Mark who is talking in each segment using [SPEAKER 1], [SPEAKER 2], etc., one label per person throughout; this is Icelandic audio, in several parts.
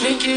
[SPEAKER 1] Hringi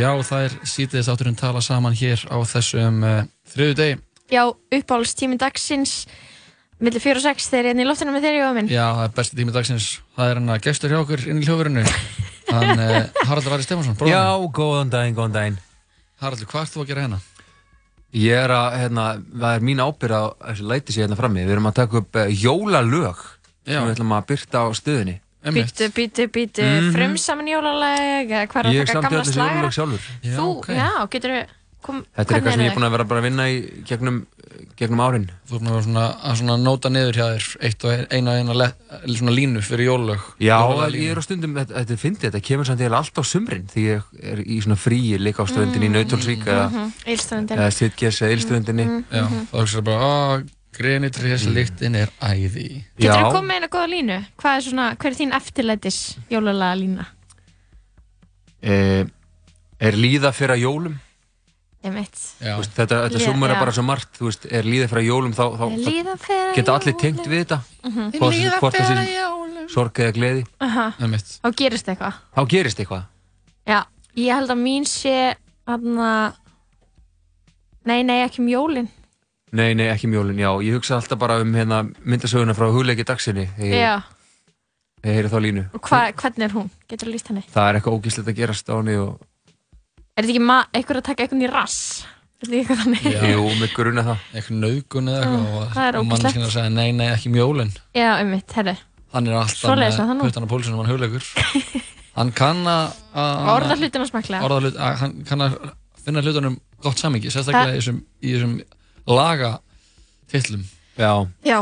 [SPEAKER 2] Já, það er sítiðis átturinn tala saman hér á þessum uh, þriðu degi.
[SPEAKER 3] Já, uppáhaldstími dagsins millir 4 og 6 þeir eru inn í loftinu með þeirri og minn
[SPEAKER 2] Já, það er besti tími dagsins. Það er hann að gestur hjá okkur inn í hljóðverinu. Hann uh, Haraldur Ari Stefánsson, bróðin.
[SPEAKER 4] Já, góðan daginn, góðan daginn
[SPEAKER 2] Haraldur, hvað ert þú að gera hérna?
[SPEAKER 4] Ég er að, hérna, það er mín ábyrð á þessu læti sér hérna frammi Við erum að taka upp uh, jólalög
[SPEAKER 2] Já.
[SPEAKER 4] sem við ætlum að byrta á stöðinni
[SPEAKER 2] Einmitt.
[SPEAKER 3] Býtu, býtu, býtu, frumsaman jólaleg eða hvað er að
[SPEAKER 4] Mhm. Ég
[SPEAKER 3] taka
[SPEAKER 4] samti
[SPEAKER 3] gamla
[SPEAKER 4] öll þessi
[SPEAKER 3] slagara?
[SPEAKER 4] jólalög sjálfur
[SPEAKER 2] Já,
[SPEAKER 3] Þú,
[SPEAKER 2] ok.
[SPEAKER 3] já, getur við kom,
[SPEAKER 4] Þetta er eitthvað sem ég er búin
[SPEAKER 3] að
[SPEAKER 4] að vera bara að vinna í gegnum, gegnum árin
[SPEAKER 2] Þú erum að vera svona, að svona nóta niður hjá þér eitt og eina, eina le, svona línu fyrir jólög.
[SPEAKER 4] Já, ég er á stundum, þetta, þetta er fyndið, þetta kemur samt eiginlega allt á sumrin því ég er í svona fríi líka á stöðundinni
[SPEAKER 3] Mm.
[SPEAKER 4] í Nautalsvík
[SPEAKER 3] Mhm,
[SPEAKER 4] eða,
[SPEAKER 3] Ílstöndin
[SPEAKER 4] eða Sitges eða
[SPEAKER 3] Mhm.
[SPEAKER 4] Ílstöðundinni
[SPEAKER 2] Já, þá er það bara, "Ah." að grenitri
[SPEAKER 4] Mm.
[SPEAKER 2] þessi lyktin er æði.
[SPEAKER 3] Getur við komið með eina góða línu? Hvað er svona, hver er þín eftirlætis jólalega lína?
[SPEAKER 4] eh, er líða fyrir að jólum
[SPEAKER 3] Ég mitt
[SPEAKER 2] Já,
[SPEAKER 4] Þú veist, þetta, þetta
[SPEAKER 3] Lí-
[SPEAKER 4] sumur
[SPEAKER 3] já.
[SPEAKER 4] er bara svo margt þú veist, er líða fyrir að jólum þá, þá, þá
[SPEAKER 3] Líða fyrir
[SPEAKER 4] geta allir tengt við þetta hvort, hvort það sé sorg eða gleði
[SPEAKER 2] einmitt.
[SPEAKER 3] Mhm. Og gerist eitthvað
[SPEAKER 4] þá gerist eitthvað
[SPEAKER 3] Já, ég held að mín sé aðna Nei, nei, ekki um jólin
[SPEAKER 4] nei, nei, ekki mjólin, já, ég hugsa alltaf bara um hérna, myndasöguna frá hugleiki dagsinni ég,
[SPEAKER 3] Já,
[SPEAKER 4] ég heyri þá línu
[SPEAKER 3] og hva, hvernig er hún? Getur þú líst henni?
[SPEAKER 4] það er eitthvað ógíslegt að gerast á henni og
[SPEAKER 3] Er þetta ekki ma- einhver að taka einhvern í rass? Er þetta ekki þannig?
[SPEAKER 2] Já.
[SPEAKER 4] jú, mig gruna það
[SPEAKER 2] Eitthvað naugun eða eitthvað
[SPEAKER 3] það
[SPEAKER 2] og
[SPEAKER 3] er
[SPEAKER 2] og
[SPEAKER 3] ógeðslegt.
[SPEAKER 2] manneskjan er að segja, nei, nei, ekki mjólinn.
[SPEAKER 3] Já, um mitt, herru
[SPEAKER 2] Hann er alltaf
[SPEAKER 3] Svoleiðis var það
[SPEAKER 2] með
[SPEAKER 3] nú.
[SPEAKER 2] puttan á pólsunum, hann hugleikur. Hann kann að...
[SPEAKER 4] Ah.
[SPEAKER 2] að-
[SPEAKER 3] Orða hlutina smaklega
[SPEAKER 2] orða hlut, að hann kann að finna hlutunum gott samingi, sérstaklega í þessum, í þessum laga titlum.
[SPEAKER 4] já,
[SPEAKER 3] Já,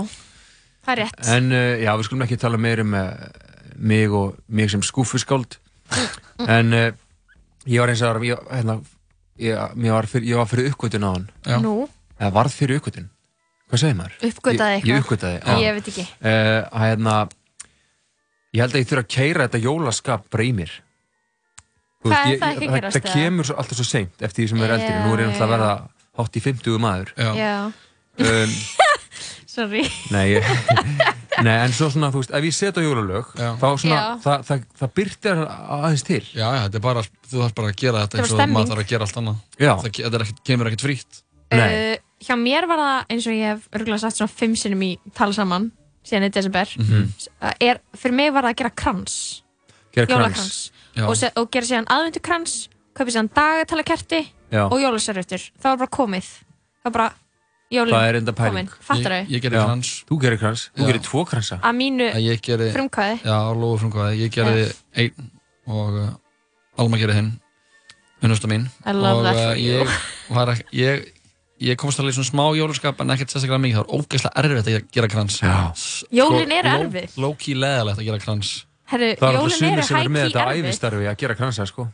[SPEAKER 3] það er rétt
[SPEAKER 4] en uh, já, við skulum ekki tala meir um uh, mig og mig sem skúfuskáld en uh, ég var eins og ég, hérna, ég, ég var fyrir, ég var fyrir uppgötun á hann
[SPEAKER 2] Já.
[SPEAKER 3] Nú,
[SPEAKER 4] eða varð fyrir uppgötun hvað segir maður?
[SPEAKER 3] Uppgötvaði
[SPEAKER 4] Ég- ég
[SPEAKER 3] eitthvað.
[SPEAKER 4] uppgötaði, já.
[SPEAKER 3] ég veit ekki
[SPEAKER 4] uh, hérna, ég held að ég þurfa að keira þetta jólaskap breymir
[SPEAKER 3] Hvað er það ekki að
[SPEAKER 4] það,
[SPEAKER 3] gerast,
[SPEAKER 4] það
[SPEAKER 3] eða?
[SPEAKER 4] kemur svo, alltaf svo seint eftir því sem er eldri
[SPEAKER 3] Já,
[SPEAKER 4] nú er ég náttúrulega að
[SPEAKER 3] já,
[SPEAKER 4] verða hátt í 50 maður
[SPEAKER 2] Já.
[SPEAKER 3] Já,
[SPEAKER 4] um,
[SPEAKER 3] sorry
[SPEAKER 4] nei, ég, nei, en svo svona þú veist, ef ég setja jólalög
[SPEAKER 2] Já.
[SPEAKER 4] þá svona,
[SPEAKER 3] Já.
[SPEAKER 4] það, það, það byrtir aðeins til
[SPEAKER 2] Já, já, þetta er bara, þú þarf bara að gera þetta
[SPEAKER 3] Þetta
[SPEAKER 2] eins
[SPEAKER 3] var
[SPEAKER 2] og
[SPEAKER 3] stemming.
[SPEAKER 2] maður þarf að gera allt annað.
[SPEAKER 4] Já.
[SPEAKER 2] Það ke- þetta er ekkert- kemur ekkert frítt.
[SPEAKER 4] nei,
[SPEAKER 3] uh, Hjá mér var það eins og ég hef örgulega sagt svona fimm sinnum í tala saman síðan í desember er, Fyrir mig var það að gera krans
[SPEAKER 4] gera krans
[SPEAKER 3] Jólakrans
[SPEAKER 2] Já.
[SPEAKER 3] og, se- og gera síðan aðvendukrans Kaupi síðan dagatalakerti
[SPEAKER 4] Já.
[SPEAKER 3] Og jólasaröftur Það var bara komið Það var bara jólin
[SPEAKER 4] Það er enda pæling.
[SPEAKER 3] komin. Fattar
[SPEAKER 2] Ég,
[SPEAKER 3] þau?
[SPEAKER 2] ég gerði
[SPEAKER 4] Já.
[SPEAKER 2] krans,
[SPEAKER 4] þú gerir krans,
[SPEAKER 2] Já.
[SPEAKER 4] þú gerir tvo kransa
[SPEAKER 3] Að mínu
[SPEAKER 2] að ég gerði,
[SPEAKER 3] frumkvæði
[SPEAKER 2] já, lofu frumkvæði, ég gerði einn og uh, Alma gerði hinn, hunnustu mín.
[SPEAKER 3] I love
[SPEAKER 2] og,
[SPEAKER 3] that for
[SPEAKER 2] uh,
[SPEAKER 3] you.
[SPEAKER 2] ég, var ekki, ég, ég komst alveg í svona smá jólaskap en ekkert sérstaklega mikið, það var ógeðslega erfitt að gera krans.
[SPEAKER 4] Já.
[SPEAKER 2] S-
[SPEAKER 3] Jólin
[SPEAKER 2] sko,
[SPEAKER 3] eru
[SPEAKER 2] low-
[SPEAKER 3] erfið.
[SPEAKER 2] Low-key leðalegt að gera krans.
[SPEAKER 3] Herru,
[SPEAKER 4] það er alltaf
[SPEAKER 3] jólin
[SPEAKER 4] sumir
[SPEAKER 3] eru
[SPEAKER 4] sem er með
[SPEAKER 3] hægt
[SPEAKER 4] þetta
[SPEAKER 3] í erfið
[SPEAKER 4] æfistarfi að gera kransa sko.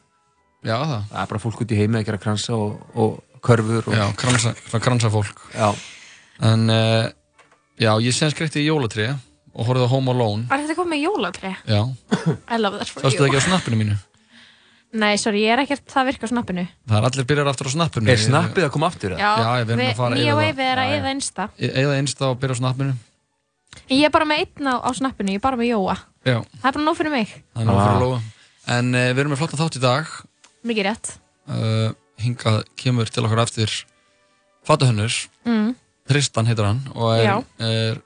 [SPEAKER 2] Já, það.
[SPEAKER 4] það er bara fólk út í heimi að gera kransa og, og körfur og,
[SPEAKER 2] Já, kransa, svona kransa fólk
[SPEAKER 4] Já.
[SPEAKER 2] En uh, já, ég sem skreitti í jólatri og horfði á Home Alone
[SPEAKER 3] Var þetta komið með jólatri?
[SPEAKER 2] Já,
[SPEAKER 3] I love that for
[SPEAKER 2] það stuði
[SPEAKER 3] you
[SPEAKER 2] ekki á snappinu mínu
[SPEAKER 3] Nei, sorry, ég er ekkert, það virkar á snappinu
[SPEAKER 2] Það er allir byrjar aftur á snappinu
[SPEAKER 4] er snappið að koma aftur eða?
[SPEAKER 2] Já, við erum að fara
[SPEAKER 3] Nýja
[SPEAKER 2] yfir það.
[SPEAKER 3] veifið er að eða einsta
[SPEAKER 2] Eða einst á að byrja á snappinu
[SPEAKER 3] Ég er bara með einn á, á snappinu, ég er bara með Jóa
[SPEAKER 2] Já,
[SPEAKER 3] Það er bara nóg fyrir mig,
[SPEAKER 2] það er nú
[SPEAKER 4] Ah.
[SPEAKER 2] fyrir að lóa En uh, við erum með flottan þátt í dag
[SPEAKER 3] mikið rétt
[SPEAKER 2] uh, Hingað kemur til okkar eftir Fatahönnur
[SPEAKER 3] mm.
[SPEAKER 2] Tristan heitir hann og er,
[SPEAKER 3] Já.
[SPEAKER 2] er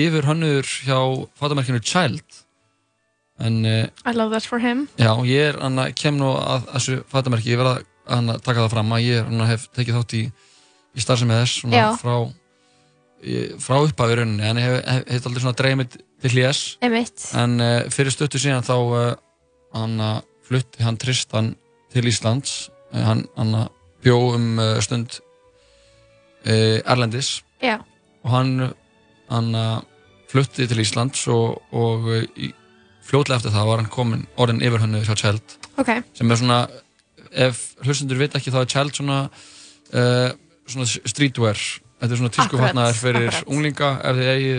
[SPEAKER 2] yfir hönnur hjá fatamerkinu Child En uh,
[SPEAKER 3] I love that for him
[SPEAKER 2] Já, ég er hann að kem nú að að þessu fatamerki, ég verða hann að taka það fram að ég er hann að hef tekið þátt í, í starfsemi þess svona
[SPEAKER 3] Já.
[SPEAKER 2] frá í- frá upphafið í rauninni, en ég hef, hef, hef aldrei svona dreymið til hljés,
[SPEAKER 3] Emitt,
[SPEAKER 2] en uh, fyrir stöttu síðan þá uh, hann að flutti hann Tristan til Íslands uh, hann, hann að bjó um uh, stund uh, Erlendis
[SPEAKER 3] já,
[SPEAKER 2] og hann hann að flutti til Íslands og, og uh, í, fljótlega eftir það var hann komin orðin yfir hönnu hjá Child
[SPEAKER 3] ok,
[SPEAKER 2] sem er svona, ef hlustundur veit ekki þá er Child svona, uh, svona streetwear þetta er svona tískufatnaðar fyrir
[SPEAKER 3] akkurat.
[SPEAKER 2] unglinga ef þið eigi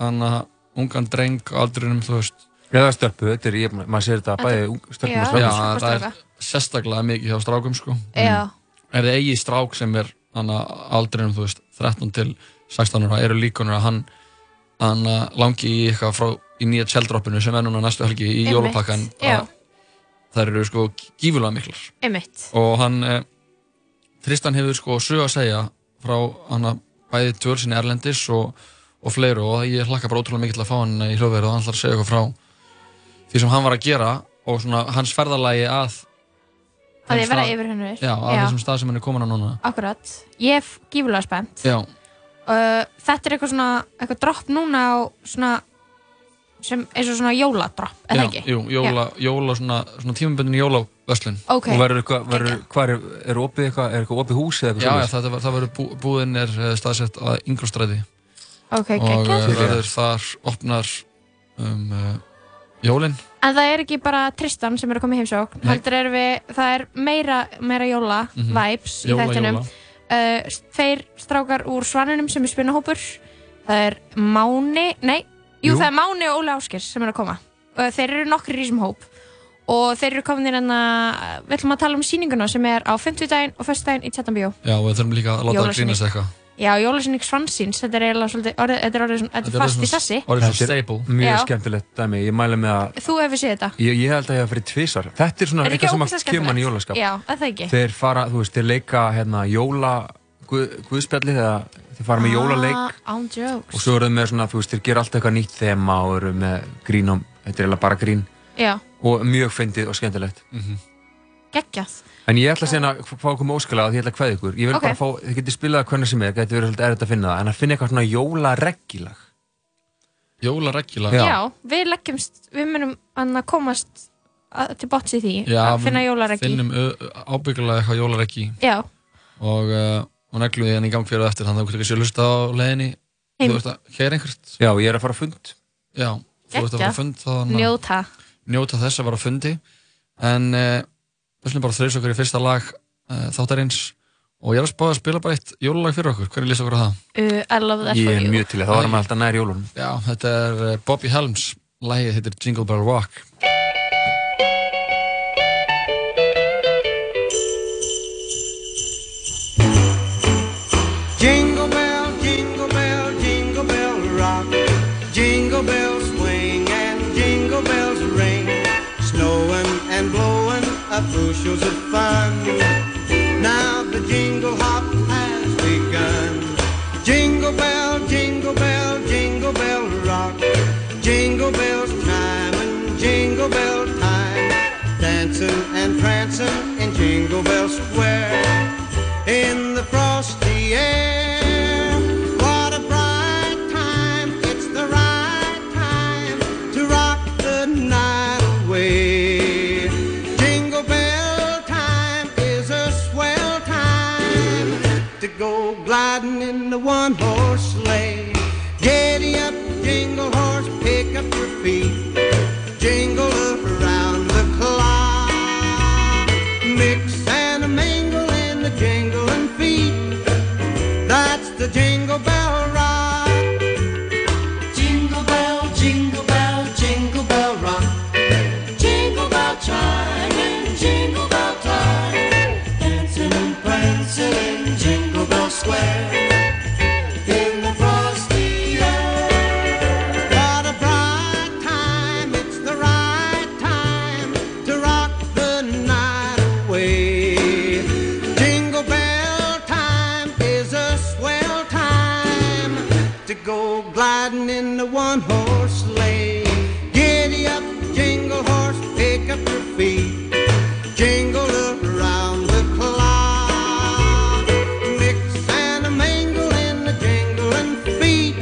[SPEAKER 2] hana, ungan dreng á aldrinum þú veist
[SPEAKER 4] Eða stelpu, þetta er, ég, maður sér þetta bæði ung- stelpum
[SPEAKER 3] Já.
[SPEAKER 4] og
[SPEAKER 2] já,
[SPEAKER 4] strákum.
[SPEAKER 3] sko,
[SPEAKER 2] það
[SPEAKER 3] stráka.
[SPEAKER 2] er sérstaklega mikið hjá strákum sko.
[SPEAKER 3] já
[SPEAKER 2] ef þið eigi strák sem er hana, aldrinum þú veist 13 til 16 ára eru líkunur að hann hana, langi í eitthvað frá í nýja Child-droppinu sem er núna næstu helgi í
[SPEAKER 3] Einmitt,
[SPEAKER 2] jólapakkan
[SPEAKER 3] já.
[SPEAKER 2] það eru sko gífulega miklar
[SPEAKER 3] einmitt,
[SPEAKER 2] og hann eh, Tristan hefur sko sög að segja frá hann að bæði tvör sinni Erlendis og, og fleiru og ég hlakka bara ótrúlega mikið til að fá hann í hljóðverð og hann ætlar að segja eitthvað frá því sem hann var að gera og svona hans ferðalagi að
[SPEAKER 3] að ég verða
[SPEAKER 2] stað-
[SPEAKER 3] yfir hennur
[SPEAKER 2] já, að þessum stað sem hann er komin á núna
[SPEAKER 3] akkurat, ég er gífulega spennt
[SPEAKER 2] já,
[SPEAKER 3] uh, þetta er eitthvað svona eitthvað dropp núna á svona sem eins og svona jóladropp, er
[SPEAKER 2] já,
[SPEAKER 3] það ekki?
[SPEAKER 2] jú, jóla, jóla svona, svona tímabundin jólavöslun
[SPEAKER 3] ok,
[SPEAKER 4] Og verður eitthvað, verður, hvað er, er opið eitthvað, er eitthvað opið hús eða
[SPEAKER 2] já,
[SPEAKER 4] eitthvað
[SPEAKER 2] já, það, það verður bú, búðin er eh, staðsett að yngróstræði
[SPEAKER 3] ok,
[SPEAKER 2] og eh,
[SPEAKER 3] ok,
[SPEAKER 4] Fyrir.
[SPEAKER 2] verður þar opnar um, uh, jólin
[SPEAKER 3] en það er ekki bara Tristan sem er að koma í heimsókn
[SPEAKER 2] Nei.
[SPEAKER 3] heldur er við, það er meira, meira jóla
[SPEAKER 2] Mhm.
[SPEAKER 3] vibes í
[SPEAKER 2] jóla,
[SPEAKER 3] þættinum
[SPEAKER 2] jóla
[SPEAKER 3] uh, tveir strákar úr svaninum sem er spinnahópur það er Máni, nei jú,
[SPEAKER 4] Jú.
[SPEAKER 3] það er Máni og Óli Áskir sem er að koma uh, þeir eru nokkri í þessum hóp og þeir eru komin inn að við ætlum að tala um sýninguna sem er á 50 daginn og 1. daginn í Tjartanbíó
[SPEAKER 2] Já, og við þurfum líka að láta það
[SPEAKER 3] Jólasynning.
[SPEAKER 2] grínast eitthvað.
[SPEAKER 3] já, jólasynning svansins, þetta er eiginlega svolítið orðið, þetta er orðið, svona, þetta
[SPEAKER 2] Þetta
[SPEAKER 3] er
[SPEAKER 2] er
[SPEAKER 3] fast í
[SPEAKER 2] svona-
[SPEAKER 3] sessi
[SPEAKER 2] Orðið
[SPEAKER 4] Þetta
[SPEAKER 2] svona
[SPEAKER 4] er-
[SPEAKER 2] staple.
[SPEAKER 4] Mjög
[SPEAKER 3] Já.
[SPEAKER 4] skemmtilegt dæmi, ég mæla með að
[SPEAKER 3] þú hefur séð þetta
[SPEAKER 4] Ég, ég held að ég hef fyrir tvisvar Þetta er svona
[SPEAKER 3] Er ekki
[SPEAKER 4] eitthvað sem að
[SPEAKER 3] ógeðslega
[SPEAKER 4] kemur hann
[SPEAKER 3] skemmtilegt?
[SPEAKER 4] í jólaskap
[SPEAKER 3] já, er það ekki
[SPEAKER 4] Þeir fara, þú veist, þeir leika hérna jóla guð, guðspjalli eða þeir fara með jólaleik
[SPEAKER 3] Ah, án
[SPEAKER 4] og
[SPEAKER 3] jokes
[SPEAKER 4] svo eru þeir með svona, þú veist, þeir gera alltaf eitthvað nýtt þema og eru með grín og þetta er eiginlega bara grín
[SPEAKER 3] já,
[SPEAKER 4] og mjög fyndið og skemmtilegt
[SPEAKER 3] geggjað
[SPEAKER 4] En ég ætla að segja að fá að koma óskalega að ég ætla að kveða ykkur Ég vil
[SPEAKER 3] Ok.
[SPEAKER 4] bara fá, þið getið spilað það hvernig sem er, gæti verið svolítið erfitt að finna það en að finna eitthvað svona jólareggilag
[SPEAKER 2] Jólareggjulag.
[SPEAKER 4] Já.
[SPEAKER 3] já. við leggjumst, við munum annað komast að, til botts í því
[SPEAKER 2] Já,
[SPEAKER 3] að
[SPEAKER 2] við
[SPEAKER 3] finna jólareggi
[SPEAKER 2] Finnum ö- ö- ábyggilega eitthvað jólareggi
[SPEAKER 3] já,
[SPEAKER 2] og, uh, og neglu því hann í gang fyrir og eftir þannig að þú getur ekki sér hlusta á leiðinni.
[SPEAKER 3] Heim.
[SPEAKER 2] Þú veist að hér einhvert.
[SPEAKER 4] Já, ég er að fara á fund
[SPEAKER 2] Já, þú veist að
[SPEAKER 3] Gekkja.
[SPEAKER 2] fara að fund þannig að
[SPEAKER 3] njóta
[SPEAKER 2] njóta þess að vera að fundi. En uh, þessum bara þreys okkur í fyrsta lag uh, þáttarins og ég er að spáða að spila bara eitt jólalag fyrir okkur. Hvernig lýst okkur á það?
[SPEAKER 3] uh, I love that
[SPEAKER 4] Ég
[SPEAKER 3] for
[SPEAKER 4] er
[SPEAKER 3] you
[SPEAKER 4] mjög til í það, þá varum alltaf nær jólunum
[SPEAKER 2] Já, þetta er eh, Bobby Helms. Lægið heitir Jingle Bell Rock.
[SPEAKER 5] Jingle bell, jingle bell, jingle bell rock. Jingle bells swing and jingle bells ring. Snowing and blowing up bushels of fun. Now the jingle hop has begun. Jingle bell, jingle bell, jingle bell rock. Jingle bells time and jingle bell time. Dancing and prancing in Jingle Bell Square in the frosty air. What a bright time, it's the right time to rock the night away. Jingle bell time is a swell time to go gliding in the one horse sleigh. Giddy up, jingle horse, pick up your feet. Jingle around the clock. Mix and a mingle in the jingling feet. That's the jingle bell rock. Jingle bell, jingle bell, jingle bell rock. Jingle bell chime and jingle bell time. Dancing and prancing in Jingle Bell Square. In the frosty air. What a bright time, it's the right time to rock the night away. Jingle bell time is a swell time to go gliding in the one horse sleigh. Giddy up, jingle horse, pick up your feet. Jingle around the clock. Mix and a mingle in the jingling feet.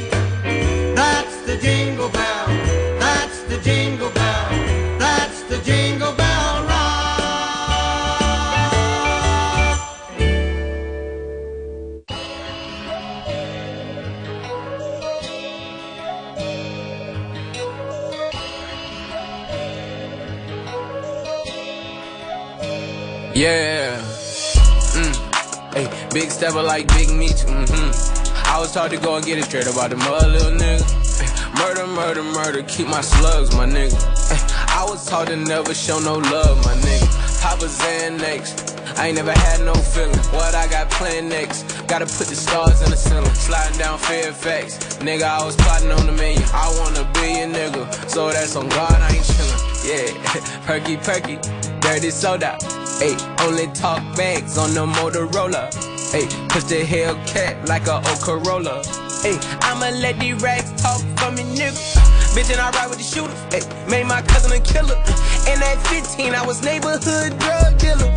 [SPEAKER 5] That's the jingle bell. That's the jingle bell. That's the jingle bell
[SPEAKER 6] Jingle bell, jingle bell, jingle bell rock. Jingle bell time, it's the right time to rock
[SPEAKER 5] rock.
[SPEAKER 6] the night away.
[SPEAKER 7] Yeah. Mm. Hey, big stepper like big meat. Mm-hmm. I was taught to go and get it straight about the mud, little nigga. Murder, murder, murder. Keep my slugs, my nigga. I was taught to never show no love, my nigga. Papa Xanax. I ain't never had no feeling. What I got planned next? Gotta put the stars in the ceiling. Sliding down Fairfax. Nigga, I was plotting on the million. I want a billion, nigga. So that's on God, I ain't chillin'. Yeah, perky perky, dirty soda. Hey, only talk bags on the Motorola. Hey, push the Hellcat like a old Corolla. Hey, I'ma let these racks talk for me, nigga. Bitch, and I ride with the shooters. Hey, made my cousin a killer. And at 15, I was neighborhood drug dealer.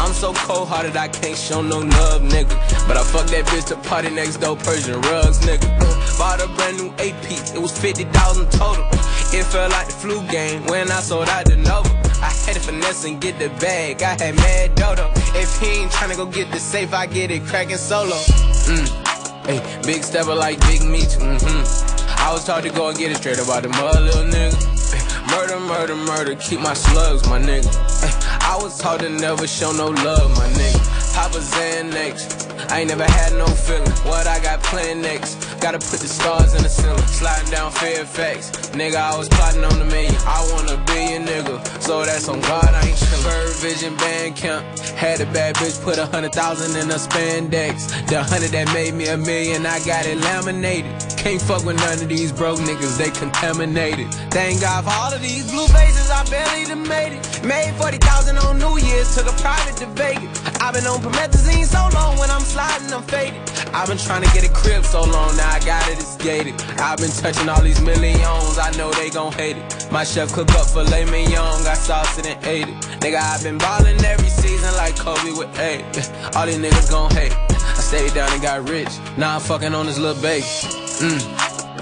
[SPEAKER 7] I'm so cold hearted, I can't show no love, nigga. But I fuck that bitch to party next door, Persian rugs, nigga. Bought a brand new AP, it was 50,000 total. It felt like the flu game when I sold out the Nova. I had to finesse and get the bag, I had mad dodo. If he ain't tryna go get the safe, I get it cracking solo. Mm. Ay, big stepper like big meat, mm-hmm. I was taught to go and get it straight about the mud, little nigga. Ay, Murder, murder, murder, keep my slugs, my nigga. Ay, I was taught to never show no love, my nigga. Papa Xanax, I ain't never had no feeling. What I got planned next? Gotta put the stars in the ceiling. Sliding down Fairfax, nigga, I was plotting on the million. I want a billion, nigga. So that's on God, I ain't chillin'. Bird Vision Band Camp, had a bad bitch, put a hundred thousand in a spandex. The hundred that made me a million, I got it laminated. Can't fuck with none of these broke niggas, they contaminated. Thank God for all of these blue faces, I barely done made it. Made 40,000 on New Year's, took a private to Vegas. I've been on promethazine so long, when I'm sliding, I'm faded. I've been trying to get a crib so long, now I got it, it's gated. I've been touching all these millions, I know they gon' hate it. My chef cook up filet mignon, got sauce and ate it. Nigga, I've been ballin' every season like Kobe with eight. All these niggas gon' hate. I stayed down and got rich, now I'm fucking on this little base. Mm.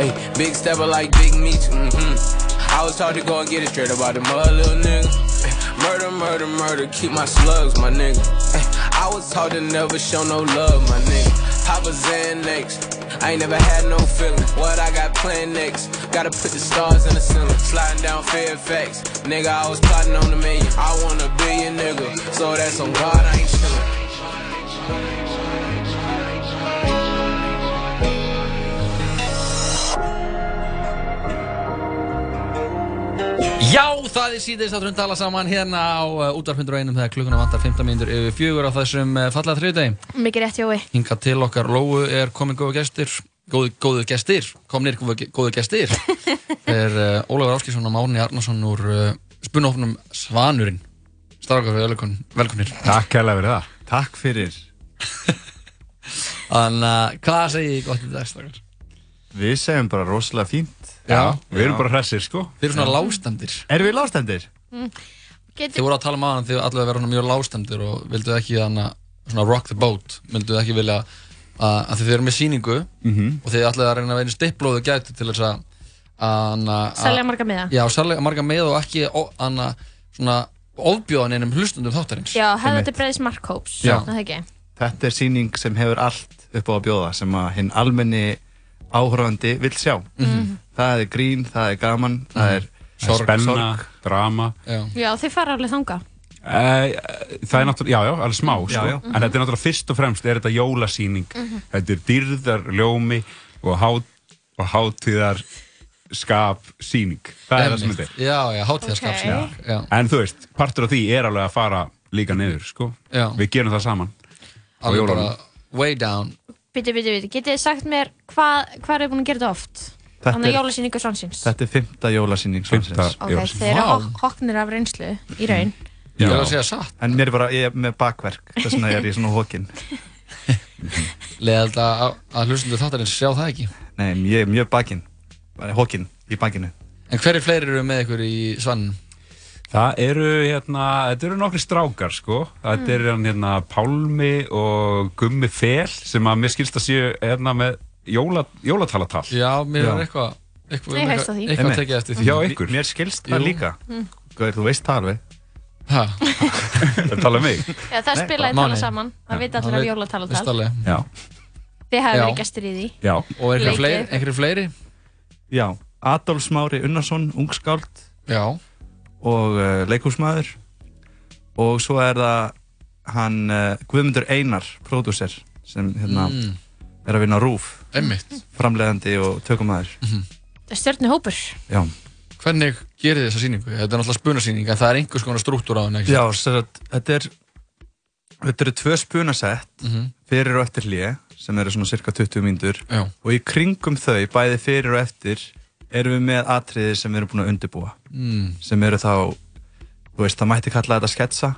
[SPEAKER 7] Ay, big stepper like big meat, mm-hmm. I was taught to go and get it straight about the mud, little nigga. Ay, Murder, murder, murder, keep my slugs, my nigga. Ay, I was taught to never show no love, my nigga. Papa Xanax, I ain't never had no feeling. What I got planned next? Gotta put the stars in the ceiling. Sliding down Fairfax, nigga, I was plotting on the million. I want a billion, nigga. So that's on God, I ain't chillin'.
[SPEAKER 2] Já, það er síðist að trundala saman hérna á uh, útvarfundur og einum þegar klukkuna vantar 15 mínútur yfir fjögur á þessum uh, fallega þriðdegi.
[SPEAKER 3] Mikið rétt Jói
[SPEAKER 2] Hinga til okkar Lóu er komin góðu gestir, góðu, góðu gestir, komnir góðu, góðu gestir. Þeir uh, Ólafur Áskilsson og Márni Arnarsson úr uh, spunófnum Svanurinn. Starfakar við velkon, velkonir.
[SPEAKER 8] Takk hella fyrir það. Takk fyrir.
[SPEAKER 2] Þannig að hvað segi ég gott í dag, starfakar?
[SPEAKER 9] Við segjum bara rosalega fínt.
[SPEAKER 2] Já.
[SPEAKER 9] Við erum bara hressir, sko.
[SPEAKER 2] Þeir eru svona lágstendir.
[SPEAKER 9] Erum við lástendir?
[SPEAKER 3] Mm.
[SPEAKER 2] Þið
[SPEAKER 3] Getur
[SPEAKER 2] voru að tala maður þegar allavega verður mjög lágstendir og vilduð ekki þannig svona rock the boat, vilduð ekki vilja að, að þið eru með sýningu
[SPEAKER 9] Mhm.
[SPEAKER 2] og þið ætlaði að reyna að vera eins diplóðu gæti til þess að að- að-
[SPEAKER 3] Selja marga miða
[SPEAKER 2] Já, særlega marga með og ekki ó- anna, svona ofbjóðan einum hlustundum þáttarins
[SPEAKER 3] Já, hefði þetta breiðis markhóps
[SPEAKER 2] Já.
[SPEAKER 3] Er það ekki?
[SPEAKER 9] Þetta er síning sem hefur allt upp á að bjóða sem að hinn almenni áhörðandi vill sjá.
[SPEAKER 4] Mhm.
[SPEAKER 3] Mhm. Mm.
[SPEAKER 9] Það er grín, það er gaman, það er
[SPEAKER 2] Sorg,
[SPEAKER 9] spenna.
[SPEAKER 2] sorg.
[SPEAKER 9] Sorg.
[SPEAKER 8] Spenna, drama.
[SPEAKER 2] Já.
[SPEAKER 3] Já, þið fara alveg þanga
[SPEAKER 8] Eh, Það er náttúrulega, já, já, alveg smá, sko.
[SPEAKER 9] Já, Mhm. já.
[SPEAKER 8] En þetta er náttúrulega fyrst og fremst, er þetta jólasýning. Þetta er dyrðar ljómi og, hát, og hátíðar skap síning. Það er það sem þetta er.
[SPEAKER 2] Já, já, hátíðarskap
[SPEAKER 3] Ok.
[SPEAKER 2] okay. já.
[SPEAKER 8] En þú veist, partur af því er alveg að fara líka niður, sko.
[SPEAKER 2] Já.
[SPEAKER 8] Við gerum það saman.
[SPEAKER 2] Alveg
[SPEAKER 8] jólunum.
[SPEAKER 2] bara way down
[SPEAKER 3] Biti, biti, biti, getið þið sagt mér hvað hva er þið búin að gera þetta oft?
[SPEAKER 9] Þetta
[SPEAKER 3] Þannig
[SPEAKER 9] er-
[SPEAKER 3] að jólasýningu svansins
[SPEAKER 9] Þetta er fymta jólasýning svansins.
[SPEAKER 8] Fimmta
[SPEAKER 3] Ok,
[SPEAKER 8] jólasýning.
[SPEAKER 3] þeir eru
[SPEAKER 2] Vá.
[SPEAKER 3] hok- hoknir af reynslu í raun
[SPEAKER 2] Ég vil
[SPEAKER 8] Já.
[SPEAKER 2] að segja satt
[SPEAKER 9] En mér er bara, ég er með bakverk, þess vegna ég er í svona hókin.
[SPEAKER 2] Leðald að, að hlustundur þáttarins sjá það ekki
[SPEAKER 9] Nei, ég er mjög bakinn. Bara Hókin í bakinu.
[SPEAKER 2] En hverju fleiri eru með ykkur í svann?
[SPEAKER 8] Það eru hérna, þetta eru nokkri strákar sko, þetta eru hann hérna Pálmi og Gummi Fel sem að mér skilst að séu hérna með jóla, jólatalatal.
[SPEAKER 2] Já, mér er
[SPEAKER 9] Já.
[SPEAKER 2] eitthvað eitthvað,
[SPEAKER 3] Ég heyrst á
[SPEAKER 2] eitthvað,
[SPEAKER 3] því.
[SPEAKER 2] eitthvað
[SPEAKER 9] Einmitt.
[SPEAKER 2] tekið eftir því
[SPEAKER 8] Já, ykkur,
[SPEAKER 9] Mér skilst það
[SPEAKER 2] Jú.
[SPEAKER 9] líka.
[SPEAKER 4] Mhm.
[SPEAKER 3] Mm.
[SPEAKER 9] Gauður, þú veist það alveg.
[SPEAKER 2] Ha,
[SPEAKER 8] það tala um mig.
[SPEAKER 3] Já, það
[SPEAKER 9] Nei,
[SPEAKER 3] spilaði tala
[SPEAKER 2] bara mánuði.
[SPEAKER 3] saman Það vita allir
[SPEAKER 2] Það
[SPEAKER 3] af
[SPEAKER 2] veit- veist
[SPEAKER 3] jólatalatal
[SPEAKER 2] alveg.
[SPEAKER 8] Já,
[SPEAKER 3] Þið hafi
[SPEAKER 2] Já.
[SPEAKER 3] verið gestir í því
[SPEAKER 8] já,
[SPEAKER 2] Og einhverju
[SPEAKER 3] Leikið.
[SPEAKER 2] fleiri, einhverju fleiri?
[SPEAKER 9] Já, Adolf Smári Unnarsson, ungskáld
[SPEAKER 2] Já,
[SPEAKER 9] og uh, leikúsmaður og eh, svo er það hann uh, Guðmundur Einar, pródúser sem hérna er að vinna á RÚF
[SPEAKER 2] Einmitt.
[SPEAKER 9] framleiðandi og tökumæður
[SPEAKER 3] stjörnu hópur
[SPEAKER 9] já,
[SPEAKER 2] Hvernig gerir þessa sýningu? Þetta er náttúrulega spunasýning en það er einhvers konar struktúr á henni, ekki?
[SPEAKER 9] já sér, þetta er þetta eru tvö spunasett
[SPEAKER 2] Mhm.
[SPEAKER 9] fyrir og eftir hlýja sem eru svona cirka 20 mínútur
[SPEAKER 2] Já.
[SPEAKER 9] og í kringum þau, bæði fyrir og eftir erum við með atriði sem við erum búin að undirbúa
[SPEAKER 2] Mm,
[SPEAKER 9] sem eru þá þú veist, það mætti kalla þetta sketsa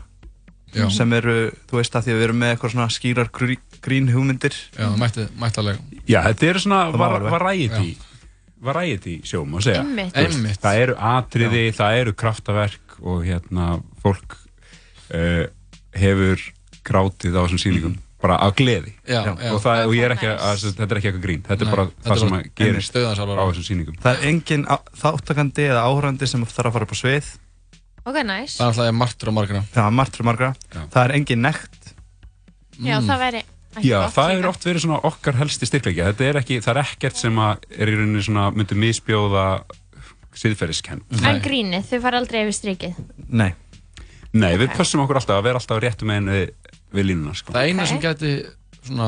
[SPEAKER 2] já.
[SPEAKER 9] sem eru, þú veist, að því að við erum með eitthvað svona skýrar grí, grín hugmyndir
[SPEAKER 2] Já, mætti, mættalega.
[SPEAKER 8] Já, þetta er svona
[SPEAKER 9] má
[SPEAKER 8] var,
[SPEAKER 9] alveg.
[SPEAKER 8] variety variety sjó, má segja
[SPEAKER 3] Einmitt.
[SPEAKER 8] Þú veist,
[SPEAKER 2] Einmitt.
[SPEAKER 8] Það eru atriði, það eru kraftaverk og hérna fólk uh, hefur grátið á þessum sýningum bara af gleði
[SPEAKER 2] Mm. Já, já.
[SPEAKER 8] og, það, og ég er ekki,
[SPEAKER 3] Nice.
[SPEAKER 8] að, þetta er ekki eitthvað grín þetta er
[SPEAKER 2] Nei,
[SPEAKER 8] bara
[SPEAKER 2] þetta
[SPEAKER 8] það
[SPEAKER 2] er
[SPEAKER 8] sem
[SPEAKER 2] bara-
[SPEAKER 8] að gerist
[SPEAKER 2] Einmitt, dauðans
[SPEAKER 8] á
[SPEAKER 2] alvara.
[SPEAKER 8] þessum sýningum
[SPEAKER 9] Það er engin á- þáttakandi eða áhörandi sem þarf að fara upp á svið
[SPEAKER 3] ok, næs
[SPEAKER 2] Það er alltaf margtur og margra.
[SPEAKER 9] Það er margt fyrir margra
[SPEAKER 8] Já.
[SPEAKER 9] Það er engin nekt
[SPEAKER 3] já,
[SPEAKER 9] mm.
[SPEAKER 3] það væri ekki
[SPEAKER 8] Já,
[SPEAKER 3] gott
[SPEAKER 8] það
[SPEAKER 3] líka.
[SPEAKER 8] hefur oft verið svona okkar helsti styrkleikja þetta er ekki, það er ekkert sem að er í rauninni svona, myndi misbjóða siðferðiskend
[SPEAKER 3] en grínið, þau fara aldrei yfir strikið
[SPEAKER 9] Nei
[SPEAKER 8] Nei, við pössum okkur alltaf að vera alltaf réttum einu við, við línuna sko.
[SPEAKER 2] Það eina
[SPEAKER 3] Ok.
[SPEAKER 2] sem geti svona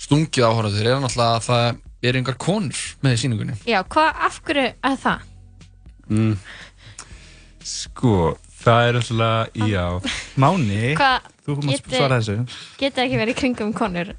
[SPEAKER 2] stungið áhörður er náttúrulega að það er einhver konur með í sýningunni.
[SPEAKER 3] já, hvað, af hverju að það?
[SPEAKER 8] Mm. Sko, það er alltaf, já
[SPEAKER 9] Máni
[SPEAKER 3] hvað
[SPEAKER 9] Þú mátt
[SPEAKER 3] Geti-
[SPEAKER 9] svara þessu
[SPEAKER 3] geta ekki verið í kringum konur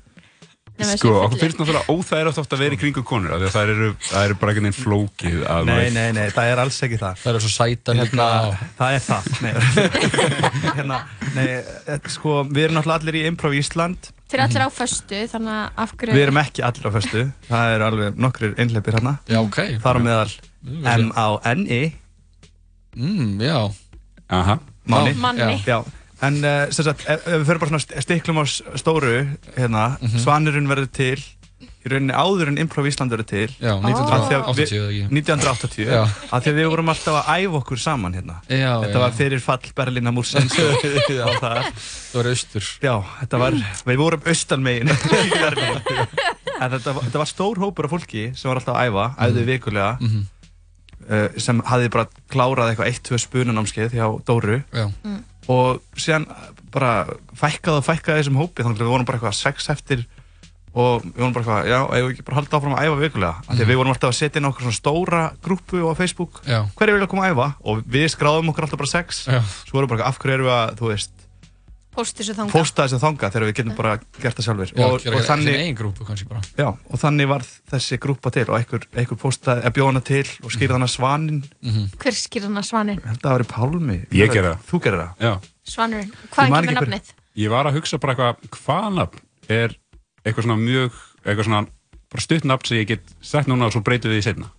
[SPEAKER 3] nema þessi
[SPEAKER 8] Sko, okkur
[SPEAKER 3] fullir?
[SPEAKER 8] finnst náttúrulega óþægilegt oft að vera í kringum konur af því að það eru, það eru bara einhvern veginn flókið að
[SPEAKER 9] Nei, nei, nei, það er alls ekki það
[SPEAKER 2] Það eru svo sætar hérna og...
[SPEAKER 9] Það er það Nei, hérna, nei eh, sko, við erum náttúrulega allir í Improv Ísland
[SPEAKER 3] þeir eru allir á föstu, þannig að af hverju
[SPEAKER 9] Við erum ekki allir á föstu Það eru alveg nokkrir einhleipir hérna
[SPEAKER 2] Já, ok.
[SPEAKER 9] Þar á meðal M-A-N-I
[SPEAKER 2] Mm, já.
[SPEAKER 8] Aha,
[SPEAKER 9] Máni
[SPEAKER 3] manni,
[SPEAKER 9] Já, en uh, sem sagt, ef, ef við fyrir bara svona st- stiklum á s- stóru hérna,
[SPEAKER 2] Mhm.
[SPEAKER 9] Svanurinn verður til í rauninni áður en Improv Ísland verður til
[SPEAKER 2] Já,
[SPEAKER 9] Af því að
[SPEAKER 2] 1980 eða ekki.
[SPEAKER 9] 1980
[SPEAKER 2] Já.
[SPEAKER 9] af því að við vorum alltaf að æfa okkur saman hérna
[SPEAKER 2] Já,
[SPEAKER 9] Þetta
[SPEAKER 2] já.
[SPEAKER 9] var fyrir fall Berlína Múrsens og og það
[SPEAKER 2] Það var austur.
[SPEAKER 9] Já, þetta var, við vorum austan megin í Berlín En þetta, var- þetta var stór hópur af fólki sem var alltaf að æfa,
[SPEAKER 2] Mhm.
[SPEAKER 9] æfðu vikulega uh, sem hafði bara klárað eitthvað eitt, tvö spunanámskeið hjá Dóru
[SPEAKER 2] Já.
[SPEAKER 9] og síðan bara fækkaði og fækkaði þessum hópi þannig að við vorum bara eitthvað sex eftir og við vorum bara eitthvað, já, eigum við ekki bara að halda áfram að æfa vikulega, af því að við vorum alltaf að setja inn okkur svona stóra grúpu á Facebook
[SPEAKER 2] Mhm. Já.
[SPEAKER 9] hverju vilja koma að æfa og við skráðum okkur alltaf bara sex
[SPEAKER 2] Já.
[SPEAKER 9] svo vorum bara eitthvað, af hverju erum við að, þú veist
[SPEAKER 3] póstu þessu þanga
[SPEAKER 9] posta þessu þanga þegar við getum bara gert það sjálfur
[SPEAKER 2] Já,
[SPEAKER 9] og,
[SPEAKER 2] gera
[SPEAKER 9] og,
[SPEAKER 2] þannig...
[SPEAKER 9] þannig,
[SPEAKER 2] einn grúpu kannski bara.
[SPEAKER 9] já, og þannig varð þessi grúpa til og einhver, einhver postaði að bjóna til og skýrði hana svanin ég
[SPEAKER 3] hver skýr hann að svanin,
[SPEAKER 9] held að það væri Pálmi
[SPEAKER 8] Ég gerði það.
[SPEAKER 9] þú gerði það
[SPEAKER 8] já
[SPEAKER 3] svanurinn
[SPEAKER 9] Ég
[SPEAKER 3] hvaðan
[SPEAKER 9] man
[SPEAKER 3] kemur
[SPEAKER 9] ekki hver-
[SPEAKER 3] nafnið?
[SPEAKER 8] Ég var að hugsa bara eitthvað, hvaða nafn er eitthvað svona mjög eitthvað svona, bara stutt nafn sem ég get sagt núna og svo breytum við því setna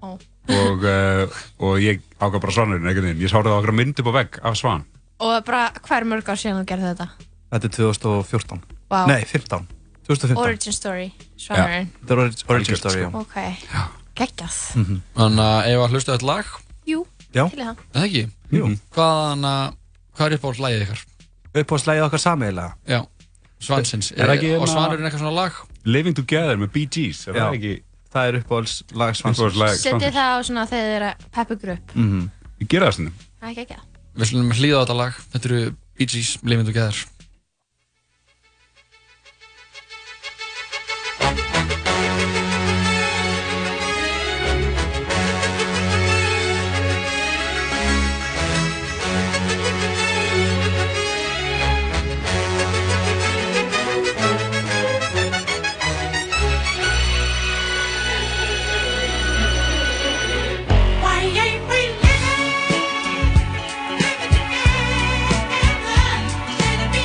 [SPEAKER 3] Ó.
[SPEAKER 8] og, uh, og ég ákvað bara svanurinn einhvern veginn, ég sára það okkur mynd upp á vegg af svan
[SPEAKER 3] og bara hver mörg ár síðan þú gerði þetta
[SPEAKER 9] þetta er 2014
[SPEAKER 3] Vá.
[SPEAKER 9] nei, 15 2015
[SPEAKER 3] origin story, svanurinn
[SPEAKER 9] Þetta er origin, origin
[SPEAKER 8] Algjört, sko.
[SPEAKER 9] story, já. Mm.
[SPEAKER 3] ok, geggjað
[SPEAKER 2] Þannig að ef að hlusta þetta lag,
[SPEAKER 3] jú,
[SPEAKER 9] Já.
[SPEAKER 3] til í það
[SPEAKER 2] er það ekki?
[SPEAKER 9] Jú.
[SPEAKER 8] Mhm.
[SPEAKER 2] Hvaðan að, hvað er upp á lagið ykkar?
[SPEAKER 9] Upp á slæðið okkar sameigilega.
[SPEAKER 2] Já. Svansins.
[SPEAKER 8] Er það ekki
[SPEAKER 2] Og
[SPEAKER 8] hérna-
[SPEAKER 2] Svanurinn eitthvað svona lag?
[SPEAKER 8] Living Together með Bee Gees er
[SPEAKER 9] Já.
[SPEAKER 8] það ekki
[SPEAKER 9] Það er upp á lag
[SPEAKER 8] einhver
[SPEAKER 9] svansins.
[SPEAKER 8] lag
[SPEAKER 3] setið
[SPEAKER 8] Svansins?
[SPEAKER 3] það á svona þegar þið eru að peppu grupp
[SPEAKER 8] Mhm. Ég gera það stundum
[SPEAKER 3] það er geggjað,
[SPEAKER 2] Við slunum hlýða á þetta lag. Þetta eru Bee Gees, Living Together.
[SPEAKER 10] Why ain't we living? Let it be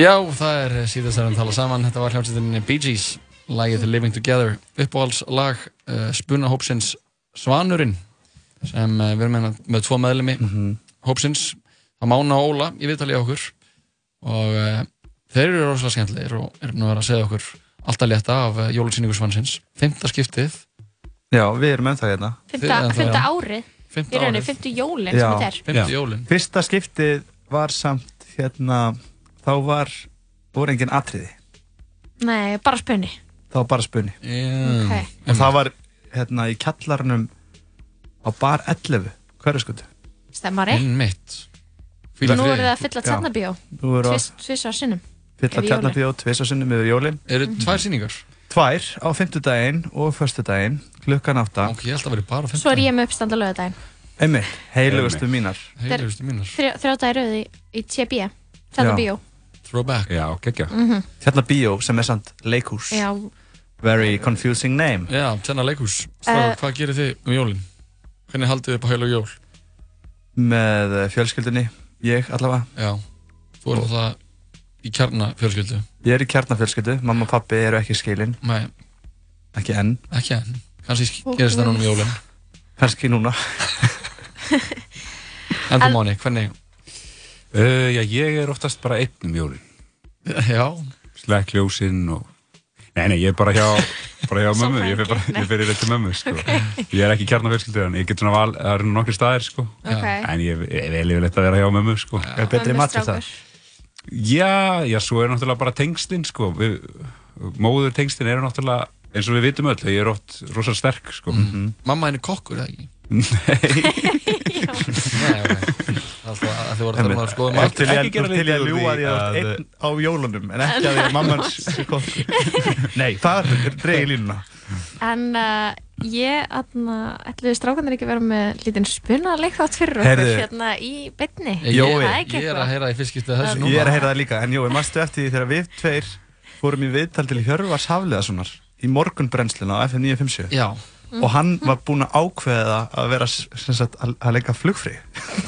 [SPEAKER 2] Já, það er eh, síðast að við tala saman. Þetta var hljómsveitinni Bee Gees, lagið Living Together, uppáhaldslag uh, spunahópsins Svanurinn, sem uh, við erum með, með tvo meðlemi
[SPEAKER 9] Mhm.
[SPEAKER 2] hópsins, það Mána og Óla í viðtalið okkur og uh, þeir eru rosalega skemmtilegir og eru nú að vera að segja okkur alltaf létta af uh, jólusýningu Svansins. Fymta skiptið,
[SPEAKER 9] Já, við erum ennþá hérna.
[SPEAKER 3] Fymta,
[SPEAKER 2] Þið-
[SPEAKER 3] fymta
[SPEAKER 2] já.
[SPEAKER 3] árið, í
[SPEAKER 2] fymta
[SPEAKER 3] rauninni,
[SPEAKER 2] árið,
[SPEAKER 3] fymtu jólin sem
[SPEAKER 9] Já.
[SPEAKER 3] þetta er.
[SPEAKER 2] fymta
[SPEAKER 8] Já.
[SPEAKER 2] jólin.
[SPEAKER 9] Fyrsta skiptið var samt hérna, þá var, voru engin atriði.
[SPEAKER 3] Nei, bara spönni.
[SPEAKER 9] Það var bara spunni.
[SPEAKER 2] Yeah.
[SPEAKER 3] Okay.
[SPEAKER 9] Og það var hérna í kjallarnum á bar 11, hverjasköldu.
[SPEAKER 3] Stemmari.
[SPEAKER 2] Einmitt. Hvíl í
[SPEAKER 3] Nú
[SPEAKER 2] friði.
[SPEAKER 3] eru það að fylla
[SPEAKER 9] Já.
[SPEAKER 3] tjarnabíó,
[SPEAKER 9] Þú voru að
[SPEAKER 3] tvisar sinnum.
[SPEAKER 9] fylla
[SPEAKER 3] yfir
[SPEAKER 9] tjarnabíó tvisar sinnum yfir jólinn.
[SPEAKER 2] Eru tvær sýningar?
[SPEAKER 9] Tvær á fimmtudaginn og förstudaginn, klukkan átta.
[SPEAKER 2] Ok, ég held að vera bara fymta.
[SPEAKER 3] Svo er ég með uppstand á lögadaginn.
[SPEAKER 9] Einmitt, heilugustu mínar.
[SPEAKER 2] Heilugustu mínar.
[SPEAKER 3] Þrjótaði rauði í TB, tjarnabíó.
[SPEAKER 2] Throwback.
[SPEAKER 8] Já, geggja
[SPEAKER 9] Tjarnabíó Hérna sem er samt leikhús.
[SPEAKER 3] Mhm. Já,
[SPEAKER 9] Very confusing name.
[SPEAKER 2] Já, tjennar leikhús. Strákar, hvað gerir þið um jólinn? Hvernig haldið þið upp á heil og jól?
[SPEAKER 9] Með eh, fjölskyldunni, ég allavega.
[SPEAKER 2] Já, þú er alltaf í kjarna fjölskyldu.
[SPEAKER 9] Ég er í kjarnafjölskyldu, mamma og pappi eru ekki skilin,
[SPEAKER 2] Nei,
[SPEAKER 9] ekki enn,
[SPEAKER 2] ekki enn. Kanski sk- gerist það núna um jólinn.
[SPEAKER 9] kannski núna.
[SPEAKER 2] En þú Máni, hvernig?
[SPEAKER 9] Eh,
[SPEAKER 8] uh, Já, ég er oftast bara einn um jólin
[SPEAKER 2] Já,
[SPEAKER 8] Slekk ljósinn og Nei, nei, ég er bara hjá, bara hjá mömmu Ég fer bara, ég fer í rétt til mömmu sko. Ég er ekki kjarnafjölskyldur En ég get svona val, það eru nokkri staðir sko.
[SPEAKER 3] ok.
[SPEAKER 8] En ég, ég vel yfirleitt að vera hjá mömmu sko.
[SPEAKER 10] É
[SPEAKER 9] Er betri
[SPEAKER 3] Mömmu
[SPEAKER 9] matur
[SPEAKER 3] strákur.
[SPEAKER 9] það?
[SPEAKER 8] Já, já, svo er náttúrulega bara tengslinn sko. við, Móður tengslinn eru náttúrulega eins og við vitum öll, ég er oft rosa sterk sko.
[SPEAKER 2] Mhm. mamma henni kokkur, eða ekki? Nei. Nei, ok. Alltaf að þið voru að tala um að skoða
[SPEAKER 9] Þú ert
[SPEAKER 2] mat.
[SPEAKER 9] til ég
[SPEAKER 8] Ekki gera
[SPEAKER 9] að, til ég
[SPEAKER 8] lítið
[SPEAKER 9] að
[SPEAKER 8] úr
[SPEAKER 9] ljúa
[SPEAKER 8] því
[SPEAKER 9] því að þú ert
[SPEAKER 8] að-
[SPEAKER 9] einn á jólunum en ekki að því að mamma hans er kokkur. Nei, það er dreigir línuna.
[SPEAKER 3] En uh, ég, aðna, ætluðu strákanir ekki að vera með lítinn spunaleik átt fyrir okkur
[SPEAKER 9] Heyrðu.
[SPEAKER 3] hérna í beinni.
[SPEAKER 2] Ég-
[SPEAKER 9] Jói,
[SPEAKER 3] Það er ekki
[SPEAKER 2] Ég er að
[SPEAKER 3] eitthvað.
[SPEAKER 2] heyra í fiskistið þessu
[SPEAKER 9] Ég er
[SPEAKER 2] núna.
[SPEAKER 9] að heyra það líka, en Jói, mannstu eftir því þegar við tveir fórum í viðtal til Hjörvars Hafliðasonar í morgunbrennsluna á FM 957
[SPEAKER 2] Já,
[SPEAKER 9] og hann var búinn að ákveða að vera s- sem sagt, að, að leika flugfrí.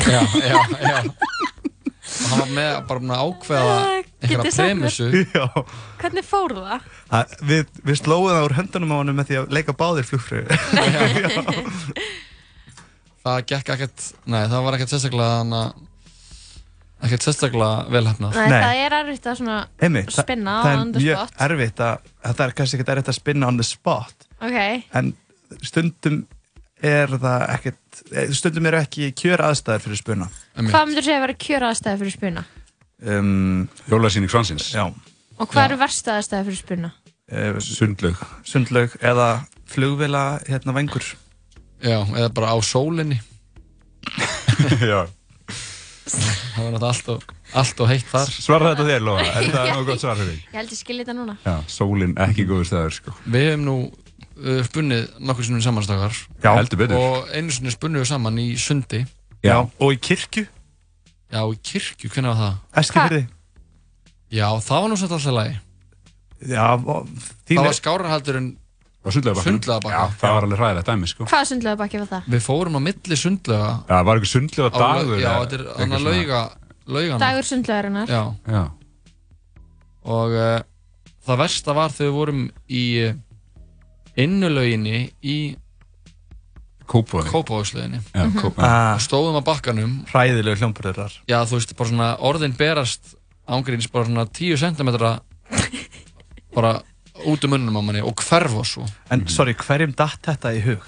[SPEAKER 2] já, já, já. Og hann var með bara búin að ákveða
[SPEAKER 3] Já, getið
[SPEAKER 2] einhverja
[SPEAKER 3] Ah, sagt mér.
[SPEAKER 2] premissu.
[SPEAKER 9] Já,
[SPEAKER 3] Hvernig fór það?
[SPEAKER 9] að, við, við slóðum það úr höndunum á hann með því að leika báðir flugfrí.
[SPEAKER 2] það gekk ekkert, nei það var ekkert sérstaklega þannig að ekkert sérstaklega velhæfnað
[SPEAKER 3] Nei,
[SPEAKER 9] Nei.
[SPEAKER 3] það er erfitt að svona,
[SPEAKER 9] Einmitt, þa-
[SPEAKER 3] Spinna
[SPEAKER 9] það er
[SPEAKER 3] on the
[SPEAKER 9] mjög
[SPEAKER 3] spot.
[SPEAKER 9] erfitt að, þetta er kannski ekkert erfitt að spinna on the spot
[SPEAKER 3] ok,
[SPEAKER 9] en stundum er það ekkert eh, stundum eru ekki kjör aðstæður fyrir spuna
[SPEAKER 3] hvað myndur segja að vera kjöraðstæði fyrir spuna?
[SPEAKER 9] um,
[SPEAKER 8] Jólasýning Svansins,
[SPEAKER 9] já,
[SPEAKER 3] Og hvað eru verstaðastæði fyrir spuna?
[SPEAKER 9] eh,
[SPEAKER 8] sundlaug
[SPEAKER 9] sundlaug eða flugvila hérna vengur
[SPEAKER 2] Já, eða bara á sólinni
[SPEAKER 8] Já.
[SPEAKER 2] það var náttúrulega allt og, allt og heitt þar
[SPEAKER 8] Svara þetta þér, Lóa, er það nóg gott svar fyrir þig?
[SPEAKER 3] Ég held ég skilja þetta núna.
[SPEAKER 8] Já, sólinn ekki góður staður sko.
[SPEAKER 2] Við hefum nú uh, spunnið nokkur sinnum samanstakar
[SPEAKER 9] já,
[SPEAKER 8] Heldur betur
[SPEAKER 2] og einu sinni spunnið við saman í sundi
[SPEAKER 9] já,
[SPEAKER 8] Já,
[SPEAKER 9] og í kirkju,
[SPEAKER 2] Já, í kirkju, hvernig var það?
[SPEAKER 9] eskifyrði
[SPEAKER 2] Já, það var nú svolítið alltaf lagi
[SPEAKER 9] já, og þín
[SPEAKER 2] Það
[SPEAKER 9] er
[SPEAKER 2] var skárarhaldur en
[SPEAKER 8] og sundlaugabakkanum.
[SPEAKER 2] Sundlaugabakkanum.
[SPEAKER 8] Já, það var alveg hræðilegt dæmi sko.
[SPEAKER 3] Hvaða sundlega bakið var það?
[SPEAKER 2] við fórum á milli sundlega
[SPEAKER 8] Já, það var einhver sundlega
[SPEAKER 2] á,
[SPEAKER 8] dagur
[SPEAKER 2] Já,
[SPEAKER 8] eða
[SPEAKER 2] þetta er
[SPEAKER 8] eitthvað
[SPEAKER 2] hann að
[SPEAKER 8] svona.
[SPEAKER 2] lauga laugana
[SPEAKER 3] Dagur sundlegarinnar.
[SPEAKER 2] Já,
[SPEAKER 8] Já,
[SPEAKER 2] og uh, það versta var þegar við vorum í eh, innulauginni í
[SPEAKER 8] kópaði
[SPEAKER 2] Kópavóðsleginni
[SPEAKER 8] Já, kópaði
[SPEAKER 9] ah,
[SPEAKER 2] stóðum á bakkanum
[SPEAKER 9] hræðilegu hljómburður þar
[SPEAKER 2] já þú veist bara svona orðin berast ángríns bara svona 10 cm bara út um munnum á manni og hverfa svo
[SPEAKER 9] en sorry, hverjum datt þetta í hug?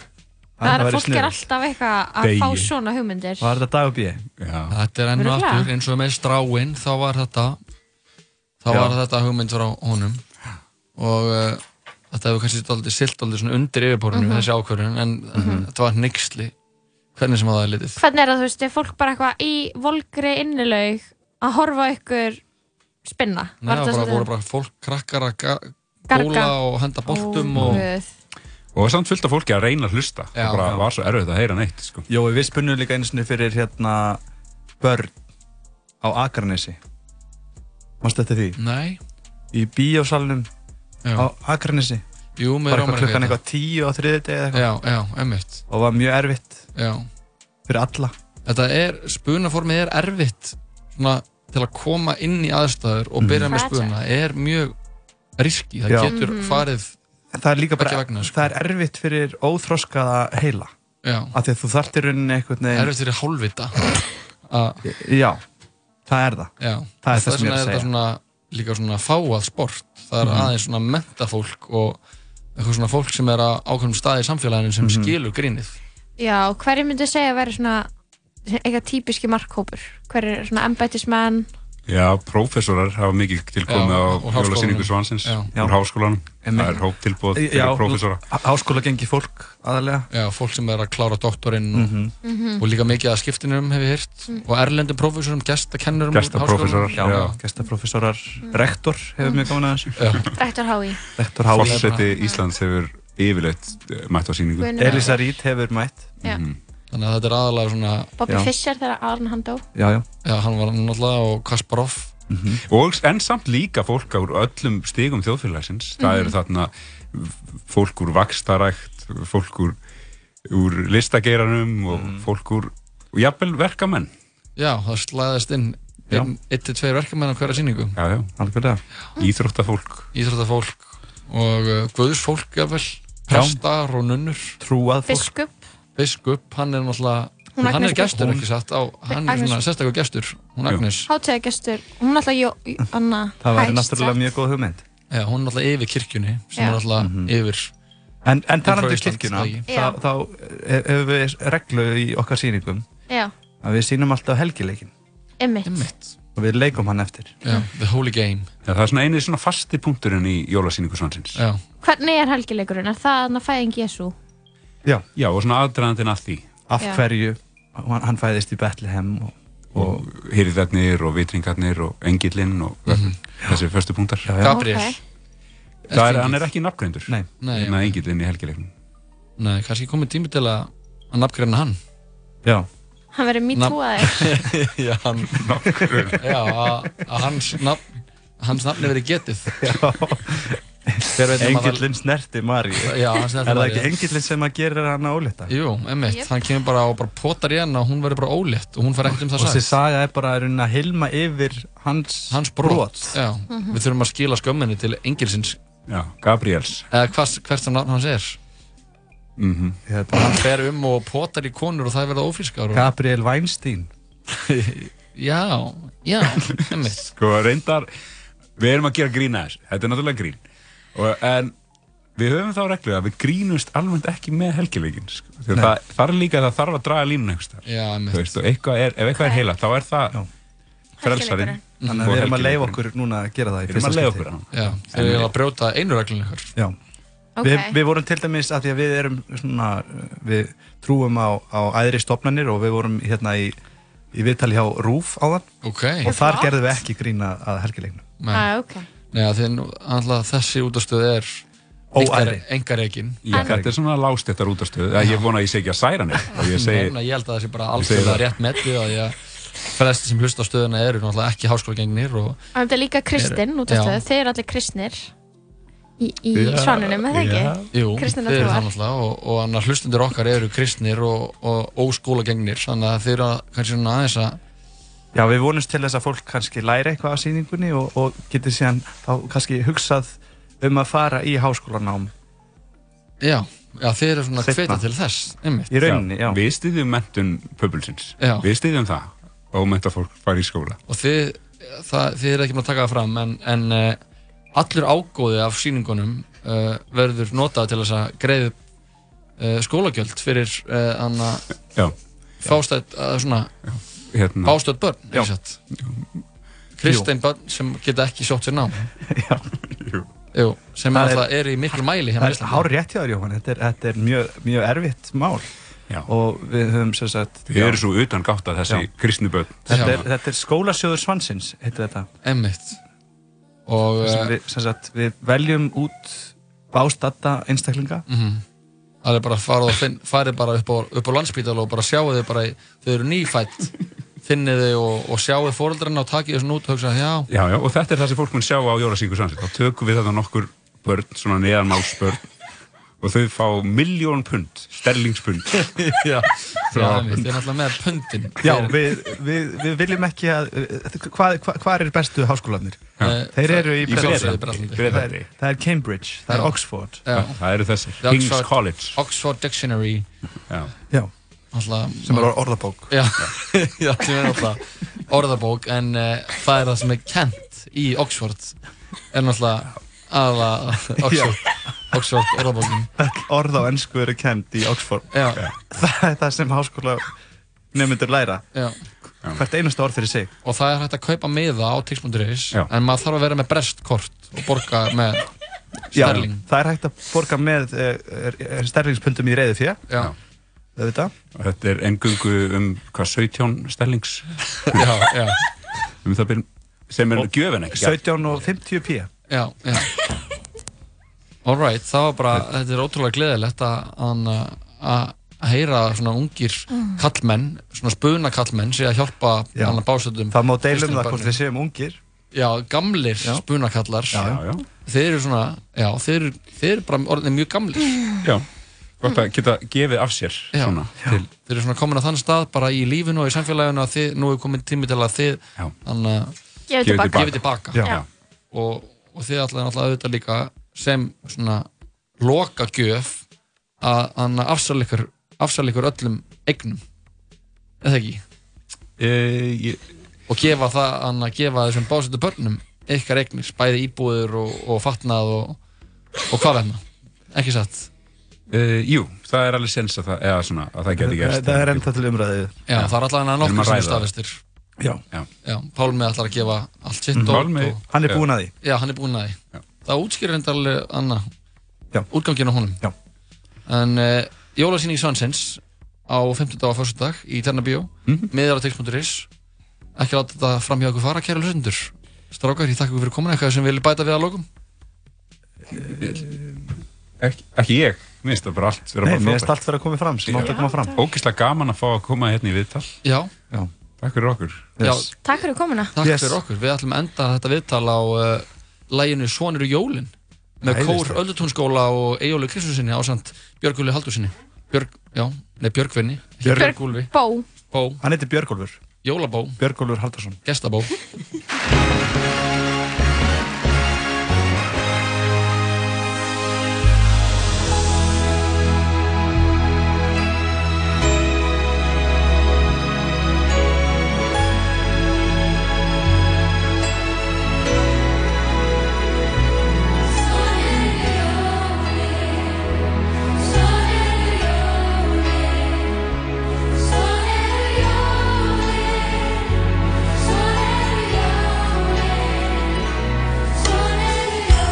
[SPEAKER 3] Það er
[SPEAKER 9] væri
[SPEAKER 3] fólk er
[SPEAKER 9] sniðugt.
[SPEAKER 3] alltaf eitthvað að fá
[SPEAKER 8] Degi.
[SPEAKER 3] svona hugmyndir.
[SPEAKER 9] var þetta dag og bíði?
[SPEAKER 8] Já,
[SPEAKER 2] þetta er enn og
[SPEAKER 3] Örugglega.
[SPEAKER 2] aftur eins og með stráin þá var þetta þá var þetta hugmynd frá honum og uh, þetta hefur kannski daldið silt aldrei svona undir yfirborðinu þessi ákvörðun en þetta var neyksli hvernig sem að það er litið
[SPEAKER 3] Hvernig er það, þú veist, er fólk bara eitthvað í volgri innilaug að horfa á ykkur spinna?
[SPEAKER 2] Nei, það bara,
[SPEAKER 3] svolítið-
[SPEAKER 2] voru bara fólk krakkar að ga-
[SPEAKER 3] Garga.
[SPEAKER 2] góla og henda
[SPEAKER 3] Ó,
[SPEAKER 2] boltum og
[SPEAKER 3] guð.
[SPEAKER 8] og samt fullt af fólki að reyna að hlusta
[SPEAKER 2] Já,
[SPEAKER 8] og bara
[SPEAKER 2] já.
[SPEAKER 8] var svo erfitt að heyra neitt sko.
[SPEAKER 9] Jói, við spunnum líka einu sinni fyrir hérna börn á Akranesi Mástu eftir því?
[SPEAKER 2] nei,
[SPEAKER 9] Í bíósalunum
[SPEAKER 2] já,
[SPEAKER 9] á Akranesi
[SPEAKER 2] jú með hérna.
[SPEAKER 9] Bara
[SPEAKER 2] Rómar
[SPEAKER 9] eitthvað klukkan eitthvað tíu á þriðið eða eitthvað
[SPEAKER 2] já, já, emmitt,
[SPEAKER 9] Og var mjög erfitt
[SPEAKER 2] já
[SPEAKER 9] fyrir alla
[SPEAKER 2] Þetta er, spunaformið er erfitt svona til að koma inn í aðstæður og byrja með
[SPEAKER 3] Fragile.
[SPEAKER 2] spuna er mjög riski, það
[SPEAKER 9] Já.
[SPEAKER 2] getur farið
[SPEAKER 9] En það er líka bara,
[SPEAKER 2] Ekki vegna, sko.
[SPEAKER 9] það er erfitt fyrir óþroskaða heila
[SPEAKER 2] já,
[SPEAKER 9] af því að þú þarft í rauninni einhvern veginn
[SPEAKER 2] erfitt fyrir hálfvita að,
[SPEAKER 9] já, það er það
[SPEAKER 2] já,
[SPEAKER 9] Það er það
[SPEAKER 2] vegna
[SPEAKER 9] sem ég
[SPEAKER 2] þetta
[SPEAKER 9] er að segja. Mhm.
[SPEAKER 2] svona, líka svona fáað sport það er aðeins svona mentafólk og eitthvað svona fólk sem er á ákveðnum staði í samfélaginu
[SPEAKER 9] Mhm.
[SPEAKER 2] sem skilur grínið
[SPEAKER 3] Já, hverju myndi segja að vera svona eitthvað típiski markhópur hverju er svona embættismenn
[SPEAKER 8] Já, prófessorar hafa mikið tilkomið á
[SPEAKER 2] Já, úr háskólanum.
[SPEAKER 8] jólasýningu svansins
[SPEAKER 2] Já.
[SPEAKER 8] úr háskólanum.
[SPEAKER 9] Einmitt.
[SPEAKER 8] Það er hóptilbúð
[SPEAKER 9] Já,
[SPEAKER 8] fyrir prófessora.
[SPEAKER 9] háskóla gengi fólk Mhm. aðalega
[SPEAKER 2] já, fólk sem er að klára doktorinn og, og líka mikið að skiptinum hef ég heyrt og erlendum prófessorum, gestakennurum úr
[SPEAKER 8] Gestaprófessorar,
[SPEAKER 2] háskólanum. Mm.
[SPEAKER 9] já,
[SPEAKER 8] Já.
[SPEAKER 9] gestaprófessorar,
[SPEAKER 2] Mhm.
[SPEAKER 9] rektor hefur mjög gaman að þessu
[SPEAKER 2] Já,
[SPEAKER 3] rektor HÍ
[SPEAKER 9] rektor Hái,
[SPEAKER 8] Fórseti Íslands hefur yfirleitt eh, mætt á sýningu.
[SPEAKER 3] Guðni
[SPEAKER 9] Elisa Rít hefur mætt
[SPEAKER 3] Já.
[SPEAKER 2] Mhm. þannig að þetta er aðalega svona
[SPEAKER 3] Bobby
[SPEAKER 9] Já.
[SPEAKER 3] Fischer þegar Arn hann dó
[SPEAKER 9] já, já, Mhm.
[SPEAKER 2] já, hann var náttúrulega og Kasparov
[SPEAKER 8] og en samt líka fólk úr öllum stigum þjóðfélagsins það
[SPEAKER 2] Mhm.
[SPEAKER 8] eru þarna fólk úr vakstarækt fólk úr, úr listageiranum og
[SPEAKER 2] Mhm.
[SPEAKER 8] fólk úr og jafnvel verkamenn
[SPEAKER 2] já, það slæðist inn
[SPEAKER 9] Já.
[SPEAKER 2] einn- einn til tveir verkamenn á hverja sýningu
[SPEAKER 8] já, já.
[SPEAKER 9] algjörlega
[SPEAKER 8] íþróttafólk
[SPEAKER 2] íþróttafólk og uh, guðsfólk jafnvel, prestar og nunnur
[SPEAKER 9] trúað fólk
[SPEAKER 3] Biskup,
[SPEAKER 2] biskup, hann er náttúrulega
[SPEAKER 3] Hún
[SPEAKER 2] hann
[SPEAKER 3] Agnes
[SPEAKER 2] er gestur
[SPEAKER 9] Hún-
[SPEAKER 2] ekki satt á, hann er
[SPEAKER 3] Agnes.
[SPEAKER 2] svona sérstakur gestur hún
[SPEAKER 8] Jú.
[SPEAKER 2] Agnes,
[SPEAKER 3] hátíðagestur hún er alltaf jó, jó, anna,
[SPEAKER 9] það væri náttúrulega mjög góð hugmynd
[SPEAKER 2] já, hún er náttúrulega yfir kirkjunni sem
[SPEAKER 3] Já.
[SPEAKER 2] er náttúrulega yfir
[SPEAKER 9] Mhm. en, en
[SPEAKER 2] frá
[SPEAKER 9] talandi um
[SPEAKER 2] Íslandi,
[SPEAKER 9] kirkjuna
[SPEAKER 2] það
[SPEAKER 9] þá,
[SPEAKER 3] ekki.
[SPEAKER 9] þá eh, hefur við reglu í okkar sýningum
[SPEAKER 3] já,
[SPEAKER 9] að við sýnum alltaf helgileikin
[SPEAKER 3] ymmit
[SPEAKER 2] mitt,
[SPEAKER 9] og við leikum hann eftir
[SPEAKER 2] já, the holy game
[SPEAKER 8] já, það er svona eini svona fasti punkturinn í jólasýningu svansins
[SPEAKER 2] já,
[SPEAKER 3] hvernig er helgileikurinn, er það hann að fæðing Jésu
[SPEAKER 8] já og svona aðdraðandinn að því
[SPEAKER 9] af
[SPEAKER 3] Já.
[SPEAKER 9] hverju hann, hann fæðist í Bethlehem og, Mhm.
[SPEAKER 8] og hýrðarnir og vitringarnir og engillinn og þessi förstu punktar
[SPEAKER 9] já, já,
[SPEAKER 2] Gabriel
[SPEAKER 3] Ok.
[SPEAKER 8] það er, hann er ekki nafngreindur
[SPEAKER 9] Nei.
[SPEAKER 2] Nei,
[SPEAKER 8] Hérna engillinn í helgileiknum
[SPEAKER 2] nei, kannski komið tími til að að nafngreina hann
[SPEAKER 9] já.
[SPEAKER 3] hann verið mítúaðir
[SPEAKER 2] já, hann já, að að hans nafn hans nafni verið getið Hver veit nema það-
[SPEAKER 9] engillin snerti Maríu
[SPEAKER 2] já, hans
[SPEAKER 9] Er það ekki engillin sem að gera hann álita?
[SPEAKER 2] Jú, emmitt,
[SPEAKER 3] Jep.
[SPEAKER 2] hann kemur bara og bara potar í hann og hún verður bara ólétt og hún fær ekkert um það
[SPEAKER 9] Og þessi
[SPEAKER 2] sagt
[SPEAKER 9] saga er bara í rauninni að hilma yfir hans,
[SPEAKER 2] Hans brot, Já,
[SPEAKER 3] Mhm.
[SPEAKER 2] við þurfum að skila skömminni til engilsins
[SPEAKER 8] já, Gabriels
[SPEAKER 2] eða hvers, hvert sem nafn hans er
[SPEAKER 9] Hérna,
[SPEAKER 2] Hann fer um og potar í konur og það verða ófrískar og...
[SPEAKER 9] Gabriel Weinstein
[SPEAKER 2] Já, já, emmitt
[SPEAKER 8] Sko reyndar, við erum að gera grín aðeins, þetta er náttúrulega grín og, en við höfum þá reglu að við grínumst almennt ekki með helgileikin sko. Þegar það, það er líka að það þarf að draga línun einhverstað
[SPEAKER 2] Já, emmitt
[SPEAKER 8] veist, og eitthvað er, ef eitthvað er heila þá er það
[SPEAKER 9] Já.
[SPEAKER 8] frelsarinn
[SPEAKER 9] Þannig að
[SPEAKER 8] Og
[SPEAKER 9] við erum að leiða
[SPEAKER 8] helgileikurinn.
[SPEAKER 9] okkur núna að gera það í
[SPEAKER 8] við erum
[SPEAKER 9] fyrsta
[SPEAKER 8] að leiða
[SPEAKER 9] skipti.
[SPEAKER 8] okkur hann
[SPEAKER 2] Já, þeir eru að brjóta einu reglun ykkur
[SPEAKER 9] Já.
[SPEAKER 3] ok,
[SPEAKER 9] Við, við vorum til dæmis að því að við erum svona, uh, við trúum á, á æðri stofnanir og við vorum hérna í, í viðtali hjá Rúf áðan
[SPEAKER 2] Ok,
[SPEAKER 9] og þar
[SPEAKER 3] flott.
[SPEAKER 9] gerðum við ekki grína að helgileiknum
[SPEAKER 2] menn
[SPEAKER 3] ah, okay.
[SPEAKER 2] Nei, að því nú- náttúrulega þessi útastöð er
[SPEAKER 9] Óæðri
[SPEAKER 2] Engareikin
[SPEAKER 8] Já, þetta er svona lágstettar útastöð að ég vona að ég sé ekki að særa neitt og ég segi,
[SPEAKER 2] Ég held að það sé bara
[SPEAKER 8] segi
[SPEAKER 2] algjörlega
[SPEAKER 8] það.
[SPEAKER 2] rétt metið að ég flesti sem hlusta á stöðuna eru náttúrulega ekki háskólagengnir og
[SPEAKER 3] og þetta er líka kristinn út af
[SPEAKER 2] Já.
[SPEAKER 3] stöðu, þeir eru allir kristnir í, í svanunum, er það ekki?
[SPEAKER 2] Jú,
[SPEAKER 3] Kristinnar
[SPEAKER 2] þeir eru
[SPEAKER 3] trúar.
[SPEAKER 2] það náttúrulega og, og annar hlustundir okkar eru kristnir og, og óskólagengnir þannig að þeir eru að- kannski svona aðeins að
[SPEAKER 9] Já, við vonumst til þess að fólk kannski læri eitthvað af sýningunni og, og getur síðan þá kannski hugsað um að fara í háskólanám
[SPEAKER 2] já, já, þeir eru svona
[SPEAKER 9] Seinna.
[SPEAKER 2] hvetja til þess einmitt,
[SPEAKER 9] í rauninni, já.
[SPEAKER 8] við styðjum mentun pöbulsins,
[SPEAKER 2] Já.
[SPEAKER 8] við styðjum það og menta fólk fari í skóla
[SPEAKER 2] og þið, það, þið eru ekki með að taka það fram en, en eh, allur ágóði af sýningunum uh, verður notað til þess að greiðu uh, skólagjöld fyrir uh, anna,
[SPEAKER 8] Já,
[SPEAKER 2] fástætt, uh, svona,
[SPEAKER 8] hérna,
[SPEAKER 2] bástöð börn
[SPEAKER 9] Já.
[SPEAKER 2] sem sagt. Kristein börn sem geta ekki sótt sér nám
[SPEAKER 8] Jú.
[SPEAKER 2] Jú, sem
[SPEAKER 9] Það
[SPEAKER 2] er,
[SPEAKER 9] er-
[SPEAKER 2] er, er í miklu mæli hérna á
[SPEAKER 9] Það er
[SPEAKER 2] Íslandi.
[SPEAKER 9] hár rétt hjá þér Jóhann, þetta er, þetta er mjög, mjög erfitt mál
[SPEAKER 8] já,
[SPEAKER 9] og við höfum sem sagt
[SPEAKER 8] við erum svo utan gátt að þessi
[SPEAKER 9] Já.
[SPEAKER 8] kristnuböld
[SPEAKER 9] þetta,
[SPEAKER 2] Já.
[SPEAKER 9] er, þetta er skólasjóður svansins heitir þetta,
[SPEAKER 2] Emmitt Og
[SPEAKER 9] sem
[SPEAKER 2] eh,
[SPEAKER 9] við, sem sagt, við veljum út bástatta einstaklinga
[SPEAKER 2] Mhm. það er bara að fara og finn, farið bara upp á, upp á landspítal og bara sjáu þau bara í- þau eru nýfætt finnið þau og, og sjáu fóreldrarna og takið þessu út og hugsa já,
[SPEAKER 8] Já, já, og þetta er það sem fólk mun sjá á Jólasíku Svansins. Þá tökum við þetta nokkur börn, svona neðanmálsbörn og þau fá miljón pund, sterlingspund
[SPEAKER 2] Já, já einmitt, við erum alltaf með pöndin
[SPEAKER 9] Já,
[SPEAKER 2] Þeir-
[SPEAKER 9] við, við, við viljum ekki að hvað hva, hva er bestu háskólanir?
[SPEAKER 2] eh,
[SPEAKER 9] Þeir eru í
[SPEAKER 8] í
[SPEAKER 9] Bretlandi.
[SPEAKER 8] Bretlandi.
[SPEAKER 2] Bretlandi.
[SPEAKER 8] Í
[SPEAKER 9] Það er,
[SPEAKER 8] Bretlandi.
[SPEAKER 9] það er Cambridge, það er
[SPEAKER 2] Já.
[SPEAKER 9] Oxford
[SPEAKER 2] já,
[SPEAKER 8] Það eru þessi,
[SPEAKER 2] The
[SPEAKER 8] King's
[SPEAKER 2] Oxford-
[SPEAKER 8] College
[SPEAKER 2] Oxford Dictionary
[SPEAKER 8] Já.
[SPEAKER 9] já,
[SPEAKER 2] alltaf,
[SPEAKER 9] sem er or- orðabók
[SPEAKER 2] Já, já sem er náttúrulega orðabók en uh, það er það sem er kent í Oxford er náttúrulega aða Oxford, Oxford orðabókin
[SPEAKER 9] Öll orð á ennsku eru kend í Oxford
[SPEAKER 2] Já,
[SPEAKER 9] það er það sem háskóla nefnundur læra
[SPEAKER 2] já
[SPEAKER 9] hvert einasta orð fyrir sig
[SPEAKER 2] og það er hægt að kaupa miða á tix.is
[SPEAKER 8] Já.
[SPEAKER 2] en maður þarf að vera með brestkort og borga með
[SPEAKER 9] já,
[SPEAKER 2] Sterling.
[SPEAKER 9] það er hægt að borga með uh, sterlingspundum í reyðu fyrir
[SPEAKER 2] Já,
[SPEAKER 9] auðvitað
[SPEAKER 8] Og Þetta er engungu um hvað 17 sterlings
[SPEAKER 2] já, já,
[SPEAKER 8] um það byrjum sem er gjöfin ekki
[SPEAKER 9] 17 og 50 p
[SPEAKER 2] já, já. Alright, það var bara, þetta er ótrúlega gleðilegt að- að að- að heyra svona ungir kallmenn, svona spuna kallmenn sé að hjálpa
[SPEAKER 9] Já.
[SPEAKER 2] hann að básöndum
[SPEAKER 9] það má deilum
[SPEAKER 2] Kristján
[SPEAKER 9] það hvort
[SPEAKER 2] Barney.
[SPEAKER 9] við séum ungir
[SPEAKER 2] Já, gamlir
[SPEAKER 9] Já.
[SPEAKER 2] spunakallar
[SPEAKER 8] Já, já,
[SPEAKER 2] Þeir eru svona, já, þeir eru, þeir eru bara orðinni mjög gamlir
[SPEAKER 8] já Gott að geta gefið af sér
[SPEAKER 2] já,
[SPEAKER 8] svona
[SPEAKER 2] Til, Þeir eru svona komin á þann stað bara í lífinu og í samfélaginu að þið, nú er komin tími til að þið
[SPEAKER 8] Já.
[SPEAKER 2] þannig að
[SPEAKER 3] Gefið
[SPEAKER 8] Gefið
[SPEAKER 3] tilbaka.
[SPEAKER 8] tilbaka.
[SPEAKER 2] gefið tilbaka
[SPEAKER 9] Já.
[SPEAKER 3] Já.
[SPEAKER 2] og, og þið ætlaði náttúrulega auðvitað líka sem svona loka gjöf að, að afsala ykkur afsala ykkur öllum eignum eða ekki
[SPEAKER 8] e, ég,
[SPEAKER 2] og gefa það hann að gefa þessum básættu börnum ykkar eignir, bæði íbúður og, og fatnað og, og hvað vegna ekki satt
[SPEAKER 8] e, Jú, það er alveg sens að það eða svona að það geti
[SPEAKER 9] það,
[SPEAKER 8] gerst
[SPEAKER 9] það er ennþá til umræðu
[SPEAKER 2] já, það er allavega
[SPEAKER 8] Erum að
[SPEAKER 2] nokkur sem
[SPEAKER 8] ræða það.
[SPEAKER 2] staðvistir
[SPEAKER 9] já.
[SPEAKER 2] já, Pálmi ætlar að gefa allt sitt dót
[SPEAKER 8] Mm. Pálmi,
[SPEAKER 2] og,
[SPEAKER 9] hann er búinn að því
[SPEAKER 2] já, hann er búinn að
[SPEAKER 8] Já.
[SPEAKER 2] því það útskýrir enda alveg Anna
[SPEAKER 9] Já.
[SPEAKER 2] útgangin á honum
[SPEAKER 9] Já.
[SPEAKER 2] en uh, jólasýning Svansins á 50 og 1. dag í Ternabíó mm
[SPEAKER 8] Mhm.
[SPEAKER 2] -hmm. miðar á text.is ekki láta þetta framhjá okkur fara, kæra hlustendur strákar, ég þakka ykkur fyrir komin eitthvað sem við viljum bæta við að lokum
[SPEAKER 8] Eh, ekki, ekki ég, mér finnst það bara allt vera
[SPEAKER 9] Nei,
[SPEAKER 8] bara
[SPEAKER 9] mér finnst
[SPEAKER 8] frábært.
[SPEAKER 9] allt fyrir að koma fram sem átt að koma fram
[SPEAKER 8] Ógeðslega gaman að fá að koma hérna í viðtal
[SPEAKER 2] já,
[SPEAKER 8] Takk fyrir okkur
[SPEAKER 2] já,
[SPEAKER 3] Takk fyrir komuna
[SPEAKER 2] Takk
[SPEAKER 9] Yes.
[SPEAKER 2] fyrir okkur, við ætlum að enda þetta viðtal á uh, læginu Svonir og Jólin með kór
[SPEAKER 9] Æðislegt.
[SPEAKER 2] Öldutúnsskóla og Ejólu Kristinsinni ásamt Björgúli Haldursinni Björg, já, nei Björgvinni
[SPEAKER 9] Björg-
[SPEAKER 2] Björgúlfi,
[SPEAKER 3] Bó
[SPEAKER 2] Bó,
[SPEAKER 9] hann heitir Björgólfur,
[SPEAKER 2] Jólabó,
[SPEAKER 9] Björgólfur Haldarsson
[SPEAKER 2] Gestabó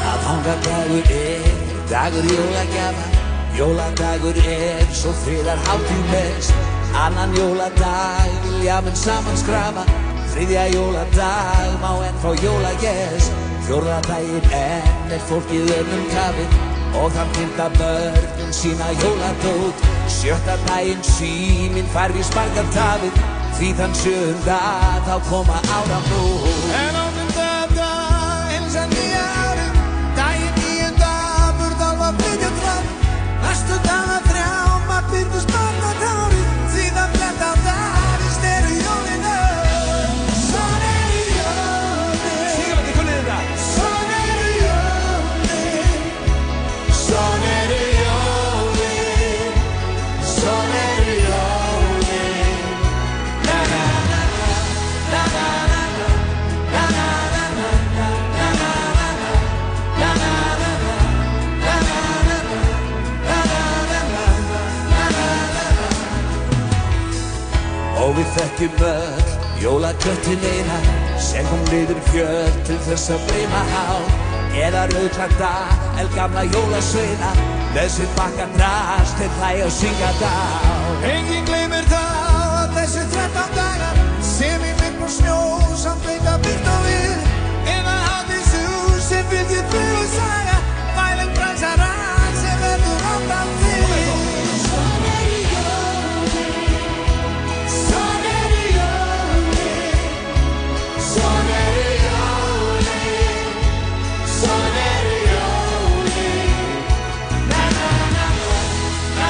[SPEAKER 10] Aðfangadagur er, dagur jólagjafa, jóladagur er, svo friðar hátíð mest. Annan jóladag vilja menn saman skrafa, þriðja jóladag má enn fá jólagjess. Fjórða daginn enn er fólkið önnum kafið og þann fyrta börnum sína jóladót. Sjötta daginn síminn fær við sparkartafið, því þann sjöunda þá koma áramót. En á fyrta dag eins að nýja árum Daginn nýjunda burðalva flytja fram Næstu daga þrjá maður byrðist barna tári Síðan fletta dagist eru jólin öll Svon eru jólin Sigurði, hvernig er þetta? Svon eru jólin Svon eru jólin Svon eru jólin Na na na na Na na na na Na na na na na Na na na na Og við þekkjum öll jólaköttin eina sem hún niður fjöld til þess að breyma á eða rauðklakta el gamla jólasveina með sér bakka drast til þæg og syngja dá Enginn gleymir þá að þessi 13 dagar sem í minn og snjó samt veita byrkt og við eða hafðis hús sem fylgir fyrir saga mælum bransar að sem verður áfram fyrir Svona er í jólinn Soneri Joli, Soneri Joli, Soneri Joli, na na na.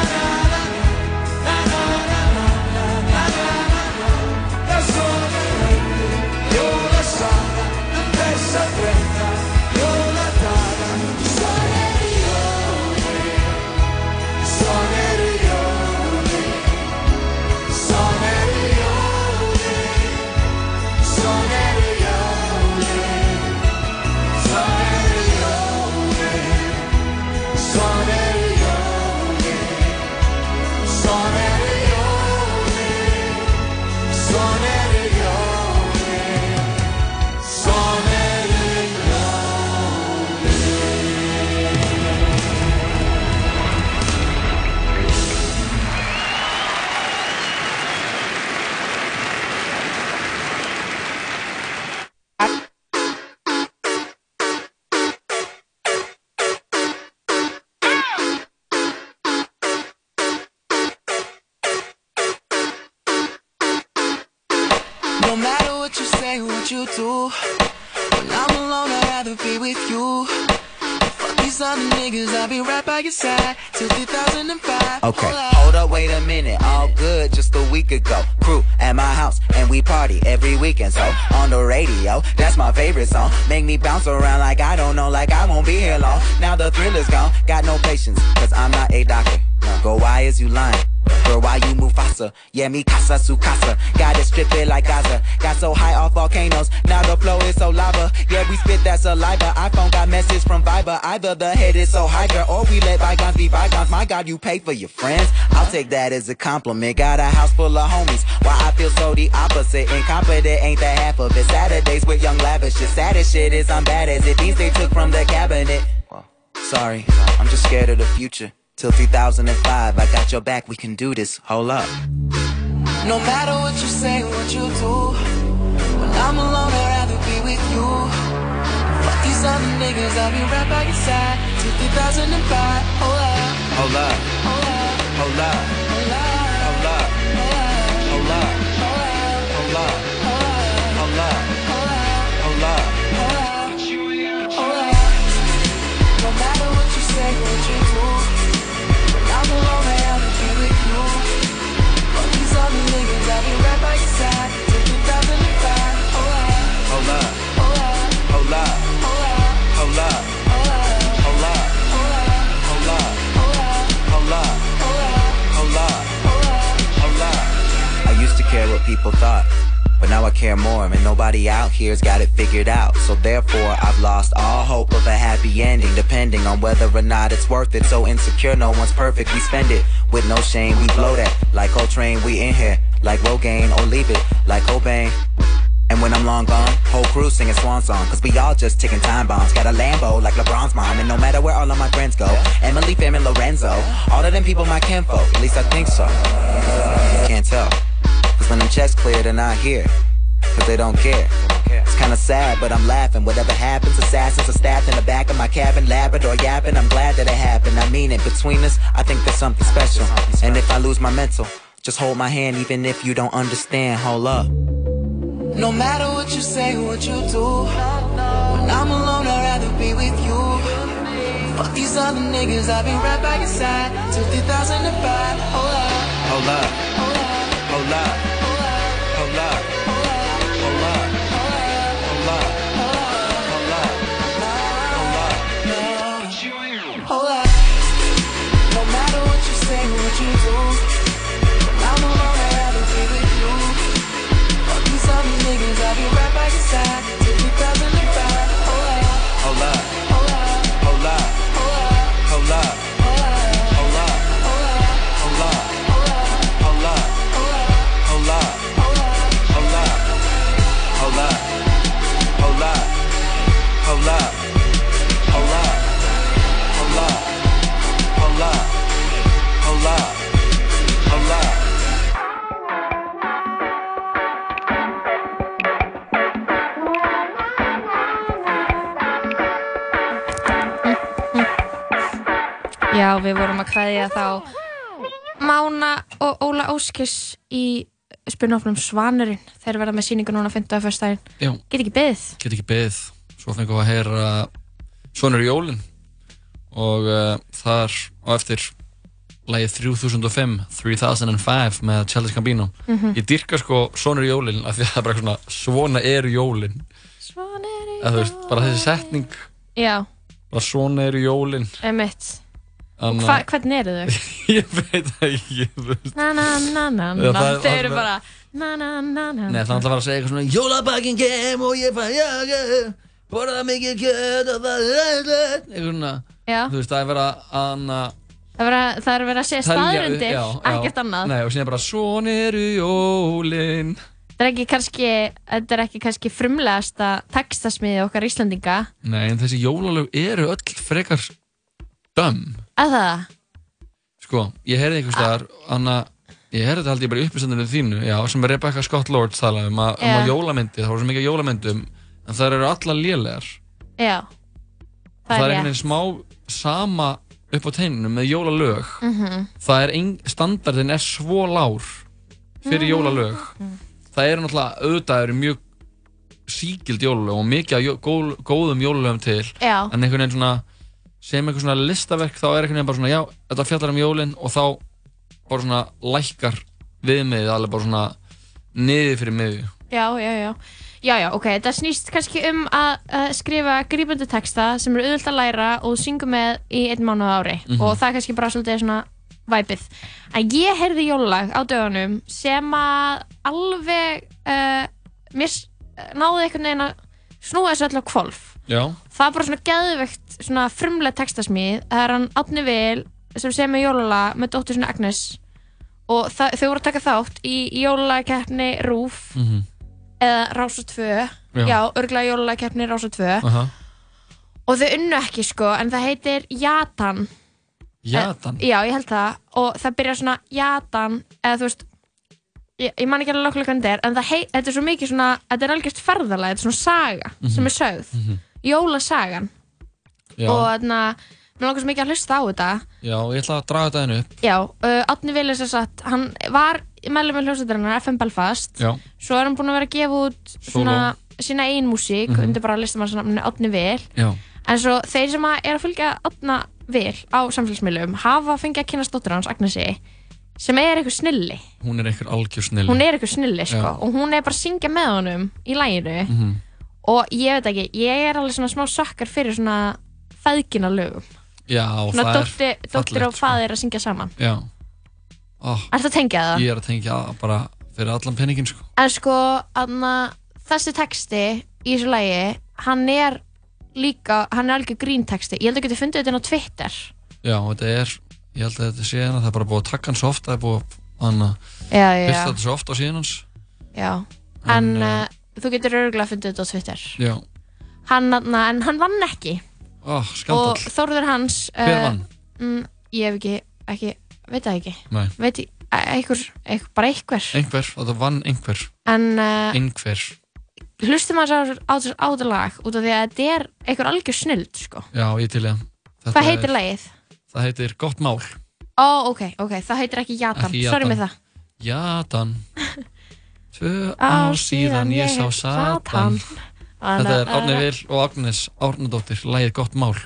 [SPEAKER 10] No matter what you say, what you do, when I'm alone, I'd rather be with you. Fuck these other niggas, I'll be right by your side till 2005.
[SPEAKER 11] Okay, hold up, wait a minute. All good, just a week ago. Crew at my house, and we party every weekend. So on the radio, that's my favorite song. Make me bounce around like I don't know, like I won't be here long. Now the thrill is gone, got no patience, cause I'm not a doctor. Girl, why is you lying? Girl, why you Mufasa? Yeah, me casa su casa. Gotta strip it like Gaza. Got so high off volcanoes, now the flow is so lava. Yeah, we spit that saliva. iPhone got message from Viber. Either the head is so high, girl, or we let bygones be bygones. My God, you pay for your friends. I'll take that as a compliment. Got a house full of homies. Why I feel so the opposite. Incompetent ain't the half of it. Saturdays with young lavish. The saddest shit is I'm bad as it. These they took from the cabinet. Sorry, I'm just scared of the future. Till 2005, I got your back, we can do this. Hold up.
[SPEAKER 10] No matter what you say, what you do, when I'm alone, I'd rather be with you. Fuck these other niggas, I'll be right by your side till 2005. Hold up,
[SPEAKER 11] Hold up,
[SPEAKER 10] hold up,
[SPEAKER 11] hold up,
[SPEAKER 10] hold up,
[SPEAKER 11] hold up,
[SPEAKER 10] hold up,
[SPEAKER 11] hold up,
[SPEAKER 10] hold up, hold
[SPEAKER 11] hold up,
[SPEAKER 10] up,
[SPEAKER 11] hold up,
[SPEAKER 10] hold up.
[SPEAKER 11] hold up. Hold up, hold up, hold up, hold up, hold up, hold up, hold up, hold up. I used to care what people thought. But now I care more, and nobody out here's got it figured out. So therefore, I've lost all hope of a happy ending, depending on whether or not it's worth it. So insecure, no one's perfect. We spend it with no shame. We blow that like Coltrane. We in here like Rogaine or leave it like Cobain. And when I'm long gone, whole crew singing swan song. Cause we all just ticking time bombs. Got a Lambo like LeBron's mom. And no matter where all of my friends go, Emily, Fam, and Lorenzo. All of them people my kinfolk. At least I think so. Can't tell. Cause when them checks clear, they're not here. Cause they don't care. It's kinda sad, but I'm laughing. Whatever happens, assassins are staffed in the back of my cabin. Labrador yapping, I'm glad that it happened. I mean it, between us, I think there's something special. And if I lose my mental, just hold my hand, even if you don't understand. Hold up.
[SPEAKER 10] No matter what you say, what you do, when I'm alone, I'd rather be with you. Fuck these other niggas, I'll be right by your side till 2005. oh, Hold up,
[SPEAKER 11] Hold up,
[SPEAKER 10] hold up,
[SPEAKER 11] hold up,
[SPEAKER 10] hold up,
[SPEAKER 11] hold up,
[SPEAKER 10] hold up, hold
[SPEAKER 11] hold up,
[SPEAKER 10] up.
[SPEAKER 11] hold up, hold up, hold up.
[SPEAKER 10] Hold up. No matter what you say, what you do, I'm alone, I'd rather be with you. Fuck these other niggas, I'll be right by your side till 2005. Hold up,
[SPEAKER 11] Hold up,
[SPEAKER 10] hold up,
[SPEAKER 11] hold up,
[SPEAKER 10] hold up,
[SPEAKER 11] hold up,
[SPEAKER 10] hold up,
[SPEAKER 11] hold up,
[SPEAKER 10] hold up, hold
[SPEAKER 11] hold up,
[SPEAKER 10] up,
[SPEAKER 11] hold up,
[SPEAKER 10] hold up, hold
[SPEAKER 11] hold up,
[SPEAKER 10] up.
[SPEAKER 11] hold up, hold up, hold up, hold up, hold up, hold up, hold up, hold up, hold up.
[SPEAKER 3] Já, við vorum að kveðja þá Mána og Óla Óskis í spunofnum Svanurinn þeir verða með síningu núna 50. að fyrstæðin
[SPEAKER 2] Já,
[SPEAKER 3] Get ekki beðið
[SPEAKER 2] get ekki beðið. Svo fengum við að heyra Svonur í jólin og uh, þar á eftir lagið 3005, 3005 með Childish Gambino.
[SPEAKER 3] Mhm.
[SPEAKER 2] Ég dyrka sko Svonur í jólin af því að það er bara eitthvað svona svona eru jólin.
[SPEAKER 3] Svanurinn
[SPEAKER 2] Eða þú veist, bara þessi setning,
[SPEAKER 3] Já,
[SPEAKER 2] bara svona eru jólin.
[SPEAKER 3] emitt
[SPEAKER 2] Þannig
[SPEAKER 3] Hva, Hvernig eru þau?
[SPEAKER 2] að- Ég veit það ekki, þú veist.
[SPEAKER 3] Na na na na
[SPEAKER 2] Já,
[SPEAKER 3] na
[SPEAKER 2] það er-
[SPEAKER 3] Þau eru
[SPEAKER 2] það-
[SPEAKER 3] bara na na na na
[SPEAKER 2] Nei, það er alltaf að vera að segja eitthvað svona Jólabakinn kem og ég fann jakka Borða mikið kjöt og það er æðislegt." Eitthvað svona
[SPEAKER 3] Já,
[SPEAKER 2] Þú veist, það er verið að anna
[SPEAKER 3] það er verið að- það er verið að segja staðröndir ekkert annað
[SPEAKER 2] Nei, og síðan bara Svon eru jólin
[SPEAKER 3] Þetta er ekki kannski, þetta er ekki kannski frumlegasta textasmiði okkar Íslandinga
[SPEAKER 2] Nei, en þessi jólalög eru öll frekar Dömm
[SPEAKER 3] að það
[SPEAKER 2] Sko, ég heyrði einhvers staðar Anna, ég heyrði þetta held ég bara í uppistandinu þínu Já, sem Rebecca Scott Lord talaði um að, um
[SPEAKER 3] Já.
[SPEAKER 2] að jólamyndi, það voru svo mikið af jólamyndum En það eru allar lélegar
[SPEAKER 3] Já,
[SPEAKER 2] það er
[SPEAKER 3] rétt.
[SPEAKER 2] einhvern veginn smá sama upp á teininu með jólalög
[SPEAKER 3] Mhm. Mm.
[SPEAKER 2] það er ein, standardin er svo lár fyrir jólalög það eru náttúrulega auðvitað eru mjög síkild jólulög og mikið af jó- gól- góðum jólulögum til
[SPEAKER 3] Já.
[SPEAKER 2] en einhvern veginn svona sem einhvern svona listaverk þá er einhvern veginn bara svona já, þetta fjallar um jólin og þá bara svona lækkar viðmiðið alveg bara svona niður fyrir miðju
[SPEAKER 3] Já, já, já. Já, já, ok. Þetta snýst kannski um að uh, skrifa grípandi texta sem eru auðvitað að læra og syngu með í einn mánuð á ári
[SPEAKER 12] Mhm.
[SPEAKER 3] og það er kannski bara svolítið svona væpið. En ég heyrði jólalag á dögunum sem að alveg uh, mér s- eh, náði einhvern veginn að snúa þessu öll á kvolf.
[SPEAKER 2] Já,
[SPEAKER 3] Það er bara svona geðveikt, svona frumlega textasmíð. Það er hann Átni Vil sem semur jólala með dóttur sinni Agnes og það, þau voru að taka þátt í jólalagkeppni RÚF
[SPEAKER 12] Mhm.
[SPEAKER 3] eða Rása 2
[SPEAKER 12] Já.
[SPEAKER 3] Já, Já örgulega jólalagkeppni Rása 2
[SPEAKER 2] Aha.
[SPEAKER 3] og þau unnu ekki sko en það heitir Jatan Eh,
[SPEAKER 2] Jatan
[SPEAKER 3] Já, ég held það og það byrjar svona Jatan eða þú veist ég, ég man ekki alveg okkur hvernig þetta er en það heit, þetta er svo mikið svona þetta er algjörst ferðalega, þetta er svona saga sem er sögð, jólasagan
[SPEAKER 2] Mhm. já,
[SPEAKER 3] og þarna, mér langar svo mikið að hlusta á þetta
[SPEAKER 2] já, ég ætla að draga þetta henni upp
[SPEAKER 3] Já, uh, Átni Vilis er satt hann var meðlum með hljósetarinnar FM Belfast
[SPEAKER 2] Já,
[SPEAKER 3] Svo er hann búinn að vera að gefa út svona, sína eigin músík
[SPEAKER 2] Mhm.
[SPEAKER 3] undir bara listamannsnafninu Átni Vil.
[SPEAKER 2] já,
[SPEAKER 3] En svo þeir sem að er að fylgja Átna Vil á samfélagsmiðlum hafa fengið að kynast dóttur hans, Agnesi, sem er eitthvað snilli.
[SPEAKER 2] hún er einhver algjör snill
[SPEAKER 3] Hún er eitthvað snilli, sko.
[SPEAKER 2] Já.
[SPEAKER 3] Og hún er bara að syngja með honum í læginu.
[SPEAKER 2] Mhm.
[SPEAKER 3] Og ég veit ekki, ég er alveg svona smá sökkar fyrir svona feðgina lögum.
[SPEAKER 2] Já,
[SPEAKER 3] svona
[SPEAKER 2] það er
[SPEAKER 3] dóttir, dóttir og
[SPEAKER 2] fallegt, sko.
[SPEAKER 3] faðir að syngja saman.
[SPEAKER 2] Já oh,
[SPEAKER 3] Ertu að tengja það?
[SPEAKER 2] Ég er að tengja það bara fyrir allan penningin sko
[SPEAKER 3] En sko, anna, þessi texti í þessu lagi, hann er líka, hann er algjör gríntexti. Ég held að geti fundið þetta inn á Twitter.
[SPEAKER 2] Já, þetta er, ég held að þetta sé hérna það er bara búið að taka hann svo oft það er búið að
[SPEAKER 3] Já, já, já.
[SPEAKER 2] byrta þetta svo oft á síðan hans
[SPEAKER 3] Já. En,
[SPEAKER 2] En,
[SPEAKER 3] uh, þú getur örgulega fundið þetta á Twitter.
[SPEAKER 2] Já,
[SPEAKER 3] Hann, anna, en hann vann ekki.
[SPEAKER 2] oh, skandal
[SPEAKER 3] Og Þórður hans...
[SPEAKER 2] Hver vann?
[SPEAKER 3] Mm, ég hef ekki, ekki, veit það ekki.
[SPEAKER 2] Nei.
[SPEAKER 3] Veit ég, e- einhver, einhver, bara einhver.
[SPEAKER 2] Einhver, þetta vann einhver
[SPEAKER 3] En uh,
[SPEAKER 2] Einhver,
[SPEAKER 3] hlustum að á þetta lag út af því að þetta er einhver algjör snild, sko.
[SPEAKER 2] já, ég til ég
[SPEAKER 3] Hvað heitir lagið?
[SPEAKER 2] Það heitir Gott Mál
[SPEAKER 3] Ó, ok, ok, það heitir ekki Jatan,
[SPEAKER 2] Ekki
[SPEAKER 3] sorry
[SPEAKER 2] Jatan.
[SPEAKER 3] með það.
[SPEAKER 2] Jatan Tvö
[SPEAKER 3] Á,
[SPEAKER 2] ár síðan ég sá Satan Þetta er Árni Vil og Agnes Árnadóttir, lagið Gott Mál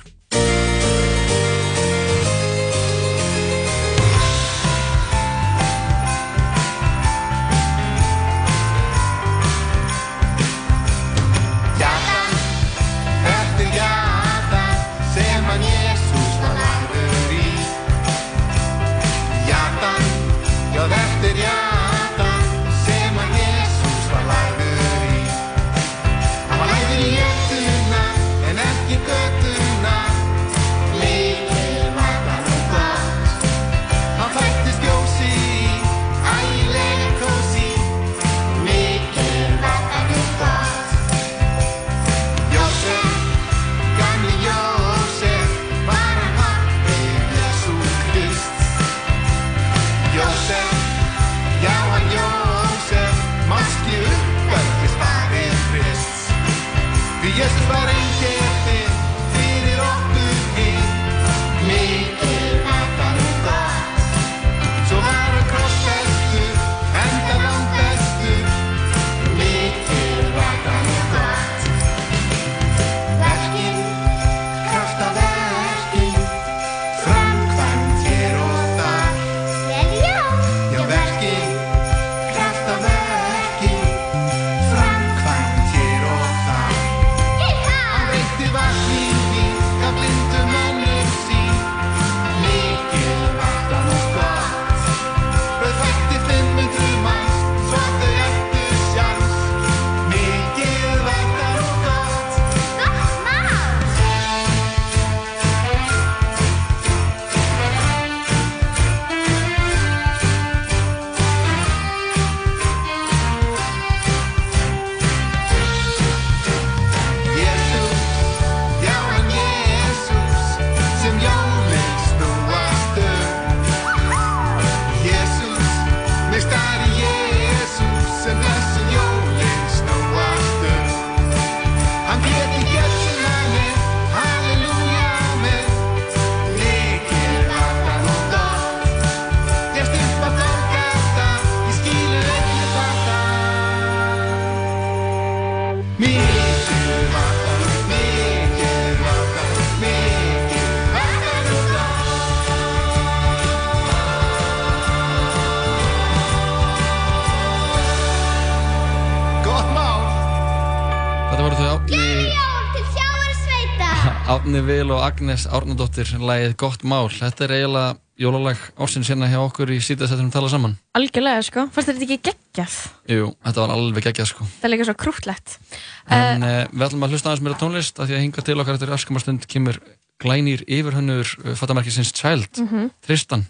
[SPEAKER 13] Jatan, þetta er jatan sem hann Jésús var lagður í. Jatan, já þetta er jatan sem hann Jésús var lagður í. Hann var lagður í jötuna en ekki götuna um um
[SPEAKER 2] Árni Vil og Agnes Árnadóttir lagið Gott Mál. Þetta er eiginlega jólalag ársins hérna hjá okkur í síðastættunum tala saman.
[SPEAKER 3] Algjörlega, sko. Fannst þér þetta ekki geggjað?
[SPEAKER 2] Jú, þetta var alveg geggjað sko.
[SPEAKER 3] Það er líka svo Eh, krútlegt.
[SPEAKER 2] En uh, við ætlum að hlusta aðeins meira tónlist af því að hinga til okkar eftir öskumastund kemur glænýr yfirhönnur uh, fattamarkisins Child, Tristan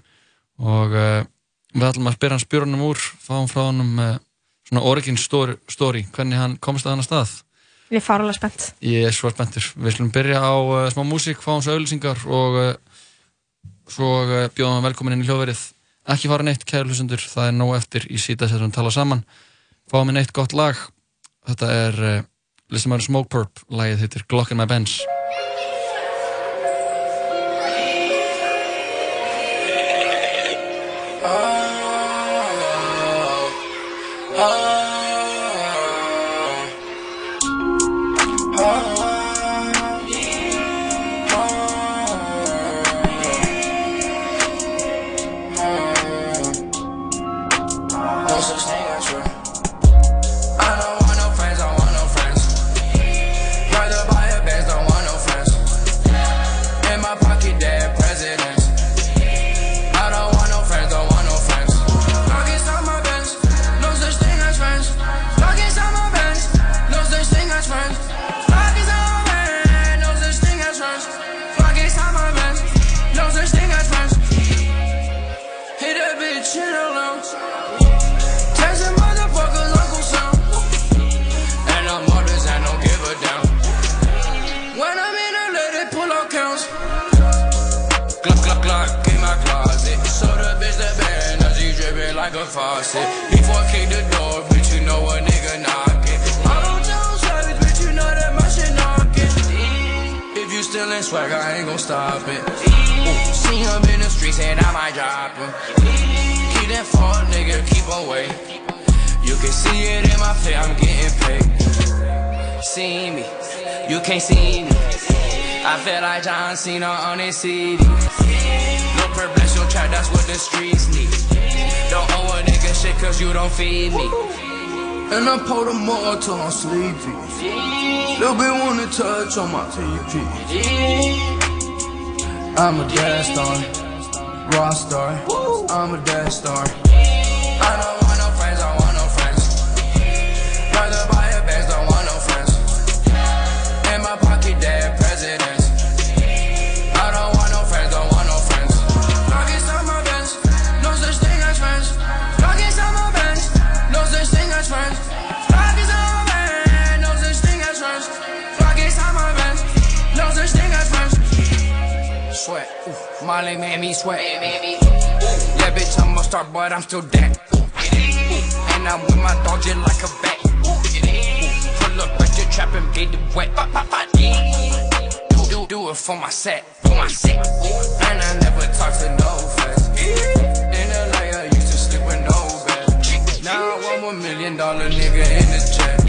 [SPEAKER 2] og uh, við ætlum að spyrja hans björnum úr, fáum frá honum uh, svona origin story, story, hvernig hann komst að hann að stað.
[SPEAKER 3] Ég er fárulega spennt.
[SPEAKER 2] Ég er svo spenntur. Við slum byrja á uh, smá músík, fáum svo auðlýsingar og uh, svo uh, bjóðum við velkomin inn í hljóðverið. Ekki fara neitt, kæru hlustendur, það er nóg eftir í síta sem við tala saman. Fáum við neitt gott lag. Þetta er uh, listamæður Smoke Purp, lagið heitir Glock in my Benz.
[SPEAKER 13] No such thing as real. I don't want no friends, I want no friends. Rather buy a Benz, don't want no friends. In my pocket, dead presidents. I don't want no friends, don't want no friends. Lock inside my Benz, no such thing as friends. Lock inside my Benz, no such thing as friends. Lock inside my Benz, no such thing as friends. Lock inside my Benz, no such thing as friends. Hit that bitch in the lungs. Texting motherfuckers, Uncle Sam. And I'm orders and don't give a damn. When I'm in a lady, pull out counts. Glock, glock, glock in my closet. So the bitch that bad energy dripping like a faucet. Before I kick the door, bitch, you know a nigga knocking. I don't tell savage, bitch, you know that my shit knocking. If you still in swag, I ain't gon' stop it. Ooh, see him in the streets and I might drop him. He didn't fall, nigga, keep away. You can see it in my face, I'm getting paid. See me, you can't see me. I feel like John Cena on his CD. No purpose, no track, that's what the streets need. Don't owe a nigga shit cause you don't feed me. And I pour the more till I'm sleepy. Little bit wanna touch on my TP. I'm a dad star, rock star. I'm a dad star. I don't want no friends, I want no friends. Rather buy a Benz, don't want no friends. In my pocket, dead presidents. I don't want no friends, don't want no friends. Lock inside my Benz, no such thing as friends. Lock inside my Benz, no such thing as friends. Lock inside my Benz, no such thing as friends. Lock inside my Benz, no such thing as friends. Sweat, ooh, Molly made me sweat. Yeah, bitch, I'm a star, but I'm still dead. Ooh, And I'm with my dog just like a bat. Ooh, Pull up at your trap and get it wet. Ba, ba, ba, dee. Do, do, do it for my set, for my set. And I never talk to no friends. In the night, I used to sleep with no bed. Now I'm a million dollar nigga in the jet.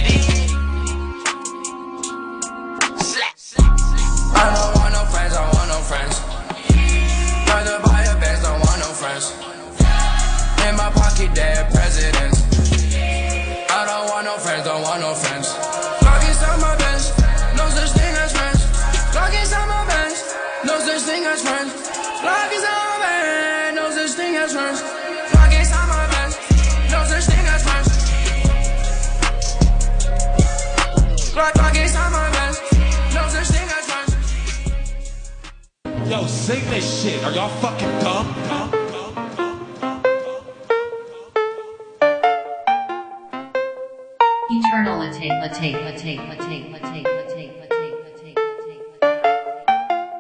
[SPEAKER 13] I don't want no friends, I want no friends. Rather buy a Benz, don't want no friends. In my pocket, dead presidents. I don't want no friends, don't want no friends. Lock inside my Benz, no such thing as friends. Lock inside my Benz, no such thing as friends. Lock inside my Benz, no such thing as friends. Lock inside my Benz, no such thing as friends. Lock, lock inside my Benz, no such thing as friends.
[SPEAKER 12] Yo, sing this shit. Are y'all fucking dumb? Dumb, dumb, dumb, dumb, dumb.
[SPEAKER 14] Eternal attain, attain, attain, attain, attain, attain, attain, attain, attain.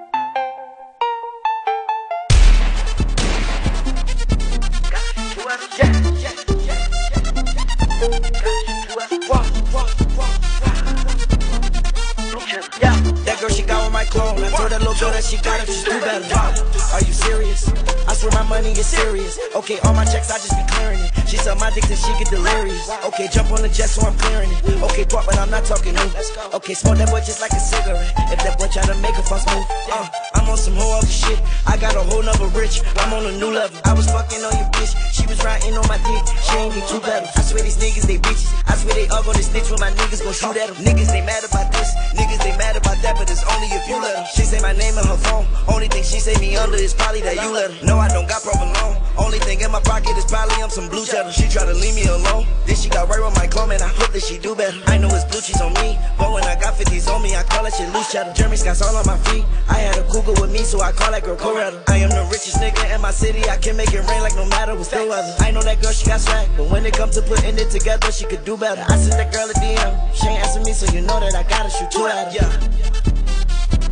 [SPEAKER 13] Yeah, that girl she got on my clone. I told that little girl that she got it, she's too bad. Wow, Are you serious? I swear my money is serious. Okay, all my checks, I just be clearing it. She
[SPEAKER 15] She's on my dick till she get delirious. Okay, jump on the jet so I'm clearing it. Okay, park, but I'm not talking new. Okay, smoke that boy just like a cigarette. If that boy try to make a fuss move, uh, I'm on some whole other shit. I got a whole nother rich. I'm on a new level. I was fucking on your bitch. She was riding on my dick. She ain't need two pedals. I swear these niggas, they bitches. I swear they all gonna snitch when my niggas gon' shoot at them. Niggas, they mad about this. Niggas, they mad about that, but it's only if you let them. She say my name in her phone. Only thing she say me under is probably that you let her. No, I don't got provolone. Only thing in my pocket is probably I'm some blue cheddar. She try to leave me alone. Then she got right with my clone, and I hope that she do better. I know it's blue cheese on me, but when I got 50s on me, I call that shit loose cheddar. Jeremy Scott's all on my feet. I had a cougar with me, so I call that girl Coretta. I am the richest nigga in my city. I can make it rain like no matter what's the weather. I know that girl, she got swag, but when it comes to putting it together, she could do better. I sent that girl a DM. She ain't answering me, so you know that I gotta shoot two at her. Yeah.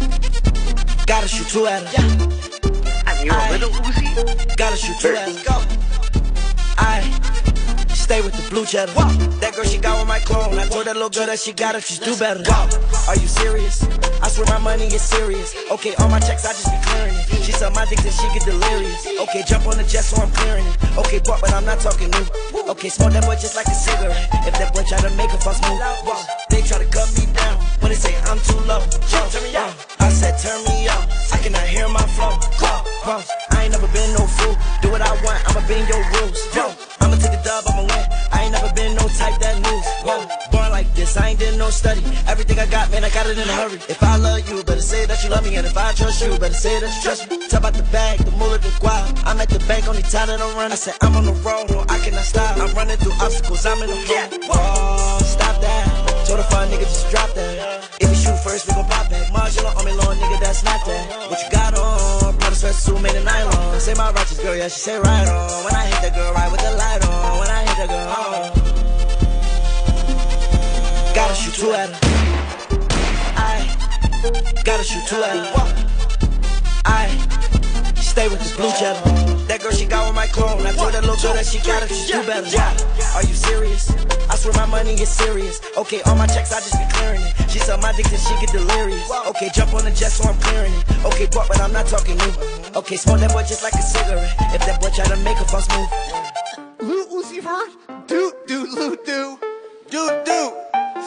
[SPEAKER 15] Gotta shoot two at her. And you're a little Uzi? Gotta shoot two at her. Go. I stay with the blue cheddar. Whoa. That girl she got with my clone. I told that little girl that she got if she's do better. Whoa. Are you serious? I swear my money is serious. Okay, all my checks I just be clearing it. She saw my dick till she get delirious. Okay, jump on the jet so I'm clearing it. Okay, park, but I'm not talking new. Okay, smoke that boy just like a cigarette. If that boy try to make a fuss move, whoa. they try to cut me down. When they say I'm too low, yo, turn me up. I said turn me up. I cannot hear my flow. Whoa, whoa. I ain't never been no fool. Do what I want, I'ma bend your rules. Yo, I'ma take a dub, I'ma win. I ain't never been no type that moves. Whoa, born like this, I ain't did no study. Everything I got, man, I got it in a hurry. If I love you, better say that you love me, and if I trust you, better say that you trust me. Talk about the bag, the mullet, the guap. I'm at the bank, only time that I'm running. I said I'm on the road, no, I cannot stop. I'm running through obstacles, I'm in the yeah. Whoa, stop that. Told a fine nigga just drop that. If you shoot first, we gon' pop back. Marginal on me, long nigga, that's not that. What you got on? Brought a sweatsuit made of nylon. Say my righteous girl, yeah, she say right on. When I hit that girl, right with the light on. When I hit that girl, on. Gotta shoot two at her. I gotta shoot two at her. I stay with this blue cheddar. That girl she got with my clone. I told that little girl that she got it, she do better. Why? Are you serious? I swear my money is serious. Okay, all my checks I just be clearing it. She saw my dick till she get delirious. Okay, jump on the jet so I'm clearing it. Okay, park, but I'm not talking new. Okay, smoke that boy just like a cigarette. If that boy try to make a fuss move.
[SPEAKER 13] Loot Lucy Bird, doot doot loot doo, doot doot.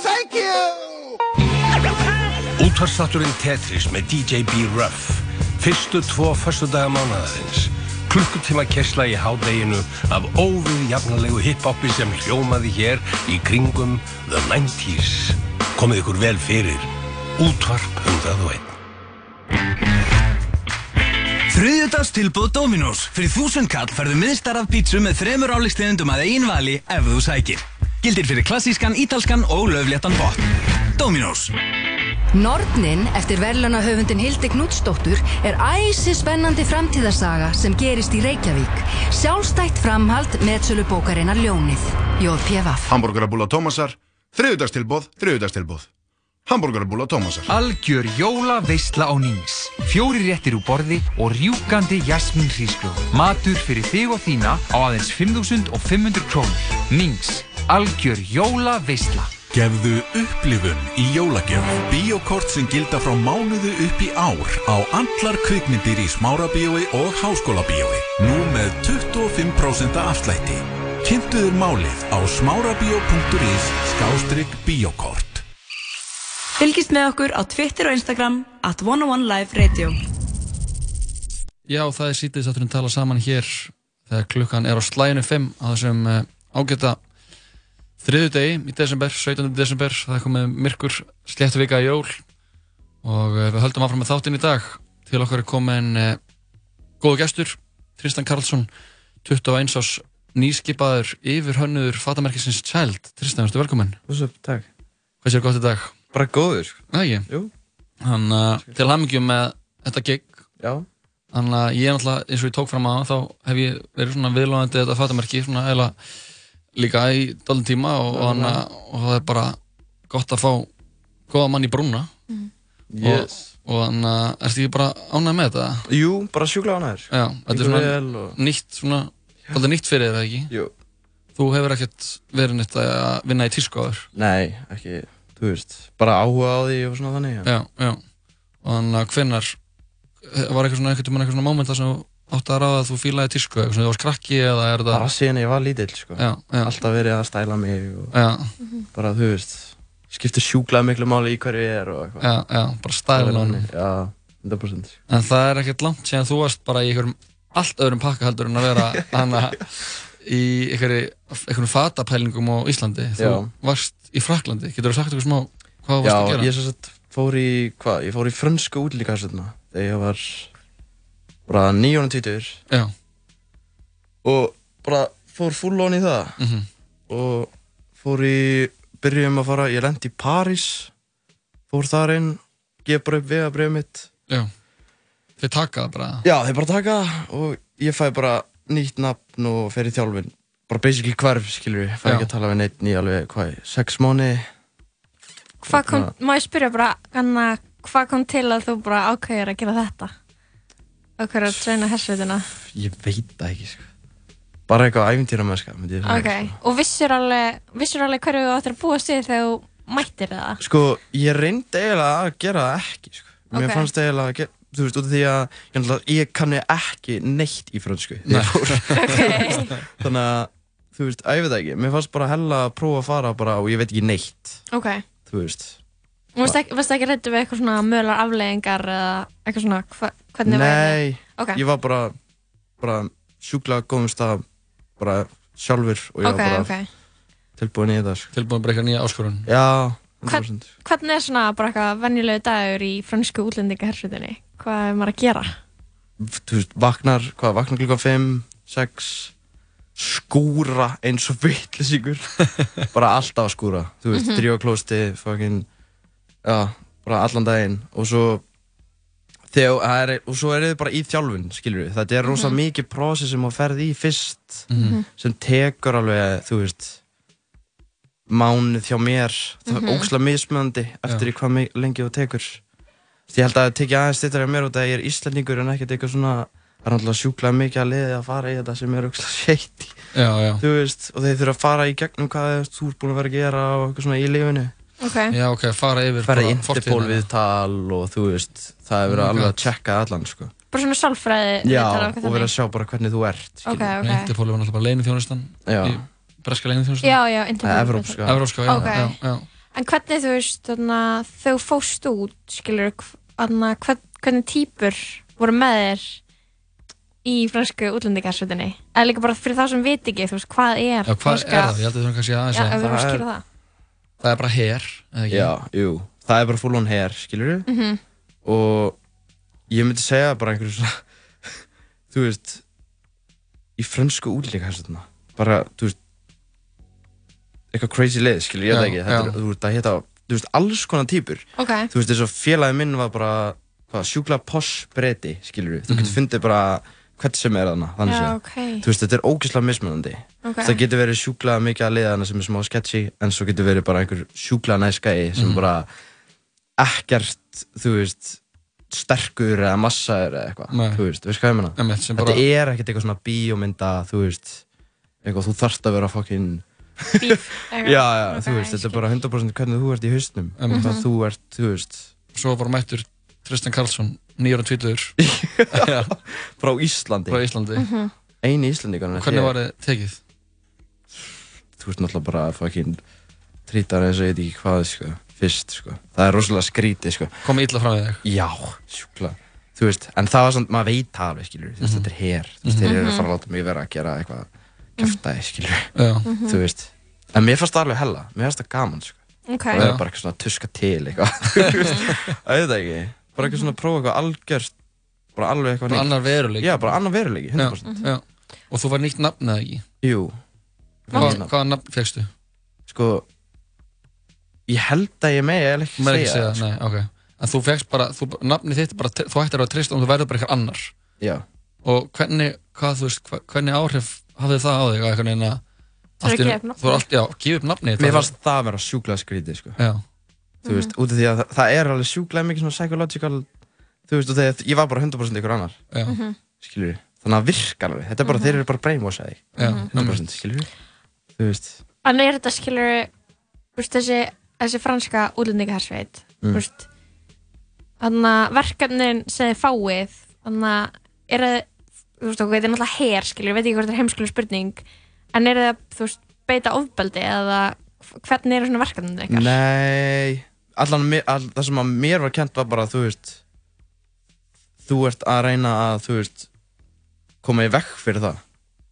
[SPEAKER 13] Thank you.
[SPEAKER 16] Útvarstátturinn Tetris með DJ B-Ruff Fyrstu tvo föstudaga mánaðarins Klukkutíma kessla í hádeginu af óvið jafnalegu hiphopi sem hljómaði hér í kringum The 90s Komið ykkur vel fyrir Útvarp 101
[SPEAKER 17] Þriðjudags tilbúð Dominos. Fyrir þúsund kall færðu miðstar af pítsu með þremur álíkstegundum að einn vali ef þú sækir. Gildir fyrir klassískan, ítalskan og löfléttan botn. Dominos.
[SPEAKER 18] Nornin eftir verðlunahöfundin Hildi Knútsdóttur er æsi spennandi framtíðarsaga sem gerist í Reykjavík. Sjálfstætt framhald meðsölu bókarinnar Ljónið. J.P.V.
[SPEAKER 19] Hamburgerabúla Tómasar, þriðudagstilbóð, þriðudagstilbóð. Hamburgerabúla Tómasar.
[SPEAKER 4] Algjör jólaveisla á nýmis. Fjóri réttir úr borði og rjúkandi jasmin hrísgrjóð. Matur fyrir þig og þína á aðeins 5.500 krónur. Nýms. Algjör jólaveisla.
[SPEAKER 20] Gefðu upplifun í jólagjöf. Bíokort sem gilda frá mánuðu upp í ár á allar kvikmyndir í smárabíói og háskólabíói. Nú með 25% afslætti. Kynntuður málið á smárabíó.is skástrygg bíokort.
[SPEAKER 21] Fylgist með okkur á Twitter og Instagram at 101 Live Radio
[SPEAKER 2] Já, það er sítið satturinn tala saman hér þegar klukkan er á slæðinu 5 á þessum uh, ágæta þriðu degi í desember, 17. desember það er komið myrkur, sléttu vika í jól og uh, við höldum áfram með þáttinn í dag til okkar er komin uh, góðu gestur, Tristan Karlsson 21 ás nýskipaður yfir hönnuður fatamerkisins Child Tristan, verður velkominn
[SPEAKER 22] What's up, takk
[SPEAKER 2] Hvað séu gott í dag?
[SPEAKER 22] Bara góður
[SPEAKER 2] Það ekki? Jú Hann, uh, til hamingjum með þetta gig Já Þannig að ég er náttúrulega, eins og ég tók fram að þá hef ég verið svona viðlóðandi þetta fatamerki svona eða líka í dálum tíma og, og, hana, og það er bara gott að fá góða mann í brúna
[SPEAKER 22] Mhm.
[SPEAKER 2] og, og þannig að ertu ekki bara ánægð með þetta?
[SPEAKER 22] Jú, bara sjúkla ánæður
[SPEAKER 2] Já, þetta er svona nýtt svona, þetta nýtt fyrir þér eða ekki?
[SPEAKER 22] Jú
[SPEAKER 2] Þú hefur ekkert verið nýtt að vinna í tísku áður?
[SPEAKER 22] Nei, ekki, þú veist, bara áhuga á því og svona þannig
[SPEAKER 2] Já, já. Og þannig að hvenar, var eitthvað svona, eitthvað, eitthvað svona mómenta sem þú átt að ráða að þú fílaði tísku eitthvað svona, þú varst krakki eða er það
[SPEAKER 22] bara síðan ég var lítill sko.
[SPEAKER 2] Já, já.
[SPEAKER 22] alltaf verið að stæla mig og
[SPEAKER 2] Já.
[SPEAKER 22] bara þú veist skiptir sjúklað miklu máli í hverju ég er og eitthvað
[SPEAKER 2] Já, já, bara stæla
[SPEAKER 22] Það er
[SPEAKER 2] honum.
[SPEAKER 22] þannig, Já, 100% sko.
[SPEAKER 2] En það er ekkert langt síðan þú varst bara í einhverjum allt öðrum pakka heldur en að vera hana í einhverju, einhverjum fatapælingum á Íslandi. Þú
[SPEAKER 22] Já.
[SPEAKER 2] varst í Fraklandi. Getur þú sagt eitthvað smá hvað þú varst
[SPEAKER 22] Já,
[SPEAKER 2] að gera?
[SPEAKER 22] ég sem sagt fór í, hvað, ég fór í frönsku útlíkastöðna þegar ég var bara 920
[SPEAKER 2] Já.
[SPEAKER 22] og bara fór full on í það
[SPEAKER 2] Mhm.
[SPEAKER 22] og fór í, byrjum að fara, ég lendi í París fór þar inn, gef bara upp vegabrið mitt
[SPEAKER 2] Já. Þeir taka það bara.
[SPEAKER 22] Já, þeir bara taka það og ég fæ bara nýtt nafn og fer í þjálfin bara basically hverf, skilur við fæ
[SPEAKER 2] Já.
[SPEAKER 22] ekki að tala við neitt í alveg, hvað, sex mánu
[SPEAKER 3] Hvað kom,
[SPEAKER 22] Hérna-
[SPEAKER 3] má ég spyrja bara, Anna, hvað kom til að þú bara ákveður að gera þetta? Ákveður að treyna hersveitina?
[SPEAKER 22] Ég veit það ekki, sko bara eitthvað æfintýra mennska, myndi ég sko. segja
[SPEAKER 3] Ok, og vissur alveg, vissur alveg hverju þú ættir að búa sig þegar þú mættir það?
[SPEAKER 22] Sko, ég reyndi eiginlega að gera það ekki sko. Mér
[SPEAKER 3] Ok.
[SPEAKER 22] fannst eiginlega að gera, þú veist, út af því að ég, náttúrulega- ég kanni ekki neitt í frönsku þegar ég fór. Þannig að, þú veist, æfið það ekki Mér fannst bara hella að prófa að fara bara og ég veit ekki neitt,
[SPEAKER 3] Ok,
[SPEAKER 22] þú veist
[SPEAKER 3] og varst ekki, varst ekki reyndið við eitthvað svona mögulegar afleggingar eða eitthvað svona, hva, hvernig væri?
[SPEAKER 22] Nei,
[SPEAKER 3] Ok.
[SPEAKER 22] ég var bara, bara sjúkla góðum stað bara sjálfur og ég
[SPEAKER 3] Ok,
[SPEAKER 22] var bara
[SPEAKER 3] ok.
[SPEAKER 22] tilbúin í þetta sko.
[SPEAKER 2] Tilbúin bara eitthvað nýja áskorun
[SPEAKER 22] Já,
[SPEAKER 3] Hvern,
[SPEAKER 22] 100%.
[SPEAKER 3] hvernig er svona bara eitthvað venjulegu dagur í fransku útlendinga hersveitinni? Hvað er maður að gera?
[SPEAKER 22] þú veist, vaknar, hvað, vaknar klukkan 5, 6 skúra eins og vitlisíkur bara alltaf að skúra þú veist, mm
[SPEAKER 4] Mhm.
[SPEAKER 22] -hmm. drífa klósti, fucking já, bara allan daginn og svo þegar, það er, og svo eru þið bara í þjálfun skilur við, þetta er rosa
[SPEAKER 4] Mhm.
[SPEAKER 22] mikið prósess sem að ferði í fyrst
[SPEAKER 4] Mhm.
[SPEAKER 22] sem tekur alveg, þú veist mánuð hjá mér það
[SPEAKER 4] Mhm.
[SPEAKER 22] er ógslag mismunandi eftir í hvað mi- lengi þú tekur Þú veist, ég held að það tekja aðeins stittar hjá mér út af því að ég er íslendingur en ekkert eitthvað svona það er náttúrulega sjúklað mikið að liði að fara í þetta sem er aukslega sveitt
[SPEAKER 2] Já, já.
[SPEAKER 22] þú veist, og þeir þurfa að fara í gegnum hvað þeir- þú ert búin að vera að gera og eitthvað svona í lífinu
[SPEAKER 3] Ok.
[SPEAKER 2] Já, ok, fara yfir
[SPEAKER 22] fara í
[SPEAKER 2] bara
[SPEAKER 22] interpól
[SPEAKER 2] fortíðina.
[SPEAKER 22] viðtal og þú veist, það hefur verið
[SPEAKER 2] Oh my
[SPEAKER 22] alveg
[SPEAKER 2] God.
[SPEAKER 22] að checka allan sko.
[SPEAKER 3] Bara svona sálfræði
[SPEAKER 22] já,
[SPEAKER 3] viðtal
[SPEAKER 22] og verið að sjá bara hvernig þú ert
[SPEAKER 3] Ok,
[SPEAKER 22] skilurðu.
[SPEAKER 3] ok.
[SPEAKER 2] Interpol var náttúrulega bara leinu þjónustan.
[SPEAKER 22] Já.
[SPEAKER 2] Breska leinu þjónustan.
[SPEAKER 3] Já, já, Interpol.
[SPEAKER 22] Nei, evrópska.
[SPEAKER 2] Evrópska, já,
[SPEAKER 3] Ok.
[SPEAKER 2] já, já.
[SPEAKER 3] En hvernig þú veist, þarna, þegar þú fóst út, skilur, þarna, hvern, hvernig típur voru með þér í fransku útlendingarsveitinni? Eða líka bara fyrir þá sem viti ekki, þú veist, hvað er
[SPEAKER 2] Já, hvað
[SPEAKER 3] franska-
[SPEAKER 2] er það? Ég held að það er kannski aðeins
[SPEAKER 3] Já,
[SPEAKER 2] að-
[SPEAKER 3] ef við vorum að skýra það.
[SPEAKER 2] Það er bara her, eða ekki?
[SPEAKER 22] já, jú, það er bara full on hair skilur við
[SPEAKER 3] Mhm.
[SPEAKER 22] og ég myndi segja bara einhverju svona þú veist í frönsku útlíka hérna bara, þú veist eitthvað crazy leið, skilur ég
[SPEAKER 4] Já,
[SPEAKER 22] veit ekki þetta er,
[SPEAKER 4] já.
[SPEAKER 22] þú veist, það heita, þú veist, alls konar týpur
[SPEAKER 3] Ok.
[SPEAKER 22] þú veist, eins og félagi minn var bara hvað, sjúkla posh breyti, skilur þú getur fundið bara hvert sem er þarna
[SPEAKER 3] Mhm.
[SPEAKER 22] þannig
[SPEAKER 3] Já,
[SPEAKER 22] séð.
[SPEAKER 3] ok.
[SPEAKER 22] þú veist, þetta er ógeðslega mismunandi
[SPEAKER 3] Ok.
[SPEAKER 22] það getur verið sjúkla mikið að leiða hana sem er smá sketchy en svo getur verið bara einhver sjúkla næskæi sem
[SPEAKER 4] Mhm.
[SPEAKER 22] bara ekkert, þú veist sterkur eða massaður
[SPEAKER 2] Nei.
[SPEAKER 22] eða eitthvað þú veist, veist hvað ég menna
[SPEAKER 2] Einmitt, sem
[SPEAKER 22] þetta
[SPEAKER 2] bara-
[SPEAKER 22] er ekkert eitthvað svona bíómynda þú veist, eitthvað þú þarft að vera fucking
[SPEAKER 3] Eitthvað.
[SPEAKER 22] já, já, þú
[SPEAKER 3] Ok,
[SPEAKER 22] veist, þetta er bara 100% hvernig þú ert í hausnum
[SPEAKER 2] Einmitt.
[SPEAKER 3] Mhm.
[SPEAKER 22] hvað þú ert, þú veist
[SPEAKER 2] Um, Svo var mættur Tristan Karlsson, 920
[SPEAKER 22] frá Íslandi
[SPEAKER 2] Frá Íslandi. Mhm.
[SPEAKER 22] eini Íslandingarinn
[SPEAKER 2] Hvernig var þið tekið?
[SPEAKER 22] þú ert náttúrulega bara fucking trítar eins og ég veit ekki hvað sko, fyrst sko. það er rosalega skrítið sko.
[SPEAKER 2] kom illa fram við
[SPEAKER 22] þig já, sjúkla þú veist, en það var svona, maður veit það alveg skilur mm -hmm. þetta er hér, þú veist,
[SPEAKER 2] Mhm.
[SPEAKER 22] þeir eru að
[SPEAKER 2] Mhm.
[SPEAKER 22] fara að láta mig vera að gera eitthvað kæftæði skilur
[SPEAKER 2] Já. Mhm.
[SPEAKER 22] þú veist, en mér fannst það alveg hella mér fannst það gaman sko.
[SPEAKER 3] Ok.
[SPEAKER 22] það er
[SPEAKER 3] Já.
[SPEAKER 22] bara eitthvað svona tuska til eitthvað Þú veist, auðvitað ekki bara eitthvað svona að prófa eitthvað algjört bara alveg eitthvað
[SPEAKER 2] Bara
[SPEAKER 22] nýtt.
[SPEAKER 2] annar veruleiki.
[SPEAKER 22] já, bara annar veruleiki, 100%
[SPEAKER 2] Já, já. Og þú var nýtt nafn eða ekki?
[SPEAKER 22] Jú.
[SPEAKER 2] Hva,
[SPEAKER 22] Nýtt nafn.
[SPEAKER 2] Hvaða nafn fegstu?
[SPEAKER 22] Sko, ég held að ég megi eða ekki
[SPEAKER 2] Mér ekki segja,
[SPEAKER 22] segja það, sko.
[SPEAKER 2] nei, ok En þú fegst bara, þú, nafni þitt er bara, þú ættir að vera Tristan og þú verður bara eitthvað annar
[SPEAKER 22] Já.
[SPEAKER 2] Og hvernig, hvað þú veist, hva, hvernig áhrif hafði það á þig að einhvern veginn að
[SPEAKER 3] Þú er að
[SPEAKER 2] allt í
[SPEAKER 3] gefa
[SPEAKER 2] einu-
[SPEAKER 3] upp nafnið.
[SPEAKER 2] Þú er allt, já, gefa upp nafni
[SPEAKER 22] Mér fannst það að vera sjúklega skrítið sko.
[SPEAKER 2] Já.
[SPEAKER 22] Þú veist, út af því að það, það er alveg sjúklega mikið svona psychological Þú veist, og þegar ég var bara 100% ykkur annar
[SPEAKER 2] Já. Mhm.
[SPEAKER 22] Skilur við, þannig að það virkar alveg Þetta er bara,
[SPEAKER 3] Mhm.
[SPEAKER 22] þeir eru bara brainwashaði
[SPEAKER 2] Já,
[SPEAKER 22] 100% skilur við Þú veist,
[SPEAKER 3] En er þetta skilur veist, þessi, þessi franska útlendingahersveit
[SPEAKER 22] Mm.
[SPEAKER 3] mm. þannig að verkefnin sem þið fáið þannig að er, þú veist, ok, þetta er náttúrulega her, skilur, ég veit ekki hvort þetta er heimskulega spurning, en eru það, þú veist, beita ofbeldi eða hvernig eru svona verkefnum ykkar?
[SPEAKER 22] Nei, allan mi- all, það sem að mér var kent var bara, þú veist Þú ert að reyna að, þú veist koma í vekk fyrir það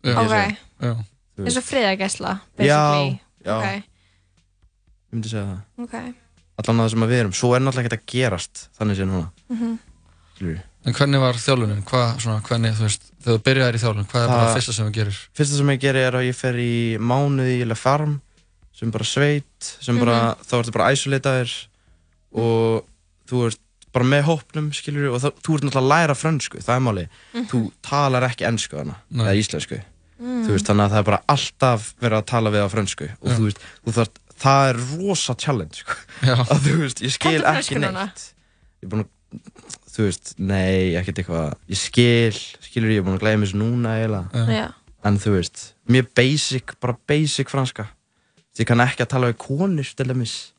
[SPEAKER 3] Já.
[SPEAKER 22] myndi Mm, ég
[SPEAKER 3] Ok.
[SPEAKER 22] segja.
[SPEAKER 2] Já.
[SPEAKER 22] Þú
[SPEAKER 3] eins
[SPEAKER 22] veist,
[SPEAKER 3] og friðagæsla,
[SPEAKER 22] Já,
[SPEAKER 3] basically.
[SPEAKER 22] já.
[SPEAKER 3] Ok,
[SPEAKER 22] ég myndi segja það
[SPEAKER 3] ok.
[SPEAKER 22] Allan að það sem að við erum, svo er náttúrulega ekkert að gerast þannig sé núna,
[SPEAKER 3] mhm.
[SPEAKER 22] skilur við
[SPEAKER 2] En hvernig var þjálfunin? Hvað, svona, hvernig, þú veist, þegar þú byrjaðir í þjálfun, hvað er bara
[SPEAKER 22] Það-
[SPEAKER 2] það fyrsta sem þú gerir?
[SPEAKER 22] Fyrsta sem ég gerir er að ég fer í mánuði í farm sem bara sveit sem bara, þá ertu bara isolataðir og þú ert bara með hópnum, skilur og það, þú ert náttúrulega að læra frönsku, það er máli
[SPEAKER 10] Mhm.
[SPEAKER 22] þú talar ekki ennsku hana,
[SPEAKER 2] Nei.
[SPEAKER 22] eða íslensku
[SPEAKER 10] Mm.
[SPEAKER 22] þú veist, þannig að það er bara alltaf verið að tala við á frönsku og
[SPEAKER 10] Já.
[SPEAKER 22] þú veist, þú þarft, það er rosa challenge, sko
[SPEAKER 2] Já.
[SPEAKER 22] að þú veist, ég skil
[SPEAKER 10] Kanntu
[SPEAKER 22] ekki
[SPEAKER 10] frönsku
[SPEAKER 22] neitt
[SPEAKER 10] núna?
[SPEAKER 22] ég er búin að þú veist, nei, ekkert eitthvað ég skil, skilur ég er búin að gleyma þessu núna eiginlega,
[SPEAKER 3] Já. Já.
[SPEAKER 22] en þú veist mér basic, bara basic franska Þú veist, ég kann ekki að tala við konur til dæmis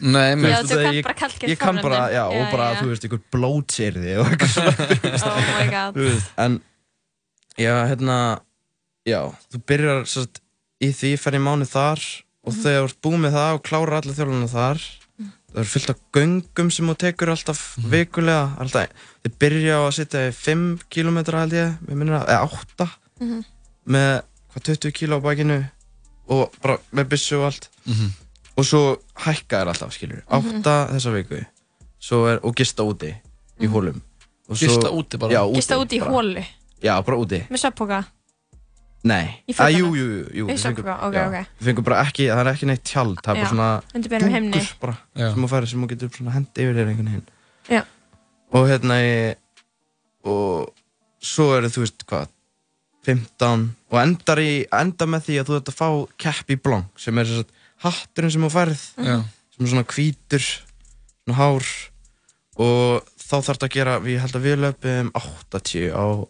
[SPEAKER 2] Nei,
[SPEAKER 3] Já, þú kannt bara karlkyns
[SPEAKER 22] ég kann bara,
[SPEAKER 3] fornöfnin.
[SPEAKER 22] já,
[SPEAKER 3] Já,
[SPEAKER 22] og bara,
[SPEAKER 3] já.
[SPEAKER 22] þú veist, ykkur blótsirði og eitthvað svona
[SPEAKER 3] Oh my god.
[SPEAKER 22] Þú veist, en já, hérna já, þú byrjar sérst, í því fer ég mánu þar og
[SPEAKER 10] Mhm.
[SPEAKER 22] þegar þú ert búið með það og klárar allir þjálfuna þar það eru fullt af göngum sem þú tekur alltaf vikulega alltaf, þið byrja á að sitja í 5 km held ég, við minnum að, eða 8
[SPEAKER 10] Mhm.
[SPEAKER 22] með hvað 20 kg á bakinu og bara með byssu og allt
[SPEAKER 10] Mhm.
[SPEAKER 22] og svo hækka er alltaf, skilur 8
[SPEAKER 10] Mhm.
[SPEAKER 22] þessa viku svo er, og gista úti í hólum Og svo-
[SPEAKER 2] Gista úti bara?
[SPEAKER 22] Já, úti,
[SPEAKER 3] Mhm. Gista út í
[SPEAKER 22] bara.
[SPEAKER 3] hólu,
[SPEAKER 22] Já, bara úti
[SPEAKER 3] með sveppoka.
[SPEAKER 22] Nei,
[SPEAKER 3] Í
[SPEAKER 22] að
[SPEAKER 3] fötunum?
[SPEAKER 22] jú, jú, jú, jú
[SPEAKER 3] Í
[SPEAKER 22] við fengum-
[SPEAKER 3] sokkum, ok,
[SPEAKER 22] já.
[SPEAKER 3] ok.
[SPEAKER 22] Við fengum bara ekki, það er ekki neitt tjald Það er
[SPEAKER 3] Já,
[SPEAKER 22] bara svona
[SPEAKER 3] undir berum himni.
[SPEAKER 22] dúkur bara, sem þú færi, sem þú getur svona hendi yfir þér einhvern veginn
[SPEAKER 3] Já.
[SPEAKER 22] Og hérna ég Og svo eru, þú veist, hvað 15 Og endar, í, endar með því að þú ert að fá Keppi blong, sem er þess að Hatturinn sem þú færið
[SPEAKER 2] Já.
[SPEAKER 22] Sem er svona hvítur, svona hár Og þá þarf þetta að gera Við held að við löpum 80 á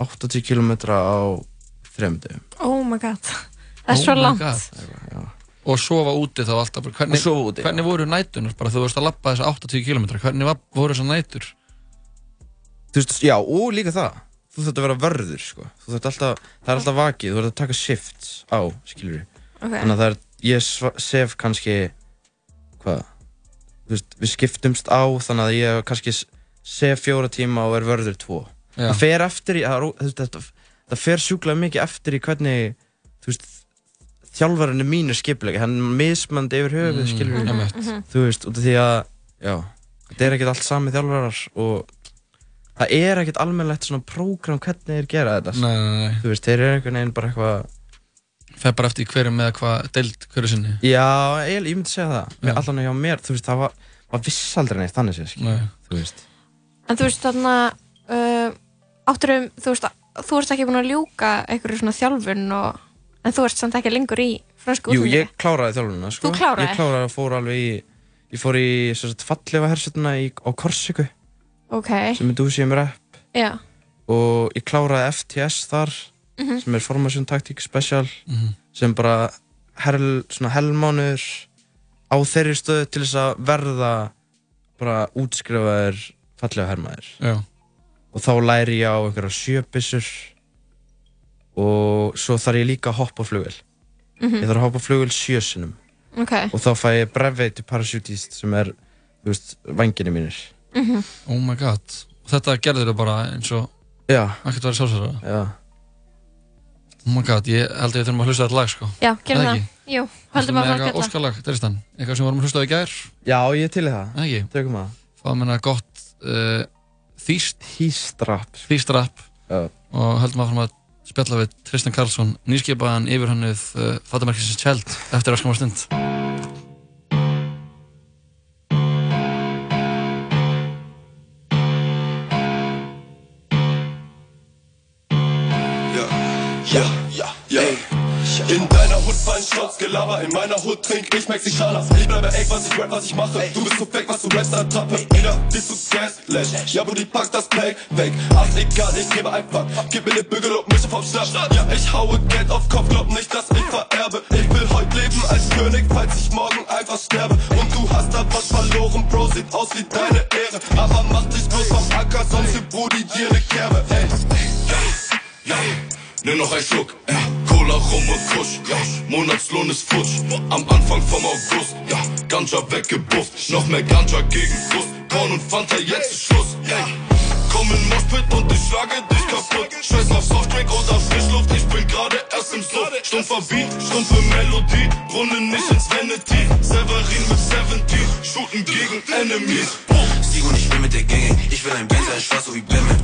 [SPEAKER 22] 80 km á þremdu
[SPEAKER 3] Oh my god. Það er
[SPEAKER 2] Oh
[SPEAKER 3] svo langt.
[SPEAKER 2] Og sofa úti þá alltaf bara, hvernig,
[SPEAKER 22] Og sofa úti,
[SPEAKER 2] hvernig voru nætunar bara þú varst að lappa þessa 80 km hvernig var, voru þessar nætur
[SPEAKER 22] þú veist, já, og líka það þú þurft að vera vörður, sko þú þurft alltaf, það er alltaf vakið, þú þurft að taka shift á, skilur við
[SPEAKER 10] Ok.
[SPEAKER 22] þannig að það er, ég sva- sef kannski hvað þú veist, við skiptumst á, þannig að ég kannski s- sef fjóra tíma og er vörður tvo
[SPEAKER 10] Já.
[SPEAKER 22] það fer eftir í, það, er ó- þú veist, þetta, það fer sjúklega mikið eftir í hvernig þú veist, þjálfarinn er mínu skiplega, hann er mismandi yfir höfuð,
[SPEAKER 10] Mm,
[SPEAKER 22] skilur við
[SPEAKER 10] einmitt. Mhm.
[SPEAKER 22] þú veist, út af því að já, þetta er ekkert allt sami þjálfarar og það er ekkert almennlegt svona prógram hvernig þeir gera þetta
[SPEAKER 2] Nei, nei, nei.
[SPEAKER 22] þú veist, þeir eru einhvern veginn bara eitthvað
[SPEAKER 2] fer bara eftir hverju með hvað deild hverju sinni
[SPEAKER 22] já, ég, ég myndi segja það,
[SPEAKER 2] Já.
[SPEAKER 22] allan hjá mér þú veist, það var, maður viss aldrei neitt þannig sér,
[SPEAKER 2] Nei.
[SPEAKER 22] þú veist
[SPEAKER 3] En þú veist þarna, uh, átturum, þú veist, þú ert ekki búin að ljúka einhverju svona þjálfun og, en þú ert samt ekki lengur í fransku
[SPEAKER 22] Jú,
[SPEAKER 3] útlendinga.
[SPEAKER 22] ég kláraði þjálfunina sko.
[SPEAKER 3] Þú kláraðir?
[SPEAKER 22] Ég kláraði og fór alveg í Ég fór í sem sagt, fallefa hersetuna í, á Korsiku
[SPEAKER 3] Ok,
[SPEAKER 22] sem er dúsið um mér app
[SPEAKER 3] já,
[SPEAKER 22] og ég kláraði FTS þar
[SPEAKER 3] Mhm.
[SPEAKER 22] sem er Formation Tactic Special
[SPEAKER 2] Mhm.
[SPEAKER 22] sem bara hel, svona helmánur á þeirri stöðu til þess að verða bara útskrifaðir fallega hermaðir
[SPEAKER 2] Já.
[SPEAKER 22] og þá læri ég á einhverja sjöbissur og svo þarf ég líka að hoppa á flugvel
[SPEAKER 3] Mhm.
[SPEAKER 22] ég þarf að hoppa á flugvel sjösunum
[SPEAKER 3] ok.
[SPEAKER 22] og þá fæ ég brevveiti parasjútist sem er, þú veist, vanginni mínir
[SPEAKER 3] Mhm.
[SPEAKER 2] oh my god og þetta gerður þau bara eins og
[SPEAKER 22] já
[SPEAKER 2] ekkert verið sjálfsögða
[SPEAKER 22] já
[SPEAKER 2] oh my god ég held að við þurfum að hlusta á þetta lag sko
[SPEAKER 3] Já, gerum
[SPEAKER 2] Eða
[SPEAKER 3] það.
[SPEAKER 2] ekki?
[SPEAKER 3] Jú, höldum að
[SPEAKER 2] með
[SPEAKER 3] fara að
[SPEAKER 2] eitthvað
[SPEAKER 3] geta.
[SPEAKER 2] óskalag Dristan eitthvað sem við vorum að hlusta á í gær
[SPEAKER 22] já ég er til í það
[SPEAKER 2] ekki
[SPEAKER 22] tökum það
[SPEAKER 2] fáum hérna gott uh, þýst
[SPEAKER 22] þýstrapp
[SPEAKER 2] þýstrapp
[SPEAKER 22] Já.
[SPEAKER 2] og höldum að fara að spjalla við Tristan Karlsson nýskipaðan yfir hannuð uh, fattamarkinsins tjald eftir öskamar stund
[SPEAKER 23] Ja, ja, ja. In deiner Hut fallen Shots, Gelaber in meiner Hut trink ich Mexikaner. Ich bleibe echt, was ich rap, was ich mache. Du bist so fake, was du rappst, Attrappe. Jeder, bist du Gaslash. Ja, Buddy, pack das Play weg. Ach, egal, ich gebe ein Fuck. Gib mir ne Bügel und mische vom Schnaps. Ja, ich haue Geld auf Kopf, glaub nicht, dass ich vererbe. Ich will heute leben als König, falls ich morgen einfach sterbe. Und du hast da was verloren, Bro, sieht aus wie deine Ehre. Aber mach dich bloß vom Acker, sonst gibt Brudi dir ne Kerbe. Ey, ey, ey.
[SPEAKER 1] noch ein Schluck. Ja. Cola, Rum und Kusch. Ja. Monatslohn ist futsch. Am Anfang vom August. Ja. Ganja weggebufft. Noch mehr Ganja gegen Frust. Korn und Fanta, jetzt ist Schluss. Ey. Komm in Moshpit und ich schlage dich kaputt. Scheiß auf Softdrink oder Frischluft. Ich bin gerade erst im Suff. Stumpfer Beat, stumpfe Melodie. Runde nicht ins Vanity. Severin mit 70. Shooten gegen Enemies.
[SPEAKER 24] Sieg und ich bin mit der Gang, ich will ein Benz, ein Schwarz so wie Batman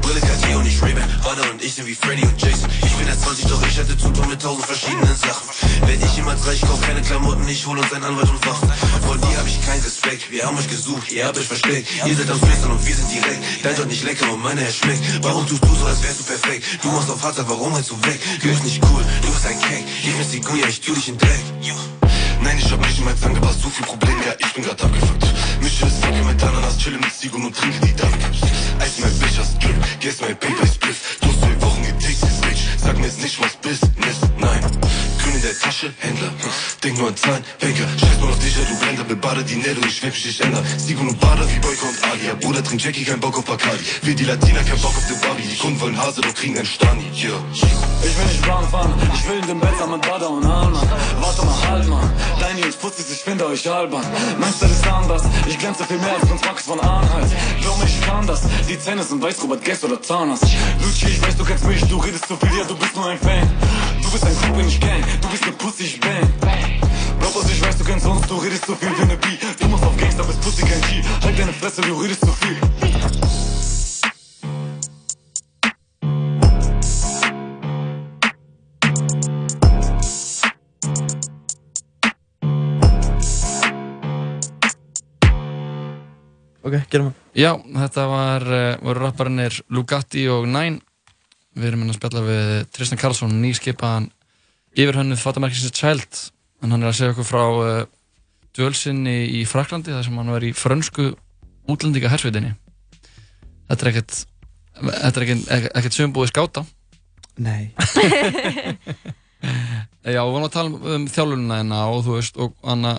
[SPEAKER 24] Brille Cartier und ich Ray-Ban, Radar und ich sind wie Freddy und Jason Ich bin erst 20, doch ich hatte zu tun mit tausend verschiedenen Sachen Werd ich jemals reich, kauf keine Klamotten, ich hol uns einen Anwalt und Wachen Vor dir hab ich keinen Respekt, wir haben euch gesucht, ihr habt euch versteckt Ihr seid am Flüstern und wir sind direkt, dein Job nicht lecker und meiner er schmeckt Warum tust du so, als wärst du perfekt? Du machst auf Hardstyle, warum hältst du weg? Du bist nicht cool, du bist ein Cake, ich bin Sigunia, ich tu dich in Dreck Nein, ich hab mich in mein Zahn gepasst, so viel Problem, ja, ich bin grad abgefuckt. Mische das Ficke mit Ananas, chille mit Sigon und trinke die Dank. Eis mein Bitch, hast Glück, guess mein Paper ist Biff. Du hast zwei Wochen getickt, ist Bitch, sag mir jetzt nicht, was Business, nein. Grün in der Tasche, Händler, hm. denk nur an Zahlen, Banker. Scheiß mal auf dich, ja, du Blender, bebade die Netto, ich schwäb mich, ich änder. Sigon und Bader wie Boyko und Alia, Bruder, trink Jackie, kein Bock auf Bacardi. Wir die Latina, kein Bock auf den Barbie, die Kunden wollen Hase, doch kriegen einen Stani, yeah.
[SPEAKER 25] Ich will nicht Bahn fahren, ich will in dem Bett mit Bader und Alman. Warte mal, halt mal, deine Jungs putzig, ich finde euch albern. Mein Style ist anders, ich glänze viel mehr als Prinz Max von Arnheit. Glaub mir, ich kann das, die Zähne sind weiß, Robert Guess oder Zahnarzt. Lucci, ich weiß, du kennst mich, du redest zu viel, ja, du bist nur ein Fan. Du bist ein Creep, bin ich Gang, du bist ne Pussy, ich bang. Rappers, ich weiß, du kennst uns, du redest zu viel wie ne B. Du machst auf Gangster, bist Pussy, kein G. Halt deine Fresse, du redest zu viel.
[SPEAKER 22] Ok, gerum það.
[SPEAKER 2] Já, þetta var, uh, voru rapparinnir Lugatti og Nine. Við erum hérna að spjalla við Tristan Karlsson, nýskipaðan yfirhönnuð fatamerkisins Child. En hann er að segja okkur frá uh, dvölsinni í Fraklandi, þar sem hann var í frönsku útlendinga hersveitinni. Þetta er ekkert, þetta er ekkert, ekkert, ekkert sömbúið skáta.
[SPEAKER 22] Nei.
[SPEAKER 2] Já, við vorum að tala um, um þjálfunina hérna og þú veist, og hana,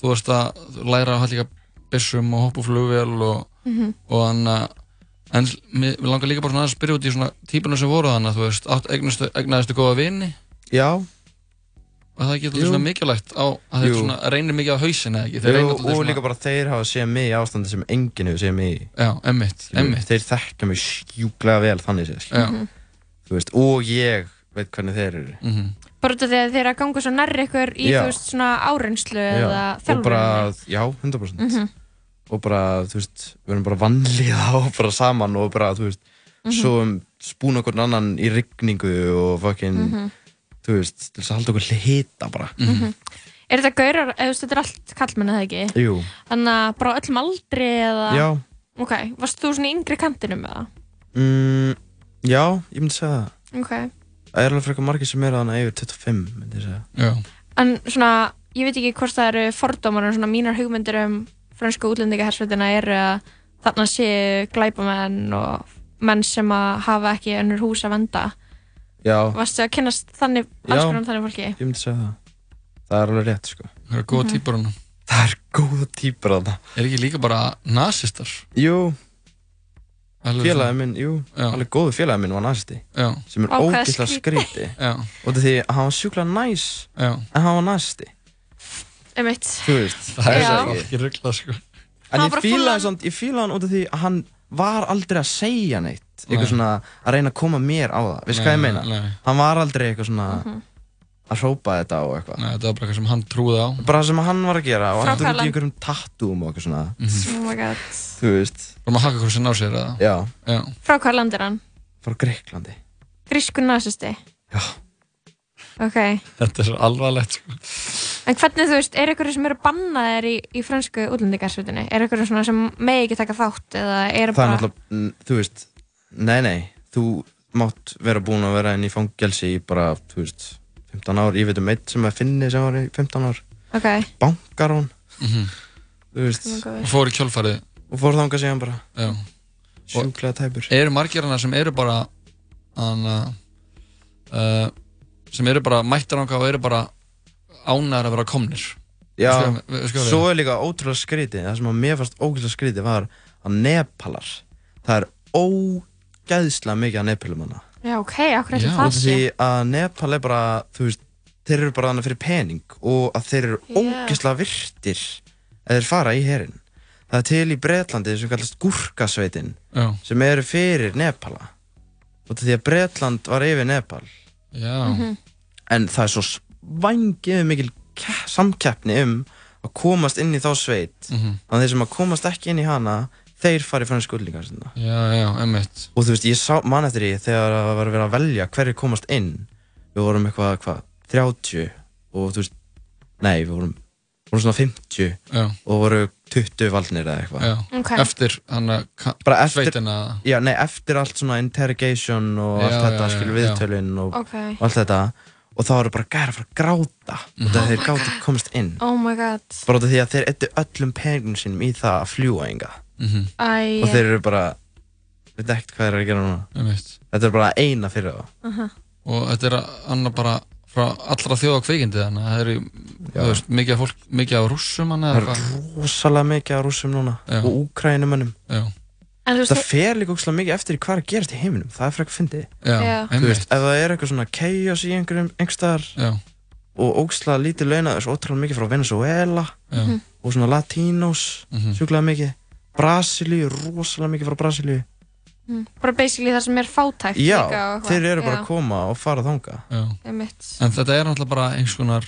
[SPEAKER 2] þú veist að læra að hafa líka byssum og hoppa úr flugvél og,
[SPEAKER 13] Mhm.
[SPEAKER 2] og hann að en mér mér langar líka bara svona aðeins að spyrja út í svona típuna sem voru þannig að þú veist, átt, egnastu, egnaðistu góða vini
[SPEAKER 22] Já.
[SPEAKER 2] og það getur
[SPEAKER 22] Jú.
[SPEAKER 2] svona mikilvægt á að þetta
[SPEAKER 22] Jú.
[SPEAKER 2] svona reynir mikið á hausin eða ekki, þeir
[SPEAKER 22] Jú,
[SPEAKER 2] reynir
[SPEAKER 22] og
[SPEAKER 2] alltaf svona
[SPEAKER 22] líka bara þeir hafa séð mig í ástandi sem enginn hefur séð mig í
[SPEAKER 2] Já, emmitt,
[SPEAKER 22] Skilur,
[SPEAKER 2] emmitt.
[SPEAKER 22] Þeir þekka mig sjúklega vel þannig séð skilur.
[SPEAKER 2] Já. Mhm.
[SPEAKER 22] Þú veist, og ég veit hvernig þeir eru
[SPEAKER 2] -hmm.
[SPEAKER 3] Bara út af því að þeir eru að ganga svo nærri ykkur í
[SPEAKER 22] Já.
[SPEAKER 3] þú veist svona áreynslu eða
[SPEAKER 22] og bara,
[SPEAKER 3] þjálfur.
[SPEAKER 22] já, 100%
[SPEAKER 3] Mhm.
[SPEAKER 22] og bara, þú veist, við erum bara vannlíða og bara saman og bara, þú veist
[SPEAKER 3] Mhm.
[SPEAKER 22] svo um spúna okkur annan í rigningu og fucking
[SPEAKER 3] Mhm.
[SPEAKER 22] þú veist, til þess að halda okkur hita bara
[SPEAKER 2] Mhm.
[SPEAKER 3] Er þetta gaurar, eða þú veist, þetta er allt kallmenn eða ekki?
[SPEAKER 22] Jú,
[SPEAKER 3] Þannig að bara á öllum aldri eða?
[SPEAKER 22] já
[SPEAKER 3] Ok, varst þú svona í yngri kantinum eða?
[SPEAKER 22] mm, já, ég myndi segja það
[SPEAKER 3] Ok.
[SPEAKER 22] Það er alveg frekar margir sem eru þannig yfir 25, myndi ég segja
[SPEAKER 2] Já
[SPEAKER 3] En svona, ég veit ekki hvort það eru fordómar en svona mínar hugmyndir um fransku útlendingahersveitina eru að þarna séu glæpamenn og menn sem að hafa ekki önnur hús að venda.
[SPEAKER 22] Já,
[SPEAKER 3] Varstu að kynnast þannig,
[SPEAKER 22] já,
[SPEAKER 3] alls konar þannig fólki?
[SPEAKER 22] ég myndi segja það Það er alveg rétt, sko
[SPEAKER 2] Það eru góða típur hana
[SPEAKER 22] Góða típur hana
[SPEAKER 2] Er ekki líka bara nasistar?
[SPEAKER 22] Jú
[SPEAKER 2] Alveg
[SPEAKER 22] Félagi
[SPEAKER 2] svona-
[SPEAKER 22] minn, jú,
[SPEAKER 2] Já.
[SPEAKER 22] alveg góðu félagi minn var nazisti
[SPEAKER 2] Já.
[SPEAKER 22] sem er
[SPEAKER 2] Vá, hvað
[SPEAKER 22] ógeðslega
[SPEAKER 2] skrítið.
[SPEAKER 22] skríti
[SPEAKER 2] Já.
[SPEAKER 22] og það því að hann var sjúklega næs
[SPEAKER 2] Já.
[SPEAKER 22] en hann var nazisti,
[SPEAKER 3] Einmitt.
[SPEAKER 22] þú veist
[SPEAKER 3] Það er Já.
[SPEAKER 22] ekki.
[SPEAKER 2] ekki ruggla sko
[SPEAKER 3] Hann
[SPEAKER 22] En
[SPEAKER 3] var
[SPEAKER 22] ég
[SPEAKER 3] bara fullan-
[SPEAKER 22] fílaði samt, ég fílaði hann út af því að hann var aldrei að segja neitt
[SPEAKER 2] Nei.
[SPEAKER 22] eitthvað svona að reyna að koma mér á það veist hvað ég
[SPEAKER 2] Nei,
[SPEAKER 22] meina,
[SPEAKER 2] nei.
[SPEAKER 22] hann var aldrei eitthvað svona
[SPEAKER 3] Mhm.
[SPEAKER 22] að hrópa þetta og eitthvað
[SPEAKER 2] Nei, þetta var bara eitthvað sem hann trúði á
[SPEAKER 22] bara það sem hann var að gera og hann
[SPEAKER 3] Frákallan.
[SPEAKER 22] drúti í einhverjum tattúum og eitthvað svona
[SPEAKER 3] Oh my god.
[SPEAKER 22] þú veist
[SPEAKER 2] Var Mhm. maður að haka hversin á sér eða?
[SPEAKER 22] Já,
[SPEAKER 2] Já.
[SPEAKER 3] Frá hvað land er hann?
[SPEAKER 22] frá Greiklandi
[SPEAKER 3] Grísku nasisti?
[SPEAKER 22] Já.
[SPEAKER 3] Ok,
[SPEAKER 2] Þetta er svo alvarlegt sko
[SPEAKER 3] en hvernig þú veist, er ykkur sem eru bannaðir í, í fransku útlendingarsveitinni? Er ykkur svona sem megi ekki taka þátt eða er
[SPEAKER 22] það er
[SPEAKER 3] bara...
[SPEAKER 22] náttúrulega, n- þú veist, nei nei, þú mátt vera búin að vera inn í fangelsi í bara, þú veist, 15 ár, ég veit um eitt sem að finni sem var í 15 ár,
[SPEAKER 3] Ok,
[SPEAKER 22] bankar hún,
[SPEAKER 2] Mhm.
[SPEAKER 22] þú veist,
[SPEAKER 3] Oh my God.
[SPEAKER 2] Og fór í kjölfarið
[SPEAKER 22] og fór þangað síðan bara,
[SPEAKER 2] Já.
[SPEAKER 22] sjúklega tæpur.
[SPEAKER 2] Eru margir hana sem eru bara hana, uh, sem eru bara mættar ánga og eru bara ánæðar að vera komnir
[SPEAKER 22] Já,
[SPEAKER 2] Skoðum- við- skoðum við
[SPEAKER 22] svo
[SPEAKER 2] það.
[SPEAKER 22] er líka ótrúlega skrítið, það sem að mér fannst ógeðslega skrítið var að Nepalar, það er ógeðslega mikið að Nepalumanna.
[SPEAKER 3] Já, ok, akkur ætli það
[SPEAKER 22] Því að Nepal er bara, þú veist, þeir eru bara þannig fyrir pening og að þeir eru
[SPEAKER 3] Já.
[SPEAKER 22] ógeðslega virtir að þeir fara í herin. Það er til í Bretlandi sem kallast Gúrkasveitin
[SPEAKER 2] Já.
[SPEAKER 22] sem eru fyrir Nepala. Og því að Bretland var yfir Nepal.
[SPEAKER 2] Já.
[SPEAKER 3] Mhm.
[SPEAKER 22] En það er svo svangið mikil ke- samkeppni um að komast inn í þá sveit
[SPEAKER 2] Mhm.
[SPEAKER 22] að þeir sem að komast ekki inn í hana þeir fara í fransku útlíkar sinna.
[SPEAKER 2] Já, já, emmitt
[SPEAKER 22] og þú veist, ég sá mann eftir því þegar það var að vera að velja hverju komast inn við vorum eitthvað, hvað, 30 og þú veist, nei, við vorum vorum svona 50
[SPEAKER 2] Já.
[SPEAKER 22] og voru 20 valnir eða eitthvað
[SPEAKER 2] Já. Ok. Eftir, hann að
[SPEAKER 22] bara eftir,
[SPEAKER 2] sveitina
[SPEAKER 22] já, nei, eftir allt svona interrogation og
[SPEAKER 2] Já,
[SPEAKER 22] allt þetta,
[SPEAKER 2] já, já,
[SPEAKER 22] skilur
[SPEAKER 2] já.
[SPEAKER 22] viðtölin og,
[SPEAKER 3] Ok.
[SPEAKER 22] og allt þetta og þá eru bara gæra að fara að gráta
[SPEAKER 2] Mhm.
[SPEAKER 22] og það
[SPEAKER 3] Oh
[SPEAKER 22] þeir
[SPEAKER 3] my
[SPEAKER 22] gátu
[SPEAKER 3] God.
[SPEAKER 22] komast inn
[SPEAKER 3] Oh my god
[SPEAKER 22] bara út af því að þeir ettu öllum peningum sínum í það að fljúa enga
[SPEAKER 2] -hmm.
[SPEAKER 3] Æ,
[SPEAKER 22] og þeir eru bara veit ekkert hvað þeir eru að gera núna
[SPEAKER 2] Einmitt.
[SPEAKER 22] þetta er bara eina fyrir þá
[SPEAKER 3] Aha.
[SPEAKER 2] og þetta er annað bara frá allra þjóða kveikindi þannig að það eru þú veist, mikið af fólk, mikið af rússum hann eða
[SPEAKER 22] það er
[SPEAKER 2] hvað
[SPEAKER 22] rosalega mikið á rússum núna
[SPEAKER 2] Já.
[SPEAKER 22] og úkrænumönnum
[SPEAKER 3] En þú veist
[SPEAKER 22] það
[SPEAKER 3] þeir-
[SPEAKER 22] fer líka ógeðslega mikið eftir í hvað er að gerast í heiminum það er frekar fyndið
[SPEAKER 3] Já, Já.
[SPEAKER 22] þú veist, ef það er eitthvað svona chaos í einhverjum einhverstaðar og ógeðslega lítið launa þessu ótrúlega mikið frá Venezuela
[SPEAKER 2] Já. Mhm.
[SPEAKER 22] og svona Latinos mm mikið Brasilíu, rosalega mikið frá Brasilíu
[SPEAKER 3] Mm, bara basically það sem er fátækt
[SPEAKER 22] já,
[SPEAKER 3] líka og eitthvað.
[SPEAKER 22] þeir eru bara
[SPEAKER 3] Já,
[SPEAKER 22] að koma og fara þanga
[SPEAKER 2] já.
[SPEAKER 3] einmitt.
[SPEAKER 2] en þetta er náttúrulega bara eins konar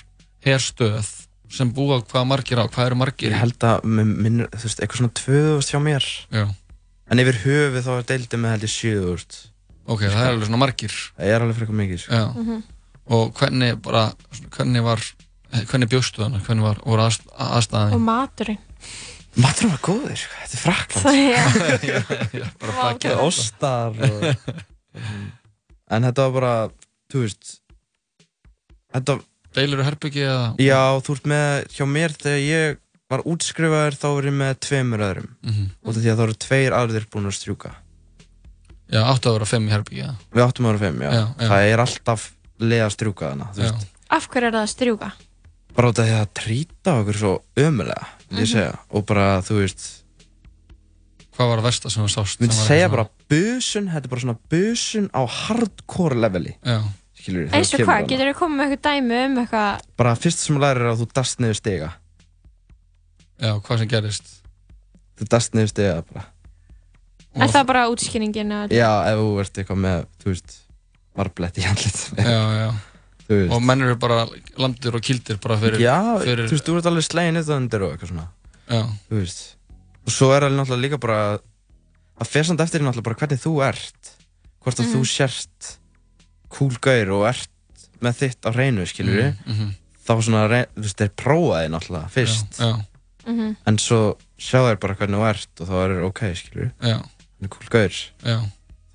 [SPEAKER 2] herstöð sem búa hvað margir á, hvað eru margir
[SPEAKER 22] ég held að með minn, þú veist, eitthvað svona 2000 hjá mér
[SPEAKER 2] Já.
[SPEAKER 22] en yfir höfuð þá er deildið með held ég 7000
[SPEAKER 2] ok, það er alveg svona margir
[SPEAKER 22] það er alveg frekar mikið sko.
[SPEAKER 2] já.
[SPEAKER 3] Mhm.
[SPEAKER 2] og hvernig bara svona, hvernig var, hvernig bjóstu þannig hvernig var, voru aðst-
[SPEAKER 3] og
[SPEAKER 2] aðstæðin
[SPEAKER 3] maturinn
[SPEAKER 22] maturinn var góður, sko. þetta er frakland
[SPEAKER 3] Það- já.
[SPEAKER 2] bara
[SPEAKER 3] Vá,
[SPEAKER 2] bakið.
[SPEAKER 3] hvað-
[SPEAKER 22] ostar og... en þetta var bara þú veist þetta,
[SPEAKER 2] deilur herbyggi eða
[SPEAKER 22] já þú ert með hjá mér þegar ég var útskrifaður þá var ég með tveimur öðrum
[SPEAKER 2] Mhm.
[SPEAKER 22] út af því að það voru tveir aðrir búin að strjúka
[SPEAKER 2] já, áttu að vera fimm í herbyggi eða
[SPEAKER 22] við áttum ára fimm, já.
[SPEAKER 2] Já, já.
[SPEAKER 22] það er alltaf leið að strjúka þarna þú veist,
[SPEAKER 3] af hverju er það að strjúka
[SPEAKER 22] bara út af því að það trýta okkur svo ömulega vil ég
[SPEAKER 3] Mhm.
[SPEAKER 22] segja, og bara þú veist
[SPEAKER 2] hvað var að versta sem þú sást
[SPEAKER 22] Ég myndi
[SPEAKER 2] sem var hérna?
[SPEAKER 22] segja
[SPEAKER 2] eitthvað
[SPEAKER 22] bara busun, þetta er bara svona busun á hardcore leveli
[SPEAKER 2] Já.
[SPEAKER 22] Skilur,
[SPEAKER 3] eins og hvað, getur þau komið með eitthvað dæmi um eitthvað
[SPEAKER 22] Bara fyrst sem þú lærir er að þú dast niður stiga
[SPEAKER 2] Já, hvað sem gerist
[SPEAKER 22] Þú dast niður stiga bara
[SPEAKER 3] er það bara útskýringin og-
[SPEAKER 22] Já, ef þú ert eitthvað með, þú veist, marbletti í handlit
[SPEAKER 2] Já, já.
[SPEAKER 22] Þú veist
[SPEAKER 2] og menn eru bara landir og kildir bara fyrir,
[SPEAKER 22] Já,
[SPEAKER 2] fyrir
[SPEAKER 22] þú veist, þú ert alveg slegin þetta undir og eitthvað svona
[SPEAKER 2] Já.
[SPEAKER 22] Þú veist Og svo er alveg náttúrulega líka bara Það fer samt eftir því náttúrulega bara hvernig þú ert Hvort að
[SPEAKER 3] Mhm.
[SPEAKER 22] þú sért kúlgaur og ert með þitt á reynu, skilur við
[SPEAKER 2] Mhm, mhm.
[SPEAKER 22] Þá svona, reyn- þú veist, þeir prófa þig náttúrulega fyrst
[SPEAKER 2] já.
[SPEAKER 3] Mhm.
[SPEAKER 22] En svo sjá þér bara hvernig þú ert og þá er ok, skilur við
[SPEAKER 2] Já.
[SPEAKER 22] Þannig kúlgaur
[SPEAKER 2] Já.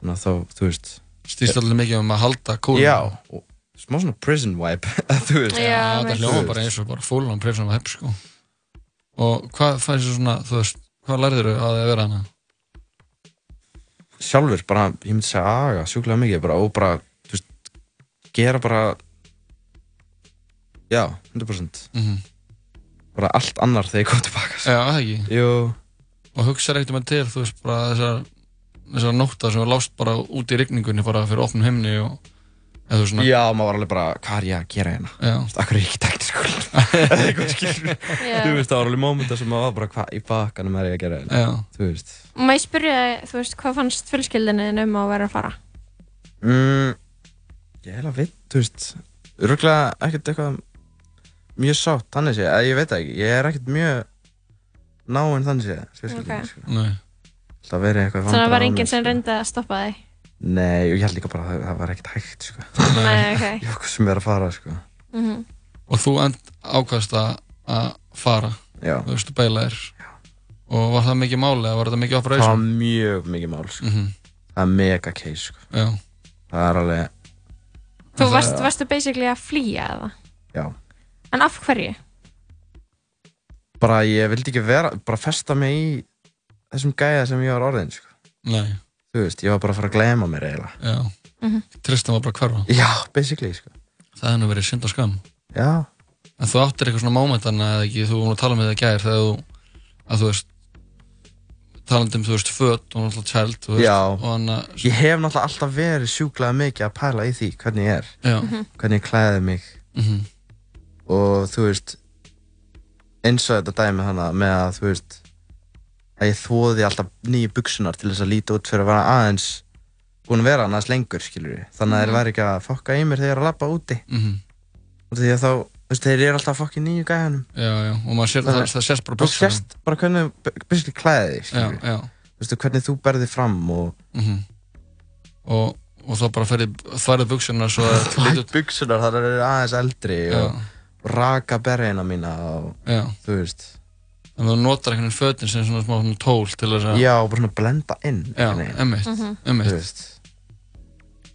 [SPEAKER 22] Þannig að þá, þú veist
[SPEAKER 2] Snýst alveg mikið um að halda kúlum.
[SPEAKER 22] Já, og smá svona prison vibe, þú veist
[SPEAKER 2] Já, þetta hljóma bara eins og bara fólan prefsam að hepp sko og hvað fannst þú svona, þú veist hvað lærður þú að þið að vera hana?
[SPEAKER 22] sjálfur bara, ég myndi segja aga sjúklega mikið bara, og bara þú veist, gera bara já, 100%
[SPEAKER 2] Mhm.
[SPEAKER 22] bara allt annar þegar ég kom tilbaka sko.
[SPEAKER 2] Já, það ekki?
[SPEAKER 22] Jú
[SPEAKER 2] Og hugsaði ekkert um að til, þú veist, bara þessar þessar nótta sem var lást bara út í rigningunni bara fyrir opnum heimni og eða þú svona
[SPEAKER 22] já, maður var alveg bara, hvað er ég að gera hérna
[SPEAKER 2] Já.
[SPEAKER 22] Þú veist, akkur er ég ekki tækt í skólan eða eitthvað skilur
[SPEAKER 3] Já.
[SPEAKER 22] þú veist, það var alveg mómenta sem maður var bara, hvað í bakkanum er ég að gera hérna
[SPEAKER 2] já.
[SPEAKER 22] þú veist
[SPEAKER 3] og maður spyrja þig, þú veist, hvað fannst fjölskyldinni þín um að vera að fara
[SPEAKER 22] mm, ég hef að veit, þú veist örgulega ekkert eitthvað mjög sátt, þannig sé, eða ég veit það ekki ég er ekkert mjög náinn þannig sé, fjölskyldinni,
[SPEAKER 3] Ok.
[SPEAKER 22] sko.
[SPEAKER 2] Nei.
[SPEAKER 22] Það verið eitthvað
[SPEAKER 3] þannig að það var
[SPEAKER 22] vandræðalaust.
[SPEAKER 3] enginn sem reyndi að stoppa þig
[SPEAKER 22] Nei, og ég held líka bara að það, það var ekkert hægt, sko.
[SPEAKER 3] Nei, ok.
[SPEAKER 22] Ég okkur sem er að fara, sko.
[SPEAKER 3] Mhm.
[SPEAKER 2] og þú end ákvæðast að að fara
[SPEAKER 22] Já.
[SPEAKER 2] þú veist, þú beilaðir og var það mikið máli eða var þetta mikið
[SPEAKER 22] Það var
[SPEAKER 2] operation?
[SPEAKER 22] mjög mikið mál, sko.
[SPEAKER 2] Mhm.
[SPEAKER 22] Það er mega case, sko.
[SPEAKER 2] Já.
[SPEAKER 22] Það er alveg...
[SPEAKER 3] þú
[SPEAKER 22] Það-
[SPEAKER 3] varst, varstu basically að flýja eða
[SPEAKER 22] Já.
[SPEAKER 3] en af hverju
[SPEAKER 22] Bara ég vildi ekki vera, bara festa mig í þessum gæða sem ég var orðin, sko.
[SPEAKER 2] Nei.
[SPEAKER 22] Þú veist, ég var bara að fara að glema mér eiginlega.
[SPEAKER 2] Já.
[SPEAKER 3] Mhm.
[SPEAKER 2] Tristan var bara að hverfa
[SPEAKER 22] Já, basically, sko.
[SPEAKER 2] það hefði nú verið synd og skam
[SPEAKER 22] Já.
[SPEAKER 2] en þú um áttir eitthvað svona mómentana eða ekki þú vorum að tala með það gær þegar þú að þú veist talandi um, þú veist, föt og náttúrulega tjæld, þú veist,
[SPEAKER 22] Já.
[SPEAKER 2] og hann að,
[SPEAKER 22] Ég hef náttúrulega alltaf verið sjúklega mikið að pæla í því hvernig ég er,
[SPEAKER 2] Já.
[SPEAKER 3] Mhm.
[SPEAKER 22] hvernig ég klæði mig
[SPEAKER 2] Mhm.
[SPEAKER 22] og þú veist, eins og þetta dæmi hana með að þú veist, að ég þóði alltaf nýju buksunar til þess að líta út fyrir að vera aðeins, búin að vera aðeins lengur skilur við, þannig að þeir
[SPEAKER 2] Mhm.
[SPEAKER 22] væri ekki að fokka í mér þegar ég er að labba úti
[SPEAKER 2] Mhm.
[SPEAKER 22] og því að þá, þú veist, þeir eru alltaf að fokka í nýju gæjanum
[SPEAKER 2] já, já, og maður sér, það, það sérst bara
[SPEAKER 22] það
[SPEAKER 2] buksunum.
[SPEAKER 22] sést bara hvernig byrjast í klæði skilur
[SPEAKER 2] Já, já.
[SPEAKER 22] þú veist, hvernig þú berði fram og
[SPEAKER 2] Mhm. og, og þá bara ferði, þværið buksunar svo að
[SPEAKER 22] Lætt buksunar, þar eru aðeins eldri og, og raka berðina mína og
[SPEAKER 2] Já.
[SPEAKER 22] þú veist
[SPEAKER 2] en þú notar einhvern veginn fötin sem svona smá svona tól til þess að
[SPEAKER 22] Já, og bara svona blenda inn
[SPEAKER 2] Já,
[SPEAKER 22] einhvern veginn.
[SPEAKER 2] emmitt,
[SPEAKER 22] Mhm. Þú
[SPEAKER 2] emmitt
[SPEAKER 22] veist.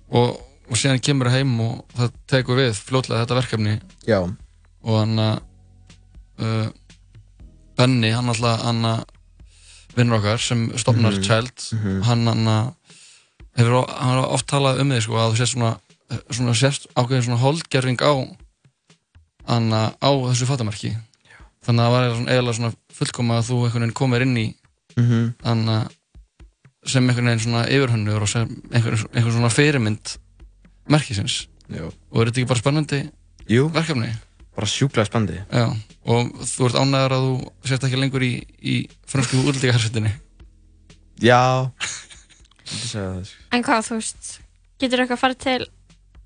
[SPEAKER 2] og, og síðan kemur heim og það tekur við fljótlega þetta verkefni
[SPEAKER 22] Já.
[SPEAKER 2] og hann að uh, Benni, hann alltaf hann að vinnur okkar sem stopnar
[SPEAKER 22] Mhm.
[SPEAKER 2] Child
[SPEAKER 22] Mhm.
[SPEAKER 2] hann hann að hefur o- hann hefur oft talað um þig sko að þú sést svona, svona sérst ákveðin svona holdgerfing á hann að á þessu fattamarki þannig að það var eiginlega svona- eiginlega svona fullkoma að þú einhvern veginn komir inn í
[SPEAKER 22] Mhm.
[SPEAKER 2] þannig að sem einhvern veginn svona yfirhönnur og sem einhver, einhver svona fyrirmynd merkisins
[SPEAKER 22] Já.
[SPEAKER 2] og er þetta ekki bara spennandi
[SPEAKER 22] Jú.
[SPEAKER 2] verkefni?
[SPEAKER 22] Bara sjúklega spandi
[SPEAKER 2] Já, og þú ert ánægðar að þú sért ekki lengur í, í fransku útlíkahersveitinni
[SPEAKER 22] Já Ég segja það sko
[SPEAKER 3] En hvað, þú veist, getur eitthvað að fara til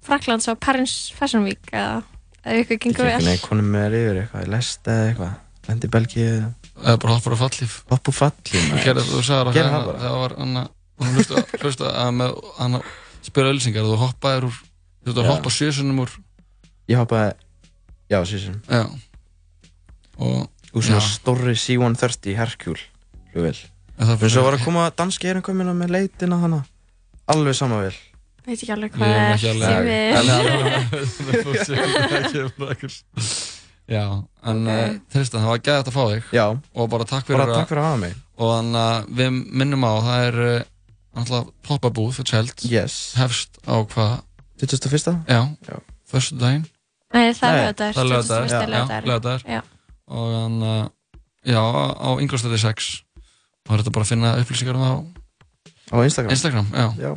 [SPEAKER 3] Fraklands á Parins Fashion Week eða eða ykkur gengur
[SPEAKER 22] Ég
[SPEAKER 3] vel?
[SPEAKER 22] neitt konum með yfir eitthvað, ég lest eða eitthvað Lendi í Belgíu
[SPEAKER 2] Eða bara hoppar á fallíf
[SPEAKER 22] Hopp á fallíf
[SPEAKER 2] Þú gerðir- þú sagðir að
[SPEAKER 22] Gerðu
[SPEAKER 2] hérna-
[SPEAKER 22] það bara.
[SPEAKER 2] það var hann að- hún hlusta, hlusta að með hann að spila ölsingar þú hoppaðir úr, þú ert að
[SPEAKER 22] Já.
[SPEAKER 2] hoppa sjösunum úr
[SPEAKER 22] Ég hoppaði, já, sísum
[SPEAKER 2] Já Og
[SPEAKER 22] Úr svona
[SPEAKER 2] Já.
[SPEAKER 22] stórri C-130 Hercule flugvél
[SPEAKER 2] En það
[SPEAKER 22] En svo
[SPEAKER 2] fyrir-
[SPEAKER 22] var að koma danski erum komina með leitina hana Alveg sama vel
[SPEAKER 3] Veit ekki alveg
[SPEAKER 22] Ég
[SPEAKER 3] hvað
[SPEAKER 22] er
[SPEAKER 3] er
[SPEAKER 22] ekki
[SPEAKER 3] því
[SPEAKER 22] alveg-
[SPEAKER 3] miður.
[SPEAKER 2] Já, en
[SPEAKER 22] Nei.
[SPEAKER 2] okay. Tristan, það var gæðið að fá þig
[SPEAKER 22] Já.
[SPEAKER 2] og bara takk fyrir,
[SPEAKER 22] Bara takk fyrir að hafa mig.
[SPEAKER 2] og þannig að við minnum á það er eh, náttúrulega poppabúð fyrir tjælt
[SPEAKER 22] yes.
[SPEAKER 2] hefst á hvað
[SPEAKER 22] 21.
[SPEAKER 2] Já, Já. förstu daginn
[SPEAKER 3] Nei, það er laugardagur,
[SPEAKER 2] Það
[SPEAKER 3] 21.
[SPEAKER 2] er lögadagur,
[SPEAKER 3] laugardagur. Já.
[SPEAKER 2] Og þannig að, já, á ynglastöði 6 og er þetta bara að finna upplýsingar um það á
[SPEAKER 22] Á Instagram.
[SPEAKER 2] Instagram, já. já.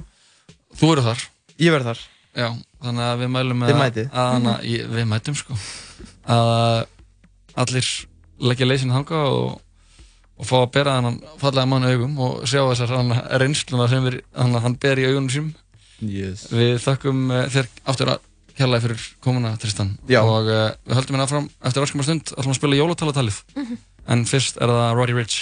[SPEAKER 2] Þú eru þar.
[SPEAKER 22] Ég verð þar.
[SPEAKER 2] Já, þannig að við mælum
[SPEAKER 22] Þið mætið.
[SPEAKER 2] Að, hana,
[SPEAKER 3] Mhm.
[SPEAKER 2] ég, við mætum sko. Að allir leggja leysin hanga og, og fá að bera hann fallega mann augum og sjá þessar hann reynsluna sem er, hann, hann ber í augunum sínum.
[SPEAKER 22] Yes.
[SPEAKER 2] Við þakkum eh, þér aftur að kærlega fyrir komuna, Tristan.
[SPEAKER 22] Já.
[SPEAKER 2] Og uh, við höldum hérna fram eftir örskumar stund ætlum að spila jólatalatalið.
[SPEAKER 3] Mhm.
[SPEAKER 2] En fyrst er það Roddy Rich.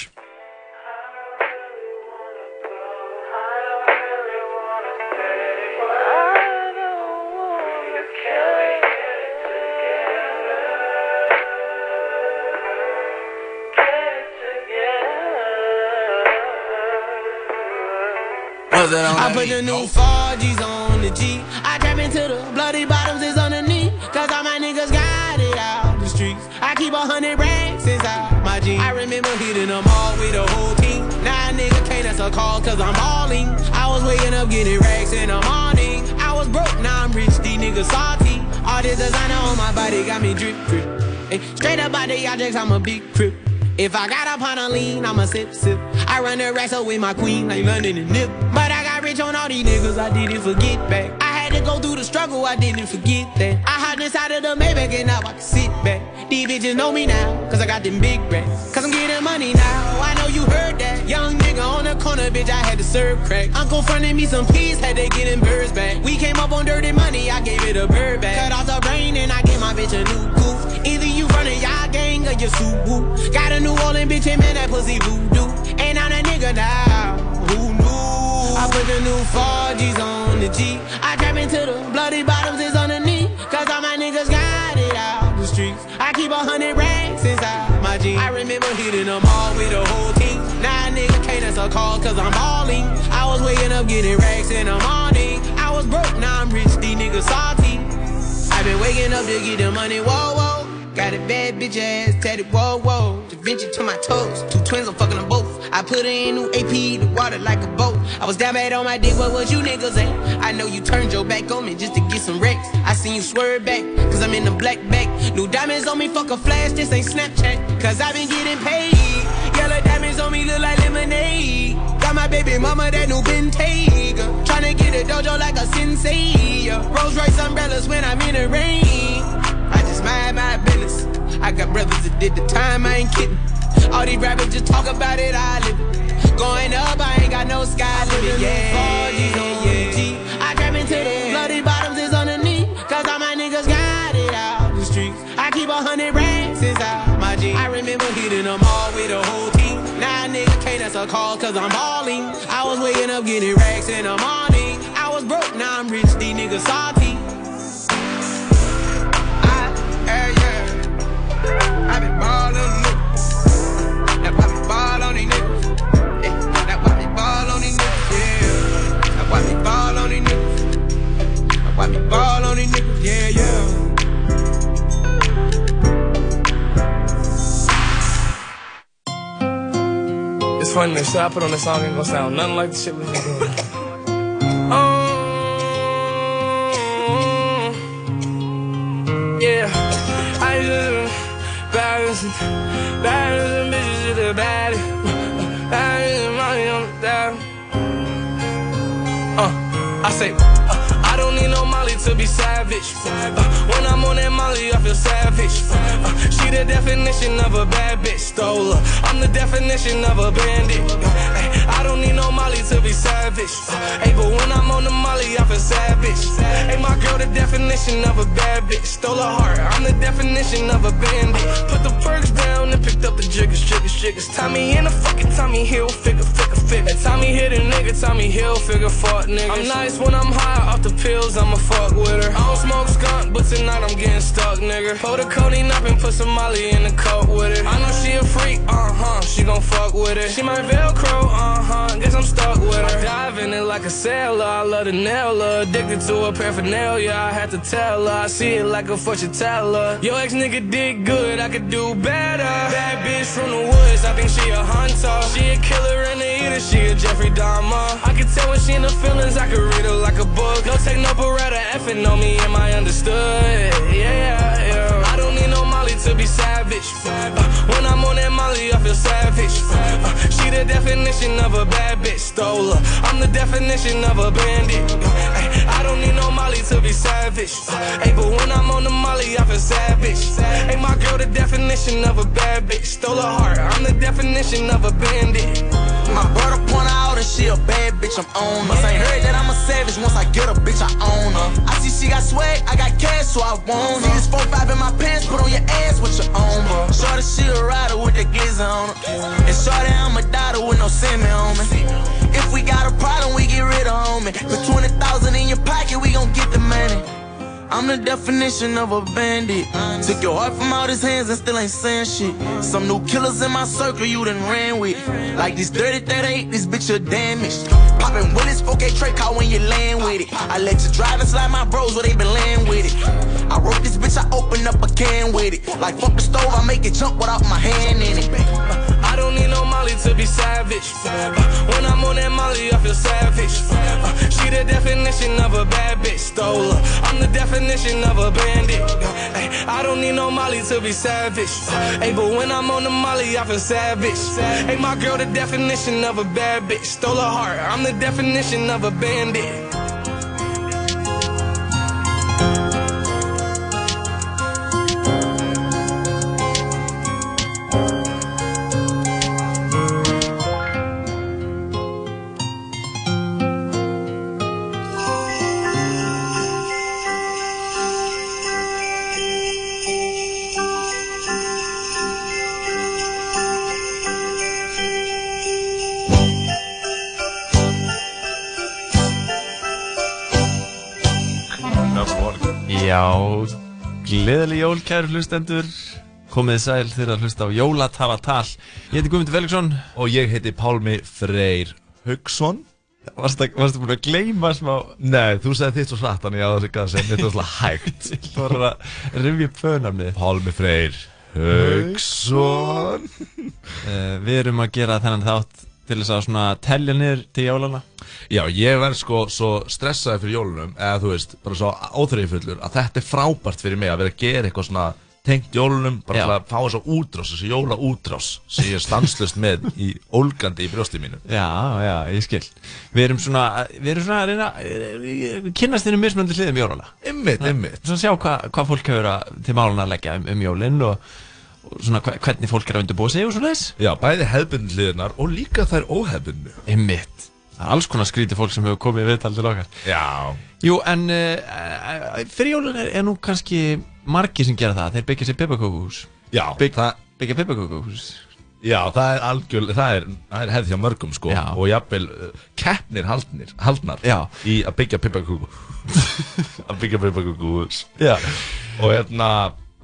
[SPEAKER 26] I put the new 4Gs on the G. I trap into the bloody bottoms is underneath. Cause all my niggas got it out the streets. I keep a hundred racks inside my jeans. I remember hitting them all with the whole team. Now a nigga can't answer calls cause I'm balling. I was waking up getting racks in the morning. I was broke, now I'm rich, these niggas salty. All this designer on my body got me drip, drip. Eh, Straight up by the objects, I'm a big crip. If I got up on a lean, I'ma sip, sip. I run the racks up with my queen, like London and Nip. But I got rich on all these niggas, I didn't forget back. I had to go through the struggle, I didn't forget that. I hopped inside of the Maybach and now I can sit back. These bitches know me now, cause I got them big racks. Cause I'm getting money now, I know you heard that. Young nigga on the corner, bitch, I had to serve crack. Uncle fronted me some peas, had to get them birds back. We came up on dirty money, I gave it a bird back. Cut off the brain and I gave my bitch a new goof. Either you running y'all gang or you Subaru. Got a new Orleans bitch and man, that pussy voodoo. And I'm that nigga now, who knew? I put the new 4Gs on the G. I trap into the bloody bottoms is underneath. Cause all my niggas got it out the streets. I keep a hundred racks inside my jeans. I remember hitting them all with the whole team. Now a nigga can't answer calls cause I'm balling. I was waking up getting racks in the morning. I was broke, now I'm rich, these niggas salty. I've been waking up to get the money, whoa, whoa. Got a bad bitch ass tatted, whoa, whoa. Da Vinci to my toes, two twins, I'm fucking them both. I put her in new AP, the water like a boat. I was down bad on my dick, what was you niggas at? I know you turned your back on me just to get some racks. I seen you swerve back, cause I'm in the black back. New diamonds on me, fuck a flash, this ain't Snapchat. Cause I've been getting paid. Yellow diamonds on me look like lemonade. baby mama that new Bentayga. Tryna get a dojo like a sensei. yeah. Rolls Royce umbrellas when I'm in the rain. I just mind my business. I got brothers that did the time, I ain't kidding. All these rappers just talk about it, I live it. Going up, I ain't got no sky limit. Yeah, yeah. I trap into the bloody bottoms is on the knee. Cause all my niggas got it out the streets. I keep a hundred racks inside my jeans. I remember hitting them all with a whole team. Now a nigga can't answer a call cause I'm balling. I was waking up getting racks in the morning. I was broke, now I'm rich, these niggas salty. I, yeah, yeah. I been ballin', niggas. Now I been ball on these niggas. Eh, Now I been ball on these niggas, yeah. Now I been ball on these niggas. Now I been ball on these niggas, yeah, yeah.
[SPEAKER 27] It's funny, the shit I put on the song ain't gonna sound nothing like the shit we been doing. Um, yeah, I just baddest, baddest bitches is the baddest, baddest money on the dime. Uh, I say, uh, I don't need no Molly to be savage. Uh, when I'm on that Molly, I feel savage. Uh, she the definition of a bad bitch, stole her. I'm the definition of a bandit. Uh, ay, I don't need no Molly to be savage. Hey, but when I'm on the Molly, I feel savage. Hey, my girl, the definition of a bad bitch, stole her heart. I'm the definition of a bandit. Put the perks down and picked up the jiggers, jiggers, jiggers. Tommy in the fucking Tommy Hill, figure, figure, figure. Tommy hit a nigga, Tommy Hill, figure, fuck nigga. I'm nice when I'm high off the pills, I'ma fuck with her. I don't smoke skunk, but tonight I'm getting stuck, nigga. Pour the codeine up and put some molly in the cup with it. I know she a freak, uh huh, she gon' fuck with it. She my Velcro, uh huh, guess I'm stuck with her. I dive in it like a sailor, I love the nail her. Addicted to her paraphernalia, I had to tell her. I see it like a fortune teller. Yo, ex nigga did good, I could do better. Bad bitch from the woods, I think she a hunter. She a killer in the eater, she a Jeffrey Dahmer. I can tell when she in her feelings, I can read her like a book. No take no beretta, effing on me, am I understood? Yeah, yeah. I don't need no Molly to be savage. Uh, when I'm on that Molly, I feel savage. Uh, she the definition of a bad bitch, stole her. I'm the definition of a bandit. Uh, ay, I don't need no Molly to be savage. Uh, Hey, but when I'm on the Molly, I feel savage. Hey, my girl, the definition of a bad bitch, stole her heart. I'm the definition of a bandit.
[SPEAKER 26] My brother point out and she a bad bitch, I'm on her. Ain't heard that I'm a savage, once I get a bitch, I own her. I see she got swag, I got cash, so I want her. See this 4-5 in my pants, put on your ass with your own, bro. Shorty, she a rider with the glizzy on her. And shorty, I'm a daughter with no semi on me. If we got a problem, we get rid of homie. Put 20,000 in your pocket, we gon' get the money. I'm the definition of a bandit. Took your heart from out his hands and still ain't saying shit. Some new killers in my circle you done ran with. Like these 30 38, this bitch are damaged. Poppin' Willis 4K tray car when you land with it. I let you drive and slide my bros where they been laying with it. I wrote this bitch, I open up a can with it. Like fuck the stove, I make it jump without my hand in it.
[SPEAKER 27] I don't need no Molly to be savage. Uh, when I'm on that Molly, I feel savage. Uh, she the definition of a bad bitch, stole her. I'm the definition of a bandit. Uh, ay, I don't need no Molly to be savage. Uh, Hey, but when I'm on the Molly, I feel savage. Hey, my girl, the definition of a bad bitch, stole her heart. I'm the definition of a bandit.
[SPEAKER 28] Já, gleðileg jól kæru hlustendur Komið sæl þeirra að hlusta á Jólatavatal Ég heiti Guðmundur Felixson Og ég heiti Pálmi Freyr Haugsson Varstu, varstu búin að gleyma smá
[SPEAKER 14] Nei, þú sagði þitt svo satt Þannig að það sé hvað að segja Þetta var svolítið hægt
[SPEAKER 28] Þú voru að rifja upp fönamni
[SPEAKER 14] Pálmi Freyr Hauksson
[SPEAKER 28] uh, Við erum að gera þennan þátt til þess að svona telja niður til jólana
[SPEAKER 14] Já, ég verð sko svo stressaði fyrir jólunum Eða þú veist, bara svo óþreyfullur Að þetta er frábært fyrir mig að vera að gera eitthvað svona tengt jólunum bara til að fá þess að útrás, þess að jóla útrás sem ég er stanslust með í ólgandi í brjósti mínu
[SPEAKER 28] Já, já, ég skil Við erum svona, við erum svona að reyna eh, kynnast þínu mismunandi hliðum jólála
[SPEAKER 14] Einmitt, einmitt.
[SPEAKER 28] Svona sjá hvað hva fólk hefur að, til málun að leggja um, um jólinn og, og svona hva, hvernig fólk er að undirbúa sig og svona þess
[SPEAKER 14] Já, bæði hefbundin hliðunar og líka þær óhefbundinu
[SPEAKER 28] Einmitt Það er alls konar skrítið fólk sem hefur komið í viðtal til okkar
[SPEAKER 14] Já
[SPEAKER 28] Jú, en uh, fyrir jólun er, er nú kannski margir sem gera það Þeir byggja sér pepparkókuhús
[SPEAKER 14] Já,
[SPEAKER 28] Bygg, Byggja pepparkókuhús
[SPEAKER 14] Já, það er algjör, það er, það er hefð hjá mörgum sko Já. og jafnvel uh, keppnir haldnir, haldnar Já. í að byggja pippakúku að byggja pippakúku Já og hérna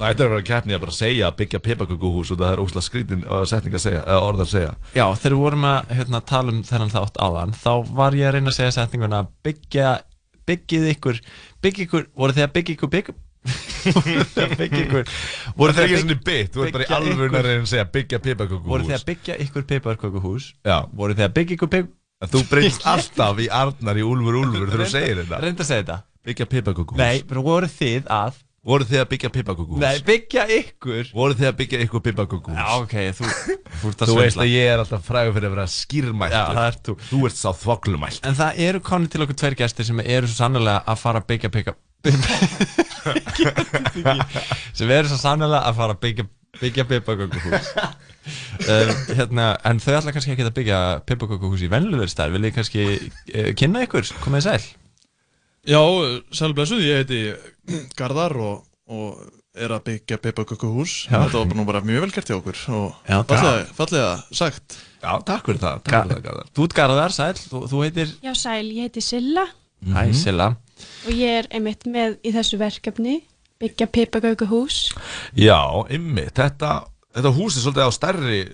[SPEAKER 14] það ættir að vera keppni að bara segja að byggja pippakúku hús og það er óslega skrítin uh, setning að segja, uh, orð að segja
[SPEAKER 28] Já, þegar við vorum að hérna, tala um þennan þátt áðan þá var ég að reyna að segja setninguna byggja, byggið ykkur byggið ykkur, voru þið að byggja ykkur bygg voru þið að byggja ykkur
[SPEAKER 14] Voru það er
[SPEAKER 28] þið að
[SPEAKER 14] ekki
[SPEAKER 28] bygg-
[SPEAKER 14] svona bit, þú ert bara í
[SPEAKER 28] byggja
[SPEAKER 14] alvöru
[SPEAKER 28] ykkur-
[SPEAKER 14] að reyna að segja byggja pippakúku
[SPEAKER 28] voru þið að byggja ykkur piparkökuhús
[SPEAKER 14] Já
[SPEAKER 28] voru þið að byggja ykkur pip
[SPEAKER 14] Þú breytst alltaf í Arnar í Úlfur Úlfur þegar þú
[SPEAKER 28] Reynda-
[SPEAKER 14] segir þetta
[SPEAKER 28] reynda að segja þetta
[SPEAKER 14] Byggja pippakúku
[SPEAKER 28] Nei, bara voru þið að
[SPEAKER 14] Voru þið að byggja pippakúku
[SPEAKER 28] Nei, byggja ykkur
[SPEAKER 14] Voru þið að byggja ykkur pippakúku
[SPEAKER 28] Já, ok, þú, þú, ert
[SPEAKER 14] Þú veist
[SPEAKER 28] svindla.
[SPEAKER 14] að ég er alltaf frægur fyrir að vera skýrmælt
[SPEAKER 28] Já, það ert
[SPEAKER 14] þú Þú ert sá þvoglumælt
[SPEAKER 28] En það eru konið til okkur tveir gæstir sem eru svo sannlega að fara að byggja byggja sem eru svo sannlega að fara að byggja byggja pipakökuhús um, hérna, en þau ætla kannski ekki að byggja pipakökuhús í venluður stær vil ég kannski uh, kynna ykkur, komið þið sæl
[SPEAKER 23] Já, sælblessuð, ég heiti Garðar og, og er að byggja peppakökuhús
[SPEAKER 28] Já.
[SPEAKER 23] Þetta var nú bara mjög vel gert hjá okkur og
[SPEAKER 28] Já,
[SPEAKER 23] fallega, fallega sagt
[SPEAKER 14] Já, takk fyrir það,
[SPEAKER 28] takk fyrir það Garðar Þú ert Garðar, sæl, þú, þú heitir Já, sæl, ég heiti Silla
[SPEAKER 14] Mhm.
[SPEAKER 28] Æ, Silla og ég er einmitt með í þessu verkefni byggja pipagaukuhús
[SPEAKER 14] Já, ymmi, þetta, þetta hús er svolítið á stærri uh,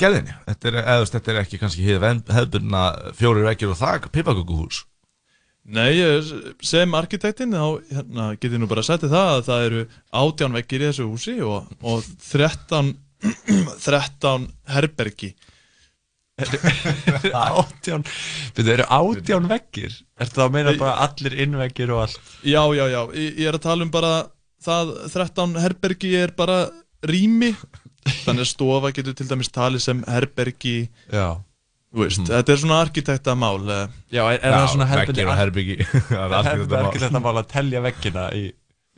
[SPEAKER 14] gerðinni Þetta er, eðust, þetta er ekki kannski hið ven- hefðbundna fjórir vekkir og þak pipakökuhús
[SPEAKER 23] Nei, ég- sem arkitektinn þá hérna, get ég nú bara að setja það að það eru átján veggir í þessu húsi og, og 13, 13 herbergi
[SPEAKER 28] Átján, þetta eru átján veggir Ertu það að meina bara allir innveggir og allt
[SPEAKER 23] Já, já, já, ég, ég er að tala um bara það 13 herbergi er bara rými þannig að stofa getur til dæmis talið sem herbergi
[SPEAKER 28] Já Mhm.
[SPEAKER 23] Þú veist, þetta er svona arkitektamál
[SPEAKER 28] Já, er, er það svona herbyggi
[SPEAKER 14] Það er arkitektamál.
[SPEAKER 28] þetta mál að telja veggina í,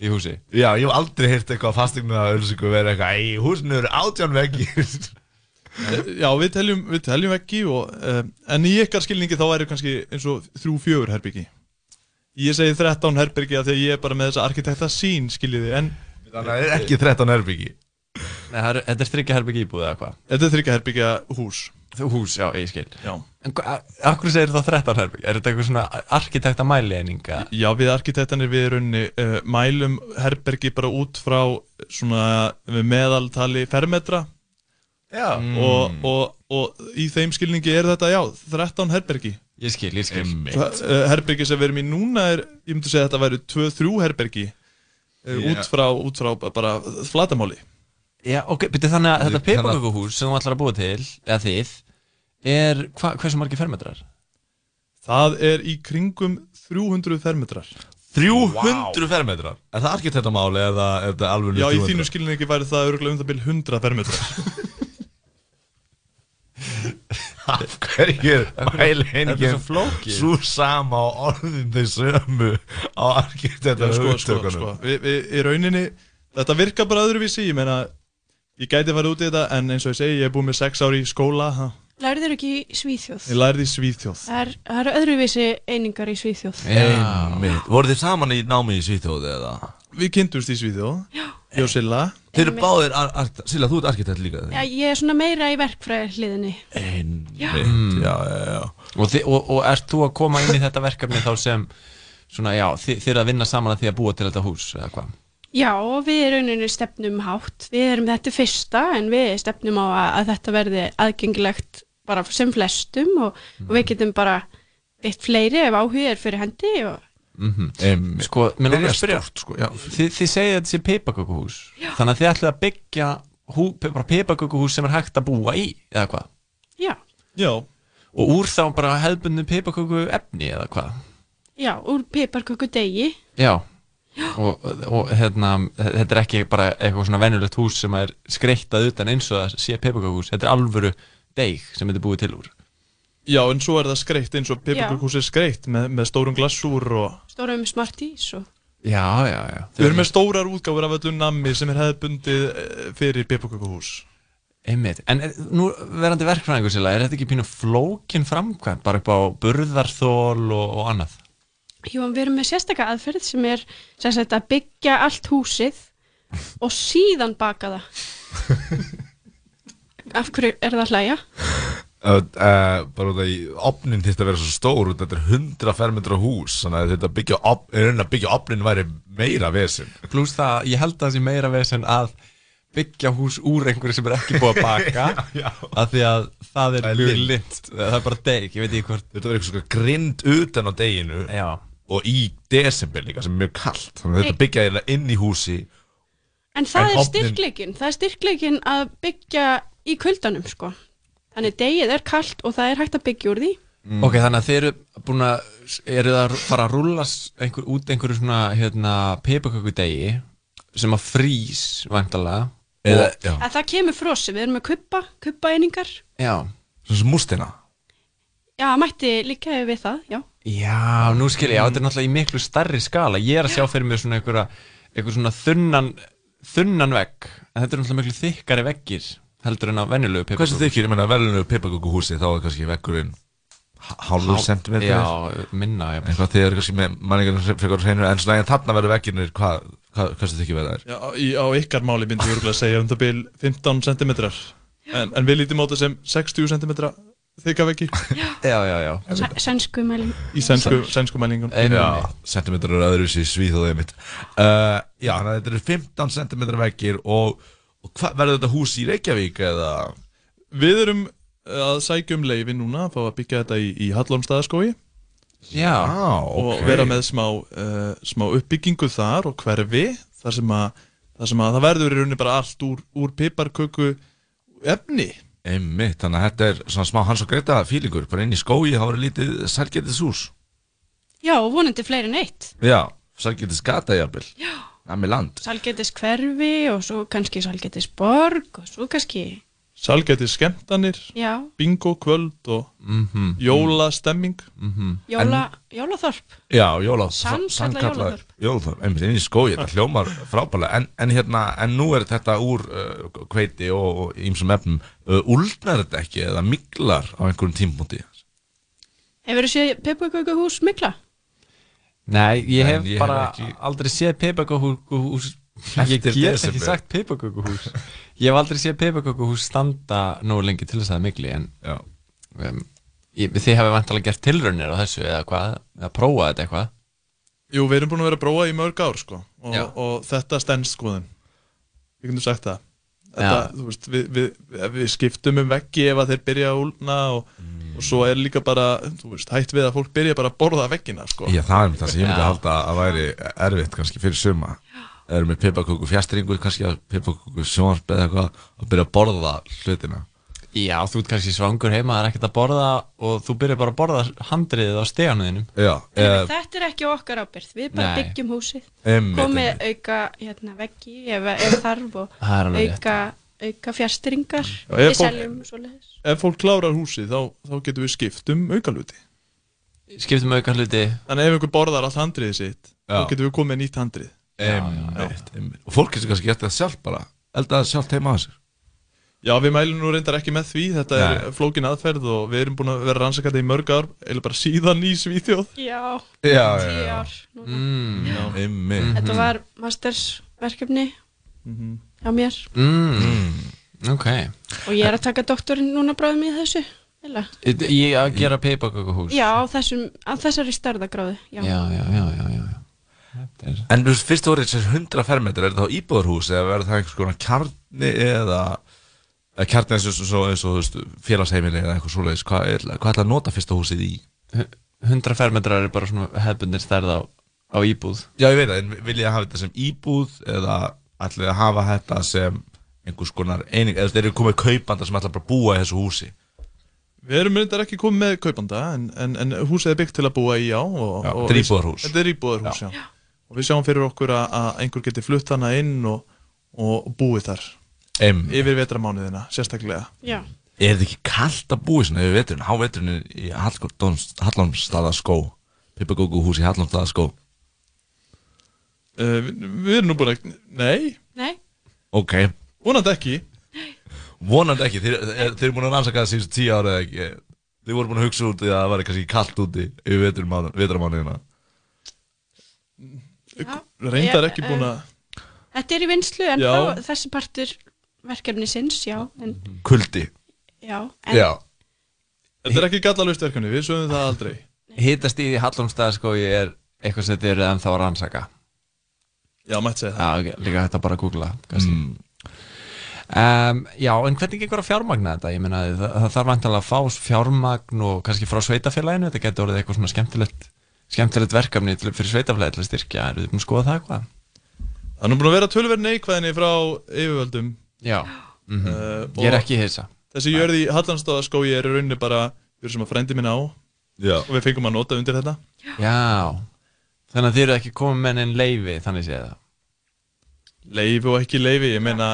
[SPEAKER 28] í húsi
[SPEAKER 14] Já, ég hef aldrei heyrt eitthvað fastegna að ölsingu vera eitthvað Í húsinu eru átján vekkir
[SPEAKER 23] Já, við teljum, við teljum ekki og, uh, en í ykkar skilningi þá eru kannski eins og þrjú fjögur herbyggi Ég segi 13 herbyggi af því að ég er bara með þessa arkitekta sín skiljiði en
[SPEAKER 14] Þannig að það er ekki 13 herbyggi
[SPEAKER 28] Nei, er, þetta er þryggja herbyggi íbúð eða hvað
[SPEAKER 23] Þetta er þryggja herbyggi hús
[SPEAKER 28] Þú hús, já, ég skil
[SPEAKER 23] Já
[SPEAKER 28] En hva- af hverju segir þá 13 herbyggi? Er þetta eitthvað svona arkitekta mæleininga?
[SPEAKER 23] Já, við arkitektanir við runni uh, mælum herbergi bara út frá svona eh, meðaltali fermetra
[SPEAKER 14] Já.
[SPEAKER 23] og, og, og í þeim skilningi er þetta, já, 13 herbergi
[SPEAKER 28] Ég skil, ég skil
[SPEAKER 23] Svo, uh, Herbergi sem við erum í núna er, ég myndi segja að þetta væri 2-3 herbergi uh,
[SPEAKER 28] Já.
[SPEAKER 23] út, frá, út frá bara flatamáli
[SPEAKER 28] Já, ok, byrju þannig að þetta
[SPEAKER 23] Þannig að-
[SPEAKER 28] pipagökuhús sem þú ætlar að búa til, eða þið er, hva, hversu margir fermetrar?
[SPEAKER 23] Það er í kringum 300 fermetrar
[SPEAKER 14] 300 fermetrar Er það arkitektamáli eða er það alveg
[SPEAKER 23] Já, í þínu skilningi væri það örgulega um það byrja 100 fermetrar
[SPEAKER 14] Af hverju er
[SPEAKER 23] Af hverju- Þetta er
[SPEAKER 14] mæleiningin
[SPEAKER 23] svo flókið.
[SPEAKER 14] Sú sama og orðin þau sömu á arkitektar
[SPEAKER 23] Já, sko, sko, sko. Vi, vi, í rauninni, þetta virkar bara öðruvísi ég meina, ég gæti farið út í þetta en eins og ég segi, ég er búið með 6 ári í skóla ha.
[SPEAKER 28] Lærið þér ekki í Svíþjóð?
[SPEAKER 23] ég lærði í Svíþjóð
[SPEAKER 28] Það er- það eru öðruvísi einingar í Svíþjóð
[SPEAKER 14] Einmitt, voru þið saman í námi í Svíþjóð eða?
[SPEAKER 23] við kynntumst í Svíþjóð, ég og Silla
[SPEAKER 14] Þeir eru báðir, ar- ar- Silla þú ert arkitekt líka
[SPEAKER 28] Já, ég er svona meira í verkfræði hliðinni Já.
[SPEAKER 14] Einmitt, já, já, já
[SPEAKER 28] Mm. Og, þi, og, og ert þú að koma inn í þetta verkefni þá sem svona, já, þi, þið er að vinna saman að því að búa til þetta hús eða hvað?
[SPEAKER 12] Já, og við í rauninni stefnum hátt. Við erum þetta er fyrsta en við stefnum á að, að þetta verði aðgengilegt bara sem flestum og, og við getum bara veitt fleiri ef áhuga er fyrir hendi og
[SPEAKER 14] Mhm.
[SPEAKER 28] Mm -hmm. Sko, mér
[SPEAKER 14] byrja
[SPEAKER 28] langar að spyrja
[SPEAKER 14] stórt, sko, já.
[SPEAKER 28] þið, þið segja þetta sé peipakökuhús Þannig að þið ætlið að byggja hú, bara peipakökuhús sem er hægt að búa í eða hvað?
[SPEAKER 12] já,
[SPEAKER 23] Já
[SPEAKER 28] Og úr þá bara hefðbundin peipaköku efni eða hvað?
[SPEAKER 12] já, úr piparköku degi
[SPEAKER 28] Já og, og hérna, þetta er ekki bara eitthvað svona venjulegt hús sem er skreittað utan eins og það sé pepukakús þetta er alvöru deig sem þetta er búið til úr
[SPEAKER 23] Já, en svo er það skreitt eins og piparkökhús er skreitt með, með stórum glassúr og...
[SPEAKER 12] Stórum Smarties og
[SPEAKER 28] Já, já, já
[SPEAKER 23] Við erum með stórar útgáfur af öllu nammi sem er hefðbundið eh, fyrir piparkökhús.
[SPEAKER 28] Einmitt, en er, nú verandi verkfræðingur sérlega, er þetta ekki pínu flókin framkvæmt, bara upp á burðarþól og, og annað?
[SPEAKER 12] Jú, en við erum með sérstaka aðferð sem er sem sagt, að byggja allt húsið og síðan baka það. Af hverju er það að hlæja?
[SPEAKER 14] Uh, uh, bara út af í opnin þýrst að vera svo stór út, þetta er 100 fermetra hús þannig að þetta byggja op, er raunin að byggja opnin væri meira vesinn
[SPEAKER 28] Plus það, ég held að það sé meira vesen að byggja hús úr einhverju sem er ekki búið að baka
[SPEAKER 14] Já, já.
[SPEAKER 28] af því að það er
[SPEAKER 14] Það er
[SPEAKER 28] mjög
[SPEAKER 14] lint.
[SPEAKER 28] lint, það er bara deg, ég veit ekki hvort
[SPEAKER 14] þetta verður eitthvað grind utan á deginu
[SPEAKER 28] já.
[SPEAKER 14] og í desember líka sem er mjög kallt þannig að þetta
[SPEAKER 12] Nei.
[SPEAKER 14] byggja hérna inn í húsi
[SPEAKER 12] En það
[SPEAKER 14] En
[SPEAKER 12] er
[SPEAKER 14] ofninn-
[SPEAKER 12] styrkleikin, það er styrkleikin að byggja í kuldanum, sko. Þannig degið er kallt og það er hægt að byggja úr því.
[SPEAKER 14] Mm.
[SPEAKER 28] Ok, þannig að þeir eru búin að, eru það að fara að rúlla s- einhver, út einhverju svona hérna, pepukakudegi sem að frýs vantalega
[SPEAKER 14] Eða-
[SPEAKER 28] já.
[SPEAKER 12] Að það kemur frosi, við erum með kubba, kubbaeiningar.
[SPEAKER 28] já,
[SPEAKER 14] sem mústina
[SPEAKER 12] Já, mætti líka við það, já.
[SPEAKER 28] Já, nú skil ég, já,
[SPEAKER 14] Mm.
[SPEAKER 28] þetta er náttúrulega í miklu starri skala Ég er að sjá fyrir mér svona einhverja einhver svona þunnan þunnan vegg, en þetta er náttúrulega miklu þykkari veggir heldur en á venjulegu pepparköku
[SPEAKER 14] hversu þykir, ég menna verðinu pipaköku húsi þá er kannski vekkurinn hálfur
[SPEAKER 28] Hál-
[SPEAKER 14] sentimetri
[SPEAKER 28] já, minna já.
[SPEAKER 14] eitthvað þegar kannski með manningarnir sem fyrir hreinu en svona en þarna verður vekkinir hvað, hvað, hversu þykir verða þær
[SPEAKER 23] Já, í, á ykkar máli myndi ég örgulega að segja um það bil 15 cm. En, en við lítum á það sem 60 cm þykka veggi.
[SPEAKER 28] Já, já, já.
[SPEAKER 12] S- Sænsku mælum.
[SPEAKER 23] Í sænsku, sænsku mælingum.
[SPEAKER 14] Já, sentimetrar er öðru sér svíþóðið mitt uh, Já, þannig að þetta eru 15 sentimetrar veggir og, og hvað verður þetta hús í Reykjavík eða
[SPEAKER 23] Við erum að sækja um leifi núna að fá að byggja þetta í, í Hallormstaðaskói.
[SPEAKER 28] Já,
[SPEAKER 23] og vera með smá, uh, smá uppbyggingu þar og hverfi þar sem að, þar sem að það verður í rauninni bara allt úr, úr piparköku efni
[SPEAKER 14] Einmitt, þannig að þetta er svona smá hans og greita fílingur bara inn í skói, það voru lítið sælgetis hús
[SPEAKER 12] Já, og vonandi fleiri en eitt.
[SPEAKER 14] Já, sælgetis gata jafnvel Já Nami land
[SPEAKER 12] Salgetis hverfi og svo kannski salgetis borg og svo kannski,
[SPEAKER 23] Salgæti skemmtanir,
[SPEAKER 12] já,
[SPEAKER 23] bingo kvöld og mm
[SPEAKER 14] Mhm.
[SPEAKER 23] -hmm. jólastemming
[SPEAKER 14] mm -hmm.
[SPEAKER 12] jóla, jólaþorp.
[SPEAKER 14] Já, jóla
[SPEAKER 12] Sannkallað jólaþorp.
[SPEAKER 14] Jólaþorp, einmitt inn í skói, þetta hljómar frábælega en, en hérna, en nú er þetta úr uh, kveiti og, og ýmsum efnum uh, Úlnar þetta ekki eða miglar á einhverjum tímpúti
[SPEAKER 12] Hefur þú séð Peppaköku hús mikla?
[SPEAKER 28] Nei, ég
[SPEAKER 14] En
[SPEAKER 28] hef
[SPEAKER 14] ég hef
[SPEAKER 28] bara
[SPEAKER 14] ekki-
[SPEAKER 28] aldrei séð pepukakúhús Ég
[SPEAKER 14] Eftir
[SPEAKER 28] get ekki
[SPEAKER 14] desember.
[SPEAKER 28] sagt pepukakúhús Ég hef aldrei séð pepukakúhús standa nógu lengi til þess að það er mikli en um, ég, þið hefur vantalega gert tilraunir á þessu eða hvað, eða prófað þetta eitthvað
[SPEAKER 23] Jú, við erum búin að vera að bróa í mörg ár sko og,
[SPEAKER 28] Já.
[SPEAKER 23] og þetta stendst skoðin Við getum sagt það
[SPEAKER 28] Já.
[SPEAKER 23] þetta, þú veist, við, við, við skiptum um veggi ef að þeir byrja að úlna og,
[SPEAKER 14] Mm.
[SPEAKER 23] og svo er líka bara, þú veist, hætt við að fólk byrja bara að borða veggina sko
[SPEAKER 14] Já, það er einmitt það sem ég myndi
[SPEAKER 23] Já.
[SPEAKER 14] að halda að væri erfitt kannski fyrir suma eða með pipaköku fjastringu kannski að pipaköku sjónvarp eða eitthvað að byrja að borða hlutina
[SPEAKER 28] Já, þú ert kannski svangur heima, það er ekkert að borða og þú byrjar bara að borða handriðið á steganuðinum
[SPEAKER 14] Já,
[SPEAKER 12] Nei, þetta er ekki á okkar ábyrð, við bara
[SPEAKER 28] Nei.
[SPEAKER 12] byggjum húsið
[SPEAKER 28] Einmitt,
[SPEAKER 12] komið auka hérna, veggi ef, ef þarf og
[SPEAKER 23] Það er alveg rétt.
[SPEAKER 12] auka, auka fjastringar
[SPEAKER 23] Já,
[SPEAKER 12] við
[SPEAKER 23] ef fólk-
[SPEAKER 12] seljum svoleiðis
[SPEAKER 23] Ef fólk klárar húsið þá, þá getum við skipt um aukaluti
[SPEAKER 28] Skiptum auka hluti
[SPEAKER 23] Þannig að ef einhver borðar allt handriðið sitt
[SPEAKER 14] Já.
[SPEAKER 23] þá getum við komið með nýtt handrið
[SPEAKER 14] Einmitt, einmitt. og fólk getur kannski gert það sjálf bara elda það sjálf heima á sér
[SPEAKER 23] Já, við mælum nú reyndar ekki með því, þetta
[SPEAKER 14] Nei.
[SPEAKER 23] er flókin aðferð og við erum búin að vera rannsakandi í mörg ár, eða bara síðan í Svíþjóð.
[SPEAKER 12] Já,
[SPEAKER 14] Já,
[SPEAKER 12] tíu
[SPEAKER 14] já,
[SPEAKER 12] ár núna.
[SPEAKER 28] Mm.
[SPEAKER 14] já.
[SPEAKER 28] Mhm.
[SPEAKER 14] Einmitt
[SPEAKER 12] Þetta var mastersverkefni hjá mér
[SPEAKER 28] mm. Ok
[SPEAKER 12] og ég er að taka doktorinn núna bráðum í þessu eða?
[SPEAKER 28] Ég að gera peipakökuhús
[SPEAKER 12] Já, á þessum, á þessari stærðagráðu Já,
[SPEAKER 28] já, já, já, já, já.
[SPEAKER 14] En þú veist, fyrst voru þessi 100 fermetrar er það á íbúðarhús eða verður það einhvers konar kjarni eða eða kjarni eins og, eins og, eins og þú veist, félagsheimili eða eitthvað svoleiðis hvað ætla hvað ætla að nota fyrsta húsið í?
[SPEAKER 28] 100 fermetrar er bara svona hefbundir stærð á, á íbúð
[SPEAKER 14] Já, ég veit það, en vil ég hafa þetta sem íbúð eða ætlið þið að hafa þetta sem einhvers konar eining, eða þeir eru komið kaupanda sem ætla bara að búa í þessu húsi
[SPEAKER 23] Við erum reyndar ekki komið með kaupanda en, en, en húsið er byggt til að búa í já og,
[SPEAKER 14] Já,
[SPEAKER 23] og
[SPEAKER 14] þetta er íbúðarhús.
[SPEAKER 23] Þetta er íbúðarhús, já, og við sjáum fyrir okkur að, að einhver geti flutt hana inn og, og búið þar
[SPEAKER 14] Em.
[SPEAKER 23] yfir vetramánuðina sérstaklega
[SPEAKER 12] Já.
[SPEAKER 14] Er þetta ekki kallt að búi svona yfir veturinn, há veturinn í Hallómsstaða skó Pippagóku hús í Hallómsstaða skó
[SPEAKER 23] uh, við, við erum nú búin að nei,
[SPEAKER 12] Nei.
[SPEAKER 14] Ok,
[SPEAKER 23] vonandi ekki
[SPEAKER 14] vonandi ekki, þeir, er, þeir eru búin að rannsaka það síðustu tíu ára eða ekki Þeir voru búin að hugsa út í að það var kannski kallt úti yfir veturinn mánu- vetrarmánuðina
[SPEAKER 23] reyndar
[SPEAKER 12] Ég- eh,
[SPEAKER 23] ekki búin að
[SPEAKER 12] Þetta er í vinslu en
[SPEAKER 14] Já.
[SPEAKER 12] þá þessi partur verkefni sinns, já, en,
[SPEAKER 14] Kuldi
[SPEAKER 12] já, en
[SPEAKER 14] Já
[SPEAKER 23] Þetta er ekki gallalust verkefni, við sögum það aldrei
[SPEAKER 28] Hittast í Hallumstæðaskói er eitthvað sem þið eru ennþá að rannsaka
[SPEAKER 23] Já, mætti segja
[SPEAKER 28] það Já, ok, líka þetta bara að googla mm. um, Já, en hvernig gengur að fjármagna þetta? Ég meina, það, það þarf vantilega að fá fjármagn og kannski frá sveitafélaginu Þetta getur orðið eitthvað svona skemmtilegt skemmtilegt verkefni til, fyrir sveitafélagi til að styrkja Eruð þið búin að skoða það eitthvað?
[SPEAKER 23] Það er nú búin að vera tölverð neikvæðinni frá yfirvöldum
[SPEAKER 28] Já, mhm.
[SPEAKER 23] uh,
[SPEAKER 28] Ég er ekki hissa.
[SPEAKER 23] Þessi jörði í Hallandstóðaskói er í rauninni bara jörð sem að frendi minn á
[SPEAKER 14] Já.
[SPEAKER 23] og við fengum að nota undir þetta
[SPEAKER 28] Já, þannig að þið eru ekki komið með enn leifi, þannig séð það
[SPEAKER 23] Leifi og ekki leifi, ég meina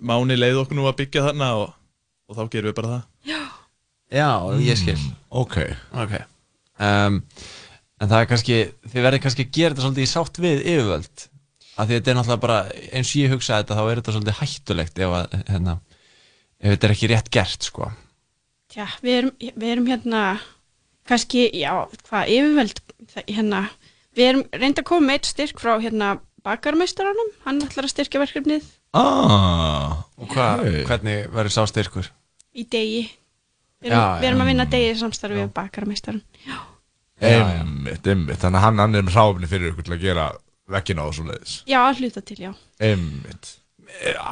[SPEAKER 23] Máni leið okkur nú að byggja þarna og, og þá gerum við bara það
[SPEAKER 12] Já.
[SPEAKER 28] Já, ég skil
[SPEAKER 14] Ok,
[SPEAKER 28] okay. Mm, Um, En það er kannski, þið verðið kannski að gera þetta svolítið í sátt við yfirvöld að því þetta er náttúrulega bara, eins og ég hugsa þetta þá er þetta svolítið hættulegt ef, að, hérna, ef þetta er ekki rétt gert sko.
[SPEAKER 12] tja, við erum, við erum hérna, kannski, já, hvað, yfirvöld, það- hérna, við erum reynd að koma með eitt styrk frá hérna bakarmeistaranum, hann ætlar að styrkja verkefnið
[SPEAKER 14] ah,
[SPEAKER 28] Og hvað,
[SPEAKER 12] Hey.
[SPEAKER 28] hvernig verður sá styrkur?
[SPEAKER 12] í degi, við erum,
[SPEAKER 14] Já,
[SPEAKER 12] við erum
[SPEAKER 14] já.
[SPEAKER 12] að vinna degi í samstarfi við bakarmeistaran, já,
[SPEAKER 14] Einmitt, einmitt, þannig að hann, hann er með ráfni fyrir ykkur til að gera veggina og svo leiðis
[SPEAKER 12] já, að hluta til, já,
[SPEAKER 14] Einmitt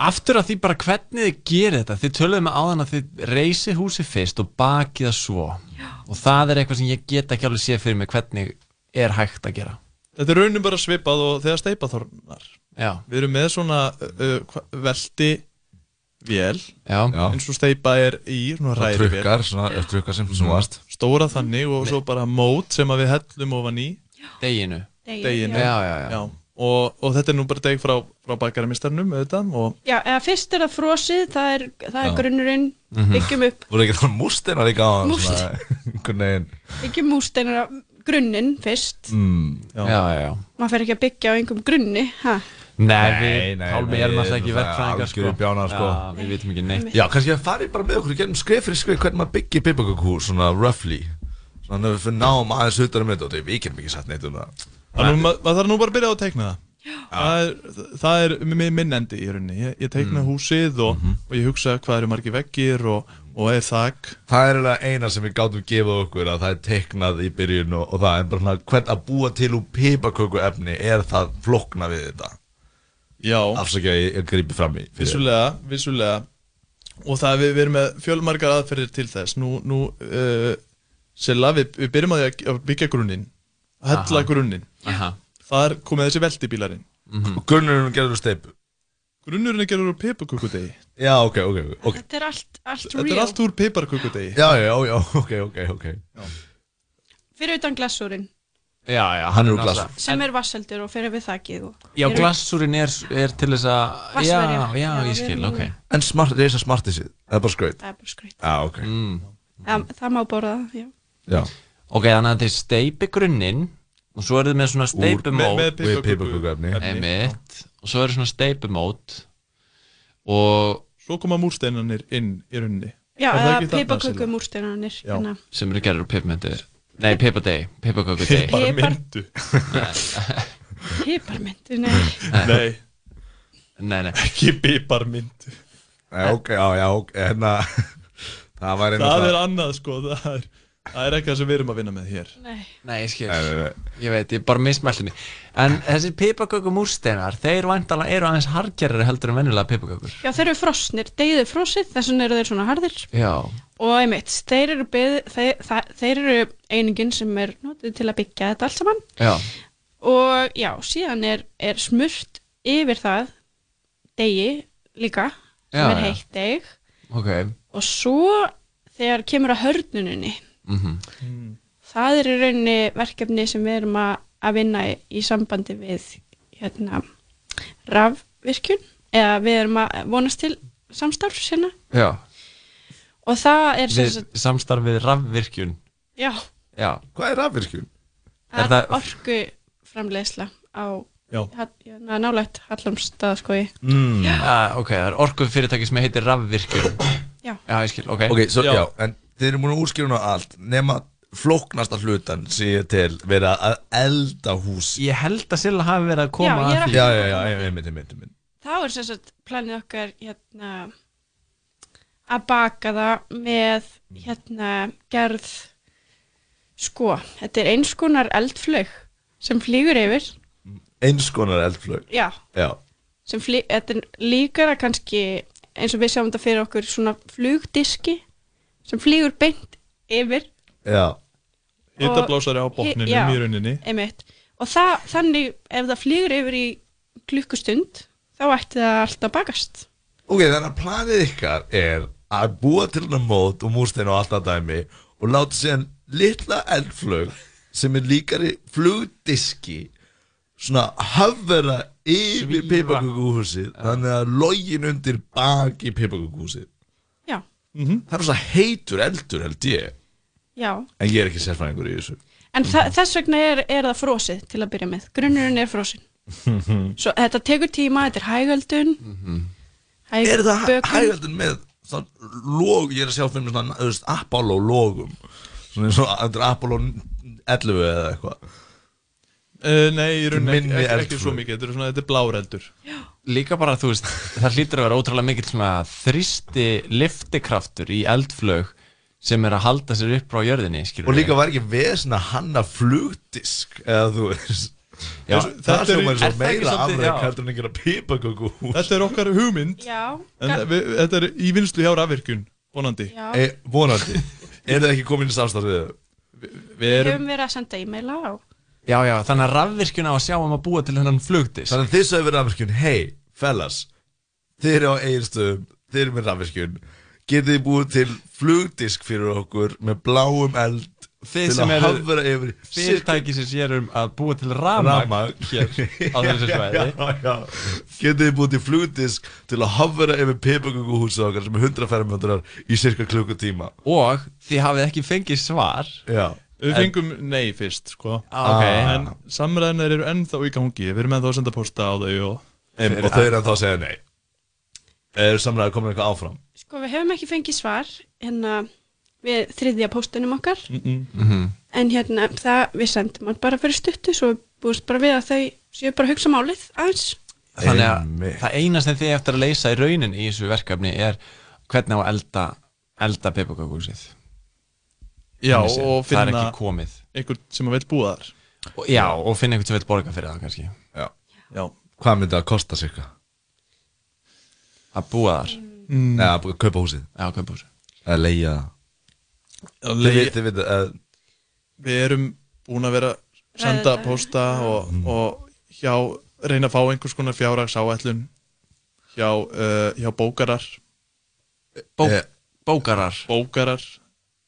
[SPEAKER 28] Aftur að því bara hvernig þið gerir þetta Þið töluðum áðan að þið reysi húsi fyrst og bakið það svo Já. og það er eitthvað sem ég get ekki alveg séð fyrir mig hvernig er hægt að gera
[SPEAKER 23] Þetta er raunin bara svipað og þegar steipaþornar
[SPEAKER 28] Já.
[SPEAKER 23] Við erum með svona uh, hva- velti vél
[SPEAKER 28] Já.
[SPEAKER 23] eins og steipa er í svona
[SPEAKER 14] Og
[SPEAKER 23] ræri
[SPEAKER 14] trukkar, svona- eh, trukkar sem snúast.
[SPEAKER 23] Stóra þannig og svo bara mót sem að við hellum ofan í
[SPEAKER 28] Deginu
[SPEAKER 12] Degi,
[SPEAKER 23] Deginu
[SPEAKER 12] já.
[SPEAKER 28] já, já.
[SPEAKER 23] Og, og þetta er nú bara deg frá, frá bakaramistarnum auðvitað og
[SPEAKER 12] já, eða fyrst er það frosið, það er, það er
[SPEAKER 14] Já. Mhm.
[SPEAKER 12] grunnurinn, byggjum upp,
[SPEAKER 14] Voru ekki þannig mústina líka á hann
[SPEAKER 12] Múrst.
[SPEAKER 14] Einhvern veginn
[SPEAKER 12] byggjum músteinar af grunninn fyrst,
[SPEAKER 14] mm,
[SPEAKER 28] Já, já, já
[SPEAKER 12] maður fer ekki að byggja á einhverjum grunni, hæ,
[SPEAKER 28] Nei, við,
[SPEAKER 14] nei,
[SPEAKER 28] Pálmi
[SPEAKER 14] nei,
[SPEAKER 28] erum
[SPEAKER 14] við
[SPEAKER 28] alltaf ekki
[SPEAKER 14] erum það
[SPEAKER 28] verkfræðingar sko.
[SPEAKER 14] algjörir bjánar, sko.
[SPEAKER 28] Já, við vitum ekki neitt
[SPEAKER 14] Já, kannski að fari bara með okkur í gegnum skrif fyrir skrif hvernig maður byggir pipakökuhús svona roughly Svona ef við náum aðeins utan um þetta og þetta við getum ekki satt neitt um það
[SPEAKER 23] Það er nú- ma- maður þarf nú bara að byrja á að teikna það Það er, það er mi- minnendi í rauninni Ég, ég teikna
[SPEAKER 14] Mm.
[SPEAKER 23] húsið og, og ég hugsa hvað eru margir veggir og, og er þak
[SPEAKER 14] Það er eiginlega eina sem við gátum gefið okkur að það er teiknað í byrjun og, og það er bara svona hvern að búa til úr pipaköku er það flókna við þetta
[SPEAKER 23] Já
[SPEAKER 14] Afsakið að ég, ég grípi fram í fyrir.
[SPEAKER 23] Vissulega, vissulega Og það við, við erum með fjölmargar aðferðir til þess Nú, nú uh, Silla, við, við byrjum að, því að byggja grunninn að Hella
[SPEAKER 14] Aha.
[SPEAKER 23] grunninn
[SPEAKER 28] Aha.
[SPEAKER 23] Þar komið þessi veltibílarinn
[SPEAKER 14] Mhm. Og grunnurinn gerður úr steipu
[SPEAKER 23] Grunnurinn er gerður úr piparkökudegi
[SPEAKER 14] Já, ok, ok, ok
[SPEAKER 12] þetta er allt, allt
[SPEAKER 23] Þetta er
[SPEAKER 12] real.
[SPEAKER 23] allt úr piparkökudegi
[SPEAKER 14] Já, já, já, ok, ok, ok
[SPEAKER 12] fyrir utan glassúrin
[SPEAKER 28] Já, já,
[SPEAKER 14] Hann er úr
[SPEAKER 28] alltaf-
[SPEAKER 14] glassi.
[SPEAKER 12] sem er vasseldur og fyrir við þakkið og
[SPEAKER 28] Já,
[SPEAKER 12] Eru-
[SPEAKER 28] glassúrin er, er til þess að já,
[SPEAKER 12] Vatnsverja.
[SPEAKER 28] já,
[SPEAKER 12] Já,
[SPEAKER 28] ég
[SPEAKER 12] við
[SPEAKER 28] skil,
[SPEAKER 12] erum
[SPEAKER 28] ok
[SPEAKER 12] með-
[SPEAKER 14] En smart, reysa smartið síð, það er bara skraut
[SPEAKER 12] Það er bara skraut.
[SPEAKER 14] Já, ok
[SPEAKER 28] mm.
[SPEAKER 12] það, það má borða það, já
[SPEAKER 14] Já
[SPEAKER 28] Ok, þannig að þið steipi grunninn og svo eru þið með svona
[SPEAKER 14] með-
[SPEAKER 28] steipumót
[SPEAKER 14] með piparköku- Við piparkökuefni. efni.
[SPEAKER 28] Einmitt, og svo eru svona steipumót og
[SPEAKER 23] Svo koma múrsteinanir inn í runni
[SPEAKER 12] já,
[SPEAKER 23] Er það
[SPEAKER 12] eða
[SPEAKER 23] ekki þarna, Silla?
[SPEAKER 12] pipakökum úrsteinanir
[SPEAKER 23] Já.
[SPEAKER 12] hérna.
[SPEAKER 28] sem eru gerður úr pipmyndu Nei, pipadegi, pipaköku degi
[SPEAKER 23] Piparmyndu.
[SPEAKER 12] piparmyndu, nei
[SPEAKER 23] Nei
[SPEAKER 28] Nei, nei
[SPEAKER 23] Ekki piparmyndu
[SPEAKER 14] Nei, ok, já, já, ok, hérna Það væri
[SPEAKER 23] Það er annað sko Það er, það er ekki það sem við erum að vinna með hér
[SPEAKER 12] Nei.
[SPEAKER 28] Nei, ég skil Ég veit, ég bara mismælti mig En þessir pipaköku múrsteinar, þeir vantala eru aðeins hargerari heldur en venjulega pipakökur
[SPEAKER 12] já, þeir eru frosnir, deyðu frosið þess vegna eru þeir svona harðir
[SPEAKER 28] Já,
[SPEAKER 12] og einmitt, þeir eru, byð, þeir, það, þeir eru einingin sem er notið til að byggja þetta allt saman
[SPEAKER 28] já
[SPEAKER 12] og já, síðan er, er smurt yfir það degi líka sem
[SPEAKER 28] Já,
[SPEAKER 12] er
[SPEAKER 28] já.
[SPEAKER 12] heitt deg
[SPEAKER 28] Ok
[SPEAKER 12] og svo þegar kemur að hörnuninni
[SPEAKER 2] Mhm.
[SPEAKER 28] mm -hmm.
[SPEAKER 12] það er í rauninni verkefni sem við erum að, að vinna í, í sambandi við hérna, rafvirkjun eða við erum að vonast til samstarf sinna
[SPEAKER 28] Já,
[SPEAKER 12] og það er sem
[SPEAKER 28] við,
[SPEAKER 12] sagt,
[SPEAKER 28] samstarfið rafvirkjun
[SPEAKER 12] já,
[SPEAKER 28] Já Hvað er rafvirkjun? Er
[SPEAKER 12] það
[SPEAKER 28] það-
[SPEAKER 12] orku framleiðsla á
[SPEAKER 28] Já.
[SPEAKER 12] hall, hérna, nálægt Hallamstað sko ég
[SPEAKER 28] Mm.
[SPEAKER 12] Já.
[SPEAKER 28] Ah, ok, það er orkufyrirtæki sem heitir rafvirkjun
[SPEAKER 12] Já.
[SPEAKER 28] Já, ég skil, ok
[SPEAKER 14] Ok, svo, já.
[SPEAKER 28] Já.
[SPEAKER 14] en þið erum múin að útskýruna allt nema flóknasta hlutan sé ég til verið að elda hús
[SPEAKER 28] Ég held að Silla hafi verið að koma
[SPEAKER 12] Já, ég er að-
[SPEAKER 14] Já, já, já, einmitt, einmitt, einmitt
[SPEAKER 12] þá er sem sagt planið okkar hérna að baka það með hérna gerð sko, þetta er eins konar eldflög sem flýgur yfir
[SPEAKER 14] Eins konar eldflög
[SPEAKER 12] Já.
[SPEAKER 14] Já,
[SPEAKER 12] sem flýg, þetta er líkara kannski eins og við sjáum þetta fyrir okkur svona flugdiski sem flýgur beint yfir
[SPEAKER 14] já
[SPEAKER 23] Hitablásari á botninum
[SPEAKER 12] Já,
[SPEAKER 23] í rauninni
[SPEAKER 12] einmitt. og það, þannig ef það flýgur yfir í klukkustund þá ætti það alltaf að bakast
[SPEAKER 14] Ok, þannig að planið ykkar er að búa til hana mót og múrstein og alltaf dæmi og láta síðan litla eldflög sem er líkari flugdiski svona hafvera yfir pipakukuhúsið þannig að login undir baki pipakukuhúsið
[SPEAKER 12] Já.
[SPEAKER 14] Það er svona heitur eldur held ég
[SPEAKER 12] Já,
[SPEAKER 14] en ég er ekki sérfræðingur í þessu
[SPEAKER 12] en þa þess vegna er, er það frosið til að byrja með. Grunnurinn er frosin. Svo þetta tekur tíma, þetta er hægöldun. Hæg
[SPEAKER 14] Er það
[SPEAKER 12] bökun.
[SPEAKER 14] hægaldin með svona log, ég er að sjá fyrir mér svona þú veist, Apollo logum svona eins og þetta er Apollo 11 eða eitthvað
[SPEAKER 23] uh, Nei, í rauninni ekki,
[SPEAKER 14] Minni
[SPEAKER 23] ekki, ekki
[SPEAKER 14] eldflög.
[SPEAKER 23] svo mikið, þetta er, svona, þetta er bláreldur
[SPEAKER 28] Líka bara, þú veist, það hlýtur að vera ótrúlega mikill svona þristi liftikraftur í eldflög sem er að halda sér upp frá jörðinni, skilur
[SPEAKER 14] og líka var ekki vesna hanna flugdisk eða þú veist það,
[SPEAKER 28] Já,
[SPEAKER 14] það
[SPEAKER 23] þetta er-
[SPEAKER 14] sem er
[SPEAKER 23] er
[SPEAKER 14] svo
[SPEAKER 23] það ekki
[SPEAKER 14] meira
[SPEAKER 23] svolítið- já.
[SPEAKER 14] afræk heldur en ekki að pipaköku
[SPEAKER 23] Þetta er okkar hugmynd
[SPEAKER 12] Já,
[SPEAKER 23] En við, þetta er í vinslu hjá rafvirkjun, vonandi
[SPEAKER 12] Já.
[SPEAKER 14] e, Vonandi, er það ekki komin í samstarfið?
[SPEAKER 23] Við,
[SPEAKER 12] við höfum verið að senda e-maila á.
[SPEAKER 28] Já, já, þannig að rafvirkjun á að sjá um að búa til hennan flugdis
[SPEAKER 14] Þannig að þið sögum við rafvirkjun, hei, fellas Þið eru á eiginstöðum, þið eru með rafvirkjun Getið þið búið til flugdisk fyrir okkur með bláum eld
[SPEAKER 28] Þið
[SPEAKER 14] til
[SPEAKER 28] sem
[SPEAKER 14] að
[SPEAKER 28] eru
[SPEAKER 14] hafvera yfir í
[SPEAKER 28] fyrirtæki sem sérum að búa til
[SPEAKER 14] Rafmagn.
[SPEAKER 28] rafmagn hér á þessu
[SPEAKER 14] Já,
[SPEAKER 28] svæði
[SPEAKER 14] já, já. Getið þið búið til flugdisk til að hafvera yfir pipakökuhúsið okkar sem er 100 fermetrar í cirka klukkutíma
[SPEAKER 28] og þið hafið ekki fengið svar
[SPEAKER 14] Já.
[SPEAKER 23] Við fengum nei fyrst, sko
[SPEAKER 28] Ah, ok.
[SPEAKER 23] En samræðinir eru ennþá í gangi Við erum ennþá að senda posta á þau og,
[SPEAKER 14] Em, og þau eru ennþá að segja nei Er samræði komin eitthvað áfram?
[SPEAKER 12] Sko, við höfum ekki fengið svar hérna við þriðja póstunum okkar.
[SPEAKER 14] Mm -hmm.
[SPEAKER 12] En hérna, það við sendum hann bara fyrir stuttu, svo við búist bara við að þau séu bara að hugsa málið aðeins.
[SPEAKER 28] Þannig að það eina sem þið eftir að leysa í raunin í þessu verkefni er hvernig á að elda, elda pepukakúsið
[SPEAKER 23] Já,
[SPEAKER 28] Þannig séð.
[SPEAKER 23] og
[SPEAKER 28] Það er
[SPEAKER 23] finna
[SPEAKER 28] ekki komið
[SPEAKER 23] Einhvern sem að veit búa þar
[SPEAKER 28] og, Já, og finna einhvern sem vil borga fyrir það kannski
[SPEAKER 14] Já,
[SPEAKER 23] já.
[SPEAKER 14] Hvað myndi það kosta sig?
[SPEAKER 28] Að búa þar
[SPEAKER 23] Mm.
[SPEAKER 14] Nei, að bú- kaupa húsið
[SPEAKER 28] Já, kaupa húsið
[SPEAKER 14] Að leia
[SPEAKER 23] Að
[SPEAKER 14] Þið
[SPEAKER 23] leigja-
[SPEAKER 14] vitið, þið vitið að
[SPEAKER 23] Við erum búin að vera að senda
[SPEAKER 28] Ræða þetta.
[SPEAKER 23] posta og,
[SPEAKER 14] Mm.
[SPEAKER 23] og hjá, reyna að fá einhvers konar fjárrags áætlun hjá, uh, hjá bókarar
[SPEAKER 28] Bó,
[SPEAKER 14] Eh.
[SPEAKER 28] Bókarar
[SPEAKER 23] Bókarar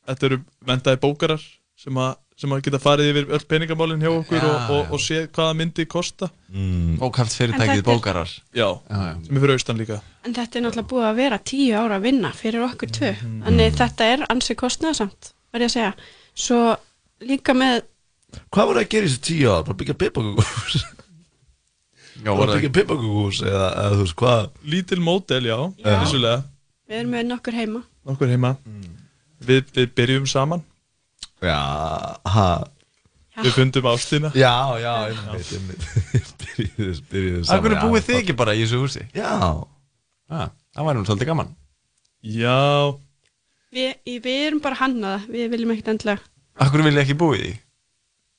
[SPEAKER 23] Þetta eru mentaði bókarar sem að, sem að geta farið yfir öll peningamálin hjá okkur
[SPEAKER 28] Já,
[SPEAKER 23] og, og, og sé hvaða myndi kosta
[SPEAKER 28] mm.
[SPEAKER 12] En
[SPEAKER 28] Bókhaldsfyrirtækið
[SPEAKER 12] þetta er-
[SPEAKER 28] bókarar
[SPEAKER 23] Já,
[SPEAKER 28] já.
[SPEAKER 23] sem er fyrir austan líka
[SPEAKER 12] En þetta er náttúrulega búið að vera tíu ára að vinna fyrir okkur tvö. Þannig þetta er ansi kostnaðasamt, var ég að segja. Svo líka með
[SPEAKER 14] Hvað voru að gera í þessu tíu ár? Bara byggja pipakökuhús Já,
[SPEAKER 23] voru
[SPEAKER 14] voru að
[SPEAKER 23] það-
[SPEAKER 14] byggja pipakökuhús eða, eða þú veist hvað
[SPEAKER 23] Lítil mótel, já,
[SPEAKER 14] Já.
[SPEAKER 23] vissulega
[SPEAKER 12] Við erum með nokkur heima.
[SPEAKER 23] Nokkur heima við, við byrjum saman
[SPEAKER 14] Já, ha
[SPEAKER 23] Við fundum ástina
[SPEAKER 14] Já, já, einmitt, einmitt Byrjuðu, byrjuðu
[SPEAKER 28] Af hverju búið
[SPEAKER 14] já,
[SPEAKER 28] þið ekki bara í þessu húsi?
[SPEAKER 14] Já
[SPEAKER 28] ah, Það væri nú svolítið gaman
[SPEAKER 23] Já
[SPEAKER 12] Við, í- við erum bara hannaða, við viljum ekkert endilega.
[SPEAKER 28] Af hverju vil ég ekki búið í?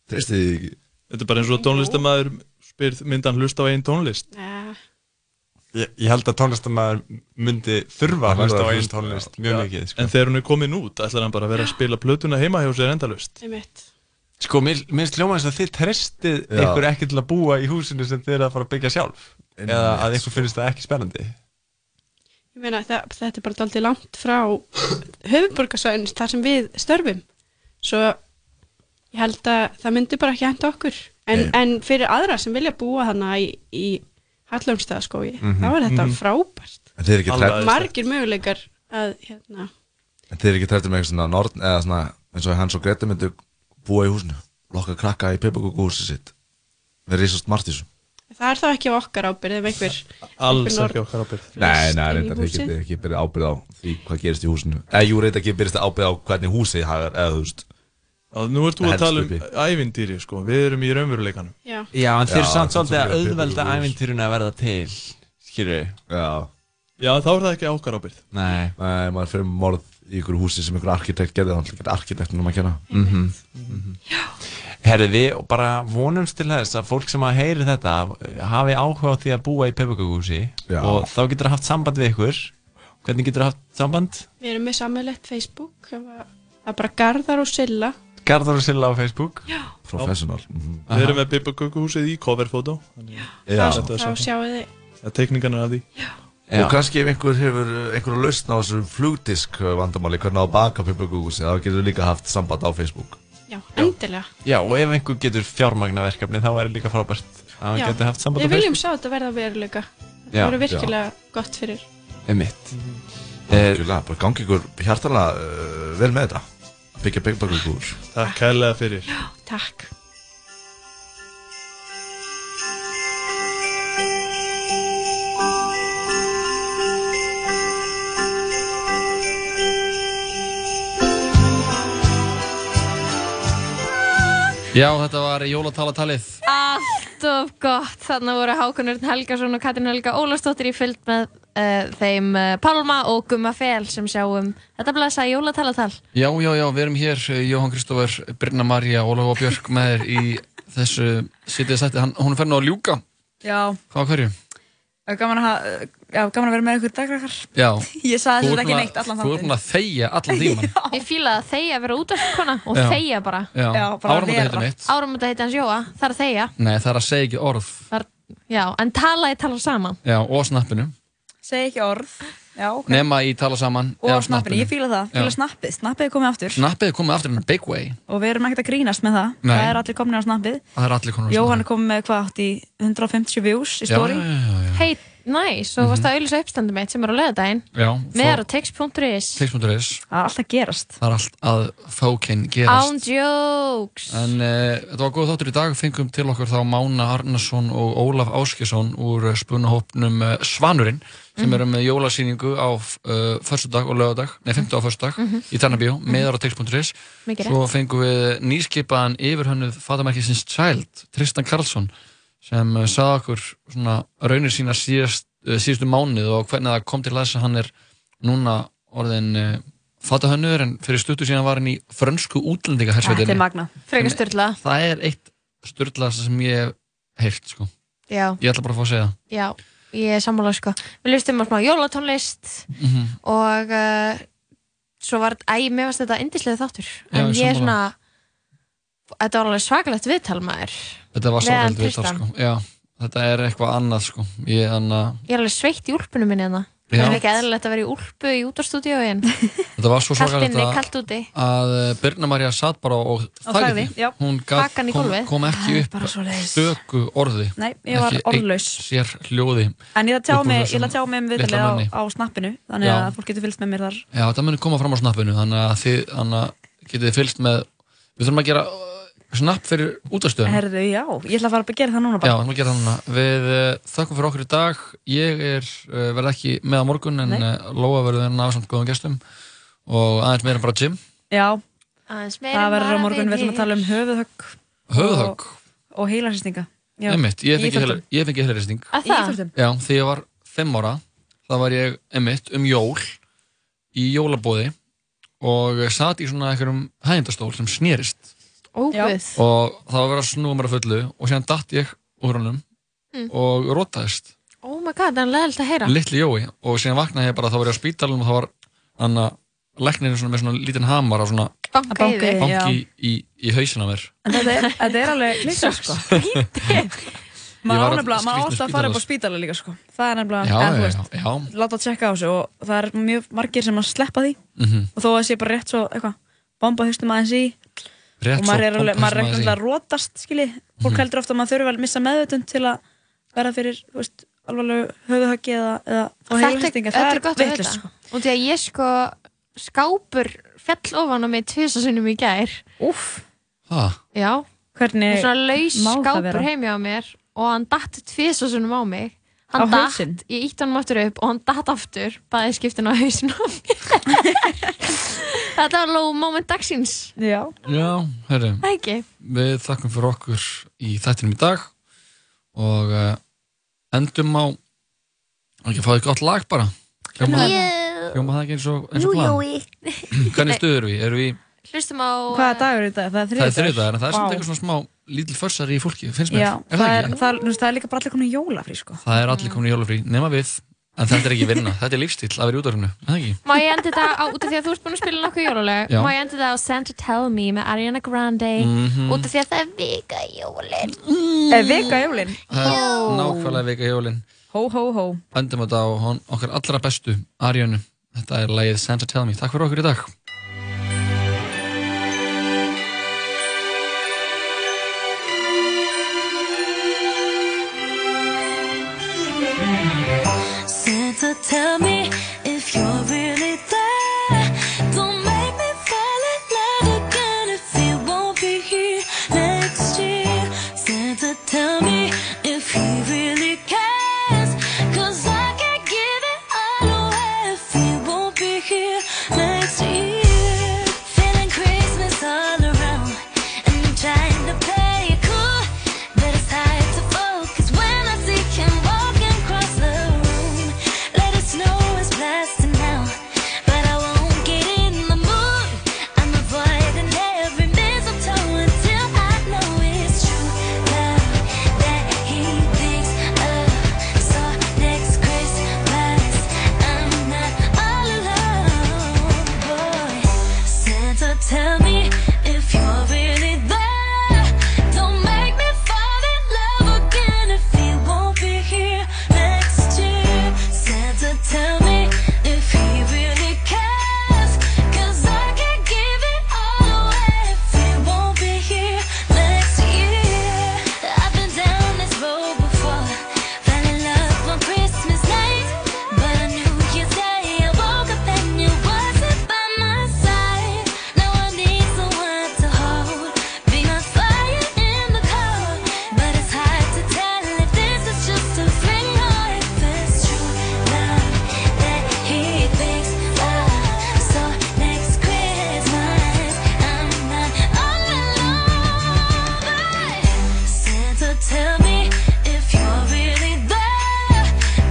[SPEAKER 14] Treystið þið ekki
[SPEAKER 23] Þetta er bara eins og tónlistamæður spyr myndan hlusta á einn tónlist
[SPEAKER 12] Nei.
[SPEAKER 28] Ég, ég held að tónlistamæður myndi þurfa að
[SPEAKER 23] Hann verður
[SPEAKER 28] hlusta á
[SPEAKER 23] að
[SPEAKER 28] einn
[SPEAKER 23] hlusta,
[SPEAKER 28] tónlist
[SPEAKER 23] já.
[SPEAKER 28] mjög
[SPEAKER 23] Já.
[SPEAKER 28] mikið sko.
[SPEAKER 23] En þegar hún er komin út ætlar hann bara að vera að spila plötuna heima hjá sér endalust
[SPEAKER 12] Einmitt.
[SPEAKER 28] Sko, mér mér finnst hljóma eins og þið trestið
[SPEAKER 23] Já.
[SPEAKER 28] ykkur ekki til að búa í húsinu sem þið eru að fara að byggja sjálf eða að ykkur finnst það ekki spennandi
[SPEAKER 12] Ég meina það, þetta er bara daldið langt frá höfuborgarsvæðinist þar sem við störfum. Svo ég held að það myndi bara ekki henda okkur. en,
[SPEAKER 14] Nei.
[SPEAKER 12] en fyrir aðra sem vilja búa hana í, í Hallumstæðaskói
[SPEAKER 14] Mhm.
[SPEAKER 12] þá er þetta
[SPEAKER 14] Mhm.
[SPEAKER 12] frábært
[SPEAKER 14] En þið eru ekki hrædd-
[SPEAKER 12] margir möguleikar að hérna,
[SPEAKER 14] En þið er ekki trættum með eitthvað svona norn eða svona eins og hans og Greta myndu búa í húsinu lokka krakka í pepagóku húsi sitt með risast margt í þessu
[SPEAKER 12] það er þá ekki á okkar ábyrð ef einhver einhver norn-
[SPEAKER 14] Nei, nei,
[SPEAKER 12] inn í
[SPEAKER 14] reyndar þið
[SPEAKER 12] húsið.
[SPEAKER 14] getið ekki byrjað ábyrð á því hvað gerist í húsinu Eða jú, reyndar ekki byrjast ábyrð á hvernig húsið hagar eða þú veist
[SPEAKER 9] Já, nú ert þú að
[SPEAKER 14] Helst
[SPEAKER 9] tala um
[SPEAKER 14] uppi.
[SPEAKER 9] ævindýri sko, við erum í raunveruleikanum
[SPEAKER 12] Já.
[SPEAKER 28] Já, en þeir samt svolítið
[SPEAKER 9] pipar-
[SPEAKER 28] að auðvelda
[SPEAKER 9] pipar-
[SPEAKER 28] ævintýrun að verða til Skilju
[SPEAKER 14] Já
[SPEAKER 9] Já, þá er það ekki ákar ábyrð
[SPEAKER 14] Nei Nei, maður fyrir morð í ykkur húsi sem ykkur arkitekt gerði þannig að arkitektunum að kenna
[SPEAKER 28] mm Herði við og bara vonumst til þess að fólk sem að heyri þetta hafi áhuga á því að búa í pepukakúsi
[SPEAKER 14] Já.
[SPEAKER 28] og þá getur það haft samband við ykkur Hvernig getur það haft samband?
[SPEAKER 12] við erum með sammeilegt Facebook ef að- það er bara Garðar og Silla
[SPEAKER 28] Garðar og Silla á Facebook
[SPEAKER 12] Já.
[SPEAKER 14] Professional mhm.
[SPEAKER 9] Við erum með Bibakökuhúsið í coverfótó
[SPEAKER 14] Já.
[SPEAKER 12] þá, þá sjáu þið
[SPEAKER 9] Tekningarnar af því
[SPEAKER 14] Og kannski ef einhver hefur einhverju lausn á þessu flugdisk vandamáli hvernig á að baka pepagókusi þá getur líka haft samband á Facebook
[SPEAKER 12] já, endilega
[SPEAKER 28] Já, og ef einhver getur fjármagna verkefni þá er líka frábært að hann
[SPEAKER 12] Já.
[SPEAKER 28] getur haft samband á
[SPEAKER 12] við
[SPEAKER 28] Facebook
[SPEAKER 12] viljum sjá þetta verða veruleika það
[SPEAKER 28] Já,
[SPEAKER 12] voru virkilega gott fyrir
[SPEAKER 28] Emitt
[SPEAKER 14] Algjörlega, bara gangi ykkur hjartalega uh, vel með þetta að byggja pepagókus
[SPEAKER 9] Takk kærlega fyrir
[SPEAKER 12] takk
[SPEAKER 2] Já, þetta var jólatalatalið
[SPEAKER 3] Allt of gott, þannig voru Hákon Örn Helgason og Katrin Helga Ólafsdóttir í fylgd með uh, þeim uh, Pálma og Gumma Fel sem sjáum þetta blessa jólatalatal.
[SPEAKER 2] Já, já, já, við erum hér, eh, Jóhann Kristófur, Brynna Marja, Ólaf og Björk með þér í þessu sitið sætti. Hann, hún er færð nú að ljúka,
[SPEAKER 21] Já,
[SPEAKER 2] hvað á hverju?
[SPEAKER 21] það er gaman að, ha- já, gaman að vera með ykkur dagrakar.
[SPEAKER 2] Já.
[SPEAKER 21] Ég
[SPEAKER 2] Þú
[SPEAKER 21] sagði þetta
[SPEAKER 2] ert
[SPEAKER 21] ekki
[SPEAKER 2] búin að-
[SPEAKER 21] neitt allan
[SPEAKER 2] Þú ert búin að þegja allan tíman.
[SPEAKER 3] Ég fíla að þeia að vera út af svona og
[SPEAKER 2] Já.
[SPEAKER 3] þeia bara.
[SPEAKER 2] Já. Já, bara Áramóta vera. heitið mitt.
[SPEAKER 3] Áramóta heitið hans Jóa, það er að þeia.
[SPEAKER 2] Nei, það er að segja ekki orð.
[SPEAKER 3] Það er, já, en tala ég tala saman.
[SPEAKER 2] Já, og snappinu.
[SPEAKER 21] Segja ekki orð. Já, ok.
[SPEAKER 2] Nema í tala saman.
[SPEAKER 21] og
[SPEAKER 2] eða
[SPEAKER 21] á snappinu, ég fíla það, fíla
[SPEAKER 2] Já.
[SPEAKER 21] snappið, snappið er komið aftur
[SPEAKER 2] Snappið er komið aftur in a big way.
[SPEAKER 21] og við erum ekkert að grínast með það,
[SPEAKER 2] Nei.
[SPEAKER 21] það er allir komin á snappið
[SPEAKER 2] Það er allir konar
[SPEAKER 21] Jóhann er komið með hvað átt í 150 views í
[SPEAKER 2] Já,
[SPEAKER 21] story
[SPEAKER 2] já, Mhm. já, já, já.
[SPEAKER 3] Hei, næs, og varst það auðvitað uppstandum mitt sem er á löðadaginn.
[SPEAKER 2] Já,
[SPEAKER 3] Meðar á text.is.
[SPEAKER 2] text.is.
[SPEAKER 21] Það er allt að gerast.
[SPEAKER 2] Það er allt að fókinn gerast.
[SPEAKER 3] Án jokes.
[SPEAKER 2] En uh, þetta var góð þáttur í dag, fengum til okkur þá Mána Arnason og Ólaf Áskjesson úr eh, spunahópnum uh, Svanurinn sem
[SPEAKER 16] Mhm.
[SPEAKER 2] eru með jólasýningu á uh, föstudag og lögadag, nei, 15 á föstudag
[SPEAKER 16] Mhm.
[SPEAKER 2] í Tannabíó, mm
[SPEAKER 16] Mhm.
[SPEAKER 2] meðar á text.is
[SPEAKER 16] Mikið
[SPEAKER 2] Svo
[SPEAKER 16] rétt.
[SPEAKER 2] fengum við nýskipaðan yfirhönnuð fatamerkisins Child, Tristan Karlsson sem uh, sagði okkur svona raunir sína síðast, uh, síðustu mánuð og hvernig það kom til þess að hann er núna orðin uh, fatahönnuður en fyrir stuttu síðan var hann í frönsku útlendingahersveitinni
[SPEAKER 21] Þetta er magnað.
[SPEAKER 3] Frekar
[SPEAKER 2] Sem-
[SPEAKER 3] styrla.
[SPEAKER 2] Það er eitt styrlaðasta sem ég hef heyrt sko.
[SPEAKER 3] Já.
[SPEAKER 2] Ég ætla bara að fá að segja það
[SPEAKER 3] Já, ég er sammála sko. Við lustum á smá jólatónlist
[SPEAKER 2] Mhm.
[SPEAKER 3] og uh, svo var, æ, mér varst þetta indislega þáttur.
[SPEAKER 2] Já,
[SPEAKER 3] En
[SPEAKER 2] ég er
[SPEAKER 3] ég er svona,
[SPEAKER 2] sammála.
[SPEAKER 3] þetta var alveg svakalegt viðtal maður.
[SPEAKER 2] Þetta var
[SPEAKER 3] Við hann
[SPEAKER 2] sárhald við þetta
[SPEAKER 3] Tristan.
[SPEAKER 2] sko. Já, Þetta er eitthvað annað sko. Ég anna...
[SPEAKER 3] Ég er alveg sveitt í úlpunum minni hérna.
[SPEAKER 2] Já.
[SPEAKER 3] Það er ekki eðlilegt að vera í úlpu í útastúdíóin.
[SPEAKER 2] Þetta var svo
[SPEAKER 3] Kalt inni,
[SPEAKER 2] svakalegt
[SPEAKER 3] kalt úti.
[SPEAKER 2] að eh, Birna Marja satt bara og
[SPEAKER 3] Og
[SPEAKER 2] þagði
[SPEAKER 3] þagði,
[SPEAKER 2] því.
[SPEAKER 3] já.
[SPEAKER 2] Hún gat,
[SPEAKER 3] Hakan í
[SPEAKER 2] kom,
[SPEAKER 3] gólfið.
[SPEAKER 2] kom
[SPEAKER 21] Það
[SPEAKER 2] ekki
[SPEAKER 21] er
[SPEAKER 2] upp
[SPEAKER 21] bara svoleiðis.
[SPEAKER 2] stöku orði
[SPEAKER 21] Nei, ég var
[SPEAKER 2] Ekki eitt
[SPEAKER 21] orðlaus.
[SPEAKER 2] Sér hljóði
[SPEAKER 21] En ég ætla að tjá
[SPEAKER 2] upp úr
[SPEAKER 21] mig, ég
[SPEAKER 2] þessum
[SPEAKER 21] ætla að tjá mig um
[SPEAKER 2] litla
[SPEAKER 21] viðtalið á,
[SPEAKER 2] manni.
[SPEAKER 21] á snappinu þannig
[SPEAKER 2] Já.
[SPEAKER 21] að fólk getur fylgst með mér þar
[SPEAKER 2] Já, þetta munir koma fram á snappinu þannig að þið þannig að getið þið fylgst með Við þurfum að gera eh, snapp fyrir útastöðum
[SPEAKER 21] Herðu, já, ég ætla að fara að gera það núna
[SPEAKER 2] Já,
[SPEAKER 21] bara
[SPEAKER 2] þannig að gera það núna. Við uh, þökkum fyrir okkur í dag. Ég er, uh, verð ekki með á morgun en
[SPEAKER 21] Nei.
[SPEAKER 2] uh, Lóa verður hérna á samt góðum gestum og aðeins meira en bara Jim.
[SPEAKER 21] Já,
[SPEAKER 3] það
[SPEAKER 21] það verður á morgun, við ætlum að tala um höfuðhögg
[SPEAKER 2] Höfuðhögg?
[SPEAKER 21] og, og heilarsýstinga
[SPEAKER 2] Einmitt, ég fengi heilar- ég fengi heilarýsting.
[SPEAKER 21] Að Í það? íþróttum?
[SPEAKER 2] Já, þegar ég var fimm ára, þá var ég einmitt um jól í jólabóði og satt í svona einhverjum hægindastól sem snerist
[SPEAKER 3] Óguð.
[SPEAKER 2] og það var verið að snúa mér að fullu og síðan datt ég úr honum
[SPEAKER 3] Mm.
[SPEAKER 2] og rótaðist.
[SPEAKER 3] Oh my god, það er leðilt að heyra.
[SPEAKER 2] litli Jói og síðan vaknaði ég bara þá var ég á spítalunum og þá var hann að læknirinn svona með svona lítinn hamar og svona
[SPEAKER 3] Banka í
[SPEAKER 21] Banka í þig, já.
[SPEAKER 2] banki í, í hausina mér
[SPEAKER 21] En þetta er, þetta er alveg klíkja sko
[SPEAKER 2] Ég var
[SPEAKER 21] Maður
[SPEAKER 2] að-
[SPEAKER 21] ánefnilega, maður
[SPEAKER 2] skrýtnum
[SPEAKER 21] ást að fara upp á
[SPEAKER 2] spítala.
[SPEAKER 21] spítala líka sko Það
[SPEAKER 2] Já,
[SPEAKER 21] er nefnilega, en þú
[SPEAKER 2] já,
[SPEAKER 21] veist,
[SPEAKER 2] já, já.
[SPEAKER 21] láta að tjekka á þessu og það er mjög margir sem að sleppa því
[SPEAKER 2] Mhm.
[SPEAKER 21] og þó að það sé bara rétt svo, eitthvað, bomba haustum aðeins í
[SPEAKER 2] Rétt
[SPEAKER 16] og maður
[SPEAKER 2] svo
[SPEAKER 16] er, alveg, maður er
[SPEAKER 2] podcastmaður
[SPEAKER 16] ekki
[SPEAKER 2] í.
[SPEAKER 16] alltaf að rótast skilji, fólk
[SPEAKER 2] Mhm.
[SPEAKER 16] heldur ofta að maður þurfi að missa meðvutund til að vera fyrir þú veist, alvarlegu höfuhöggi eða, eða fá
[SPEAKER 3] Þetta,
[SPEAKER 16] heilahristing, en
[SPEAKER 3] þetta er gott að
[SPEAKER 16] vitlaust,
[SPEAKER 3] vita
[SPEAKER 16] sko.
[SPEAKER 3] Og því að ég sko skápur fell ofan á mig tvisasinnum í gær
[SPEAKER 16] Úff
[SPEAKER 2] Ha?
[SPEAKER 3] Já
[SPEAKER 16] Hvernig
[SPEAKER 3] Og Svona laus
[SPEAKER 16] má það
[SPEAKER 3] skápur
[SPEAKER 16] vera?
[SPEAKER 3] heimi á mér Og hann datt tvisasinnum á mig
[SPEAKER 16] Á
[SPEAKER 3] Hann datt,
[SPEAKER 16] hausinn?
[SPEAKER 3] ég ítti hann aftur upp og hann datt aftur Bæði skiptin á hausinn á mér Þetta var low moment dagsins
[SPEAKER 16] Já
[SPEAKER 2] Já, herri
[SPEAKER 3] Það ekki
[SPEAKER 2] Við þakkum fyrir okkur í þættinum í dag og uh, endum á ekki að fá því gott lag bara Hljóma
[SPEAKER 3] Jú.
[SPEAKER 2] hljóma það ekki eins og, eins og plan Hvernig stuð eru við? Erum við
[SPEAKER 3] Hlustum á eh,
[SPEAKER 16] Hvaða dagur er í dag? Það er
[SPEAKER 2] það er
[SPEAKER 16] þriðjudagur.
[SPEAKER 2] þriðið dagar en það er
[SPEAKER 16] Vá.
[SPEAKER 2] samt eitthvað svona smá lítil försar í fólki finnst mér
[SPEAKER 16] Já,
[SPEAKER 2] er það,
[SPEAKER 16] það, er,
[SPEAKER 2] ekki?
[SPEAKER 16] það, er, þú veist, það er líka bara allir komin í jólafrí sko.
[SPEAKER 2] það er allir komin í jólafrí nema við en þetta er ekki vinna þetta er lífstíl að vera í útvarfinu er það ekki?
[SPEAKER 3] Má ég endi þetta á, út af því að þú ert búin að spila nokkuð jóluleg
[SPEAKER 2] Já.
[SPEAKER 3] Má ég endi þetta á Santa Tell Me með Ariana Grande
[SPEAKER 2] Mhm.
[SPEAKER 3] Út af því að það er vika jólin
[SPEAKER 16] Er vika jólin?
[SPEAKER 2] Það er nákvæmlega veika jólin
[SPEAKER 16] Hó, hó, hó
[SPEAKER 2] endum þetta á hon, okkar allra bestu Arjönu þetta er lagið Santa Tell Me takk fyrir okkur í dag
[SPEAKER 17] Santa, tell me if you're really there. Don't make me fall in love again if you won't be here next year. Santa, tell me if he really cares. Cause I can't give it all away if you won't be here next year. Feeling Christmas all around, and I'm trying to play it cool. But it's hard to focus when I see him walking across the room. Let it snow is blasting now, but I won't get in the mood. I'm avoiding every mistletoe until I know it's true love that he thinks of. So next Christmas, I'm not all alone, boy. Santa, tell me if you're really there. Don't make me fall in love again if he won't be here next year. Santa, tell me if he really cares. 'Cause I can't give it all away if he won't be here next year. I've been down this road before, fell in love on Christmas night, but I knew you'd stay. I woke up and you wasn't by my side. Now I need someone to hold, be my fire in the cold. But it's hard to tell if this is just a fling or if it's true love that he thinks of. So next Christmas, I'm not all alone. But Santa, tell me if you're really there.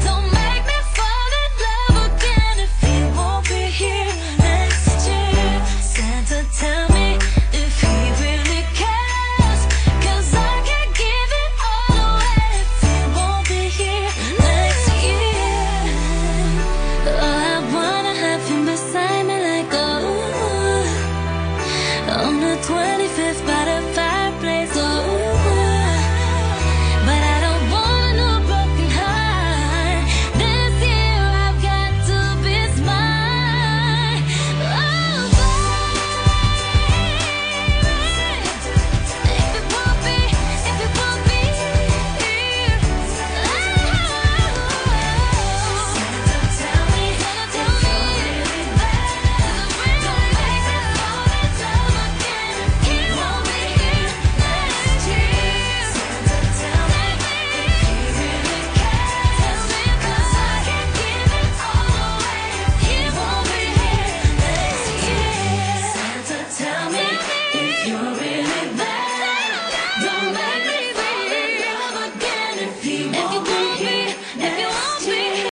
[SPEAKER 17] Don't make me fall in love again if he won't be here next year. Santa, tell me if he really cares. 'Cause I can't give it all away if he won't be here next year. Oh, I wanna have him beside me like a. On the 25th by the fireplace, oh, Oh,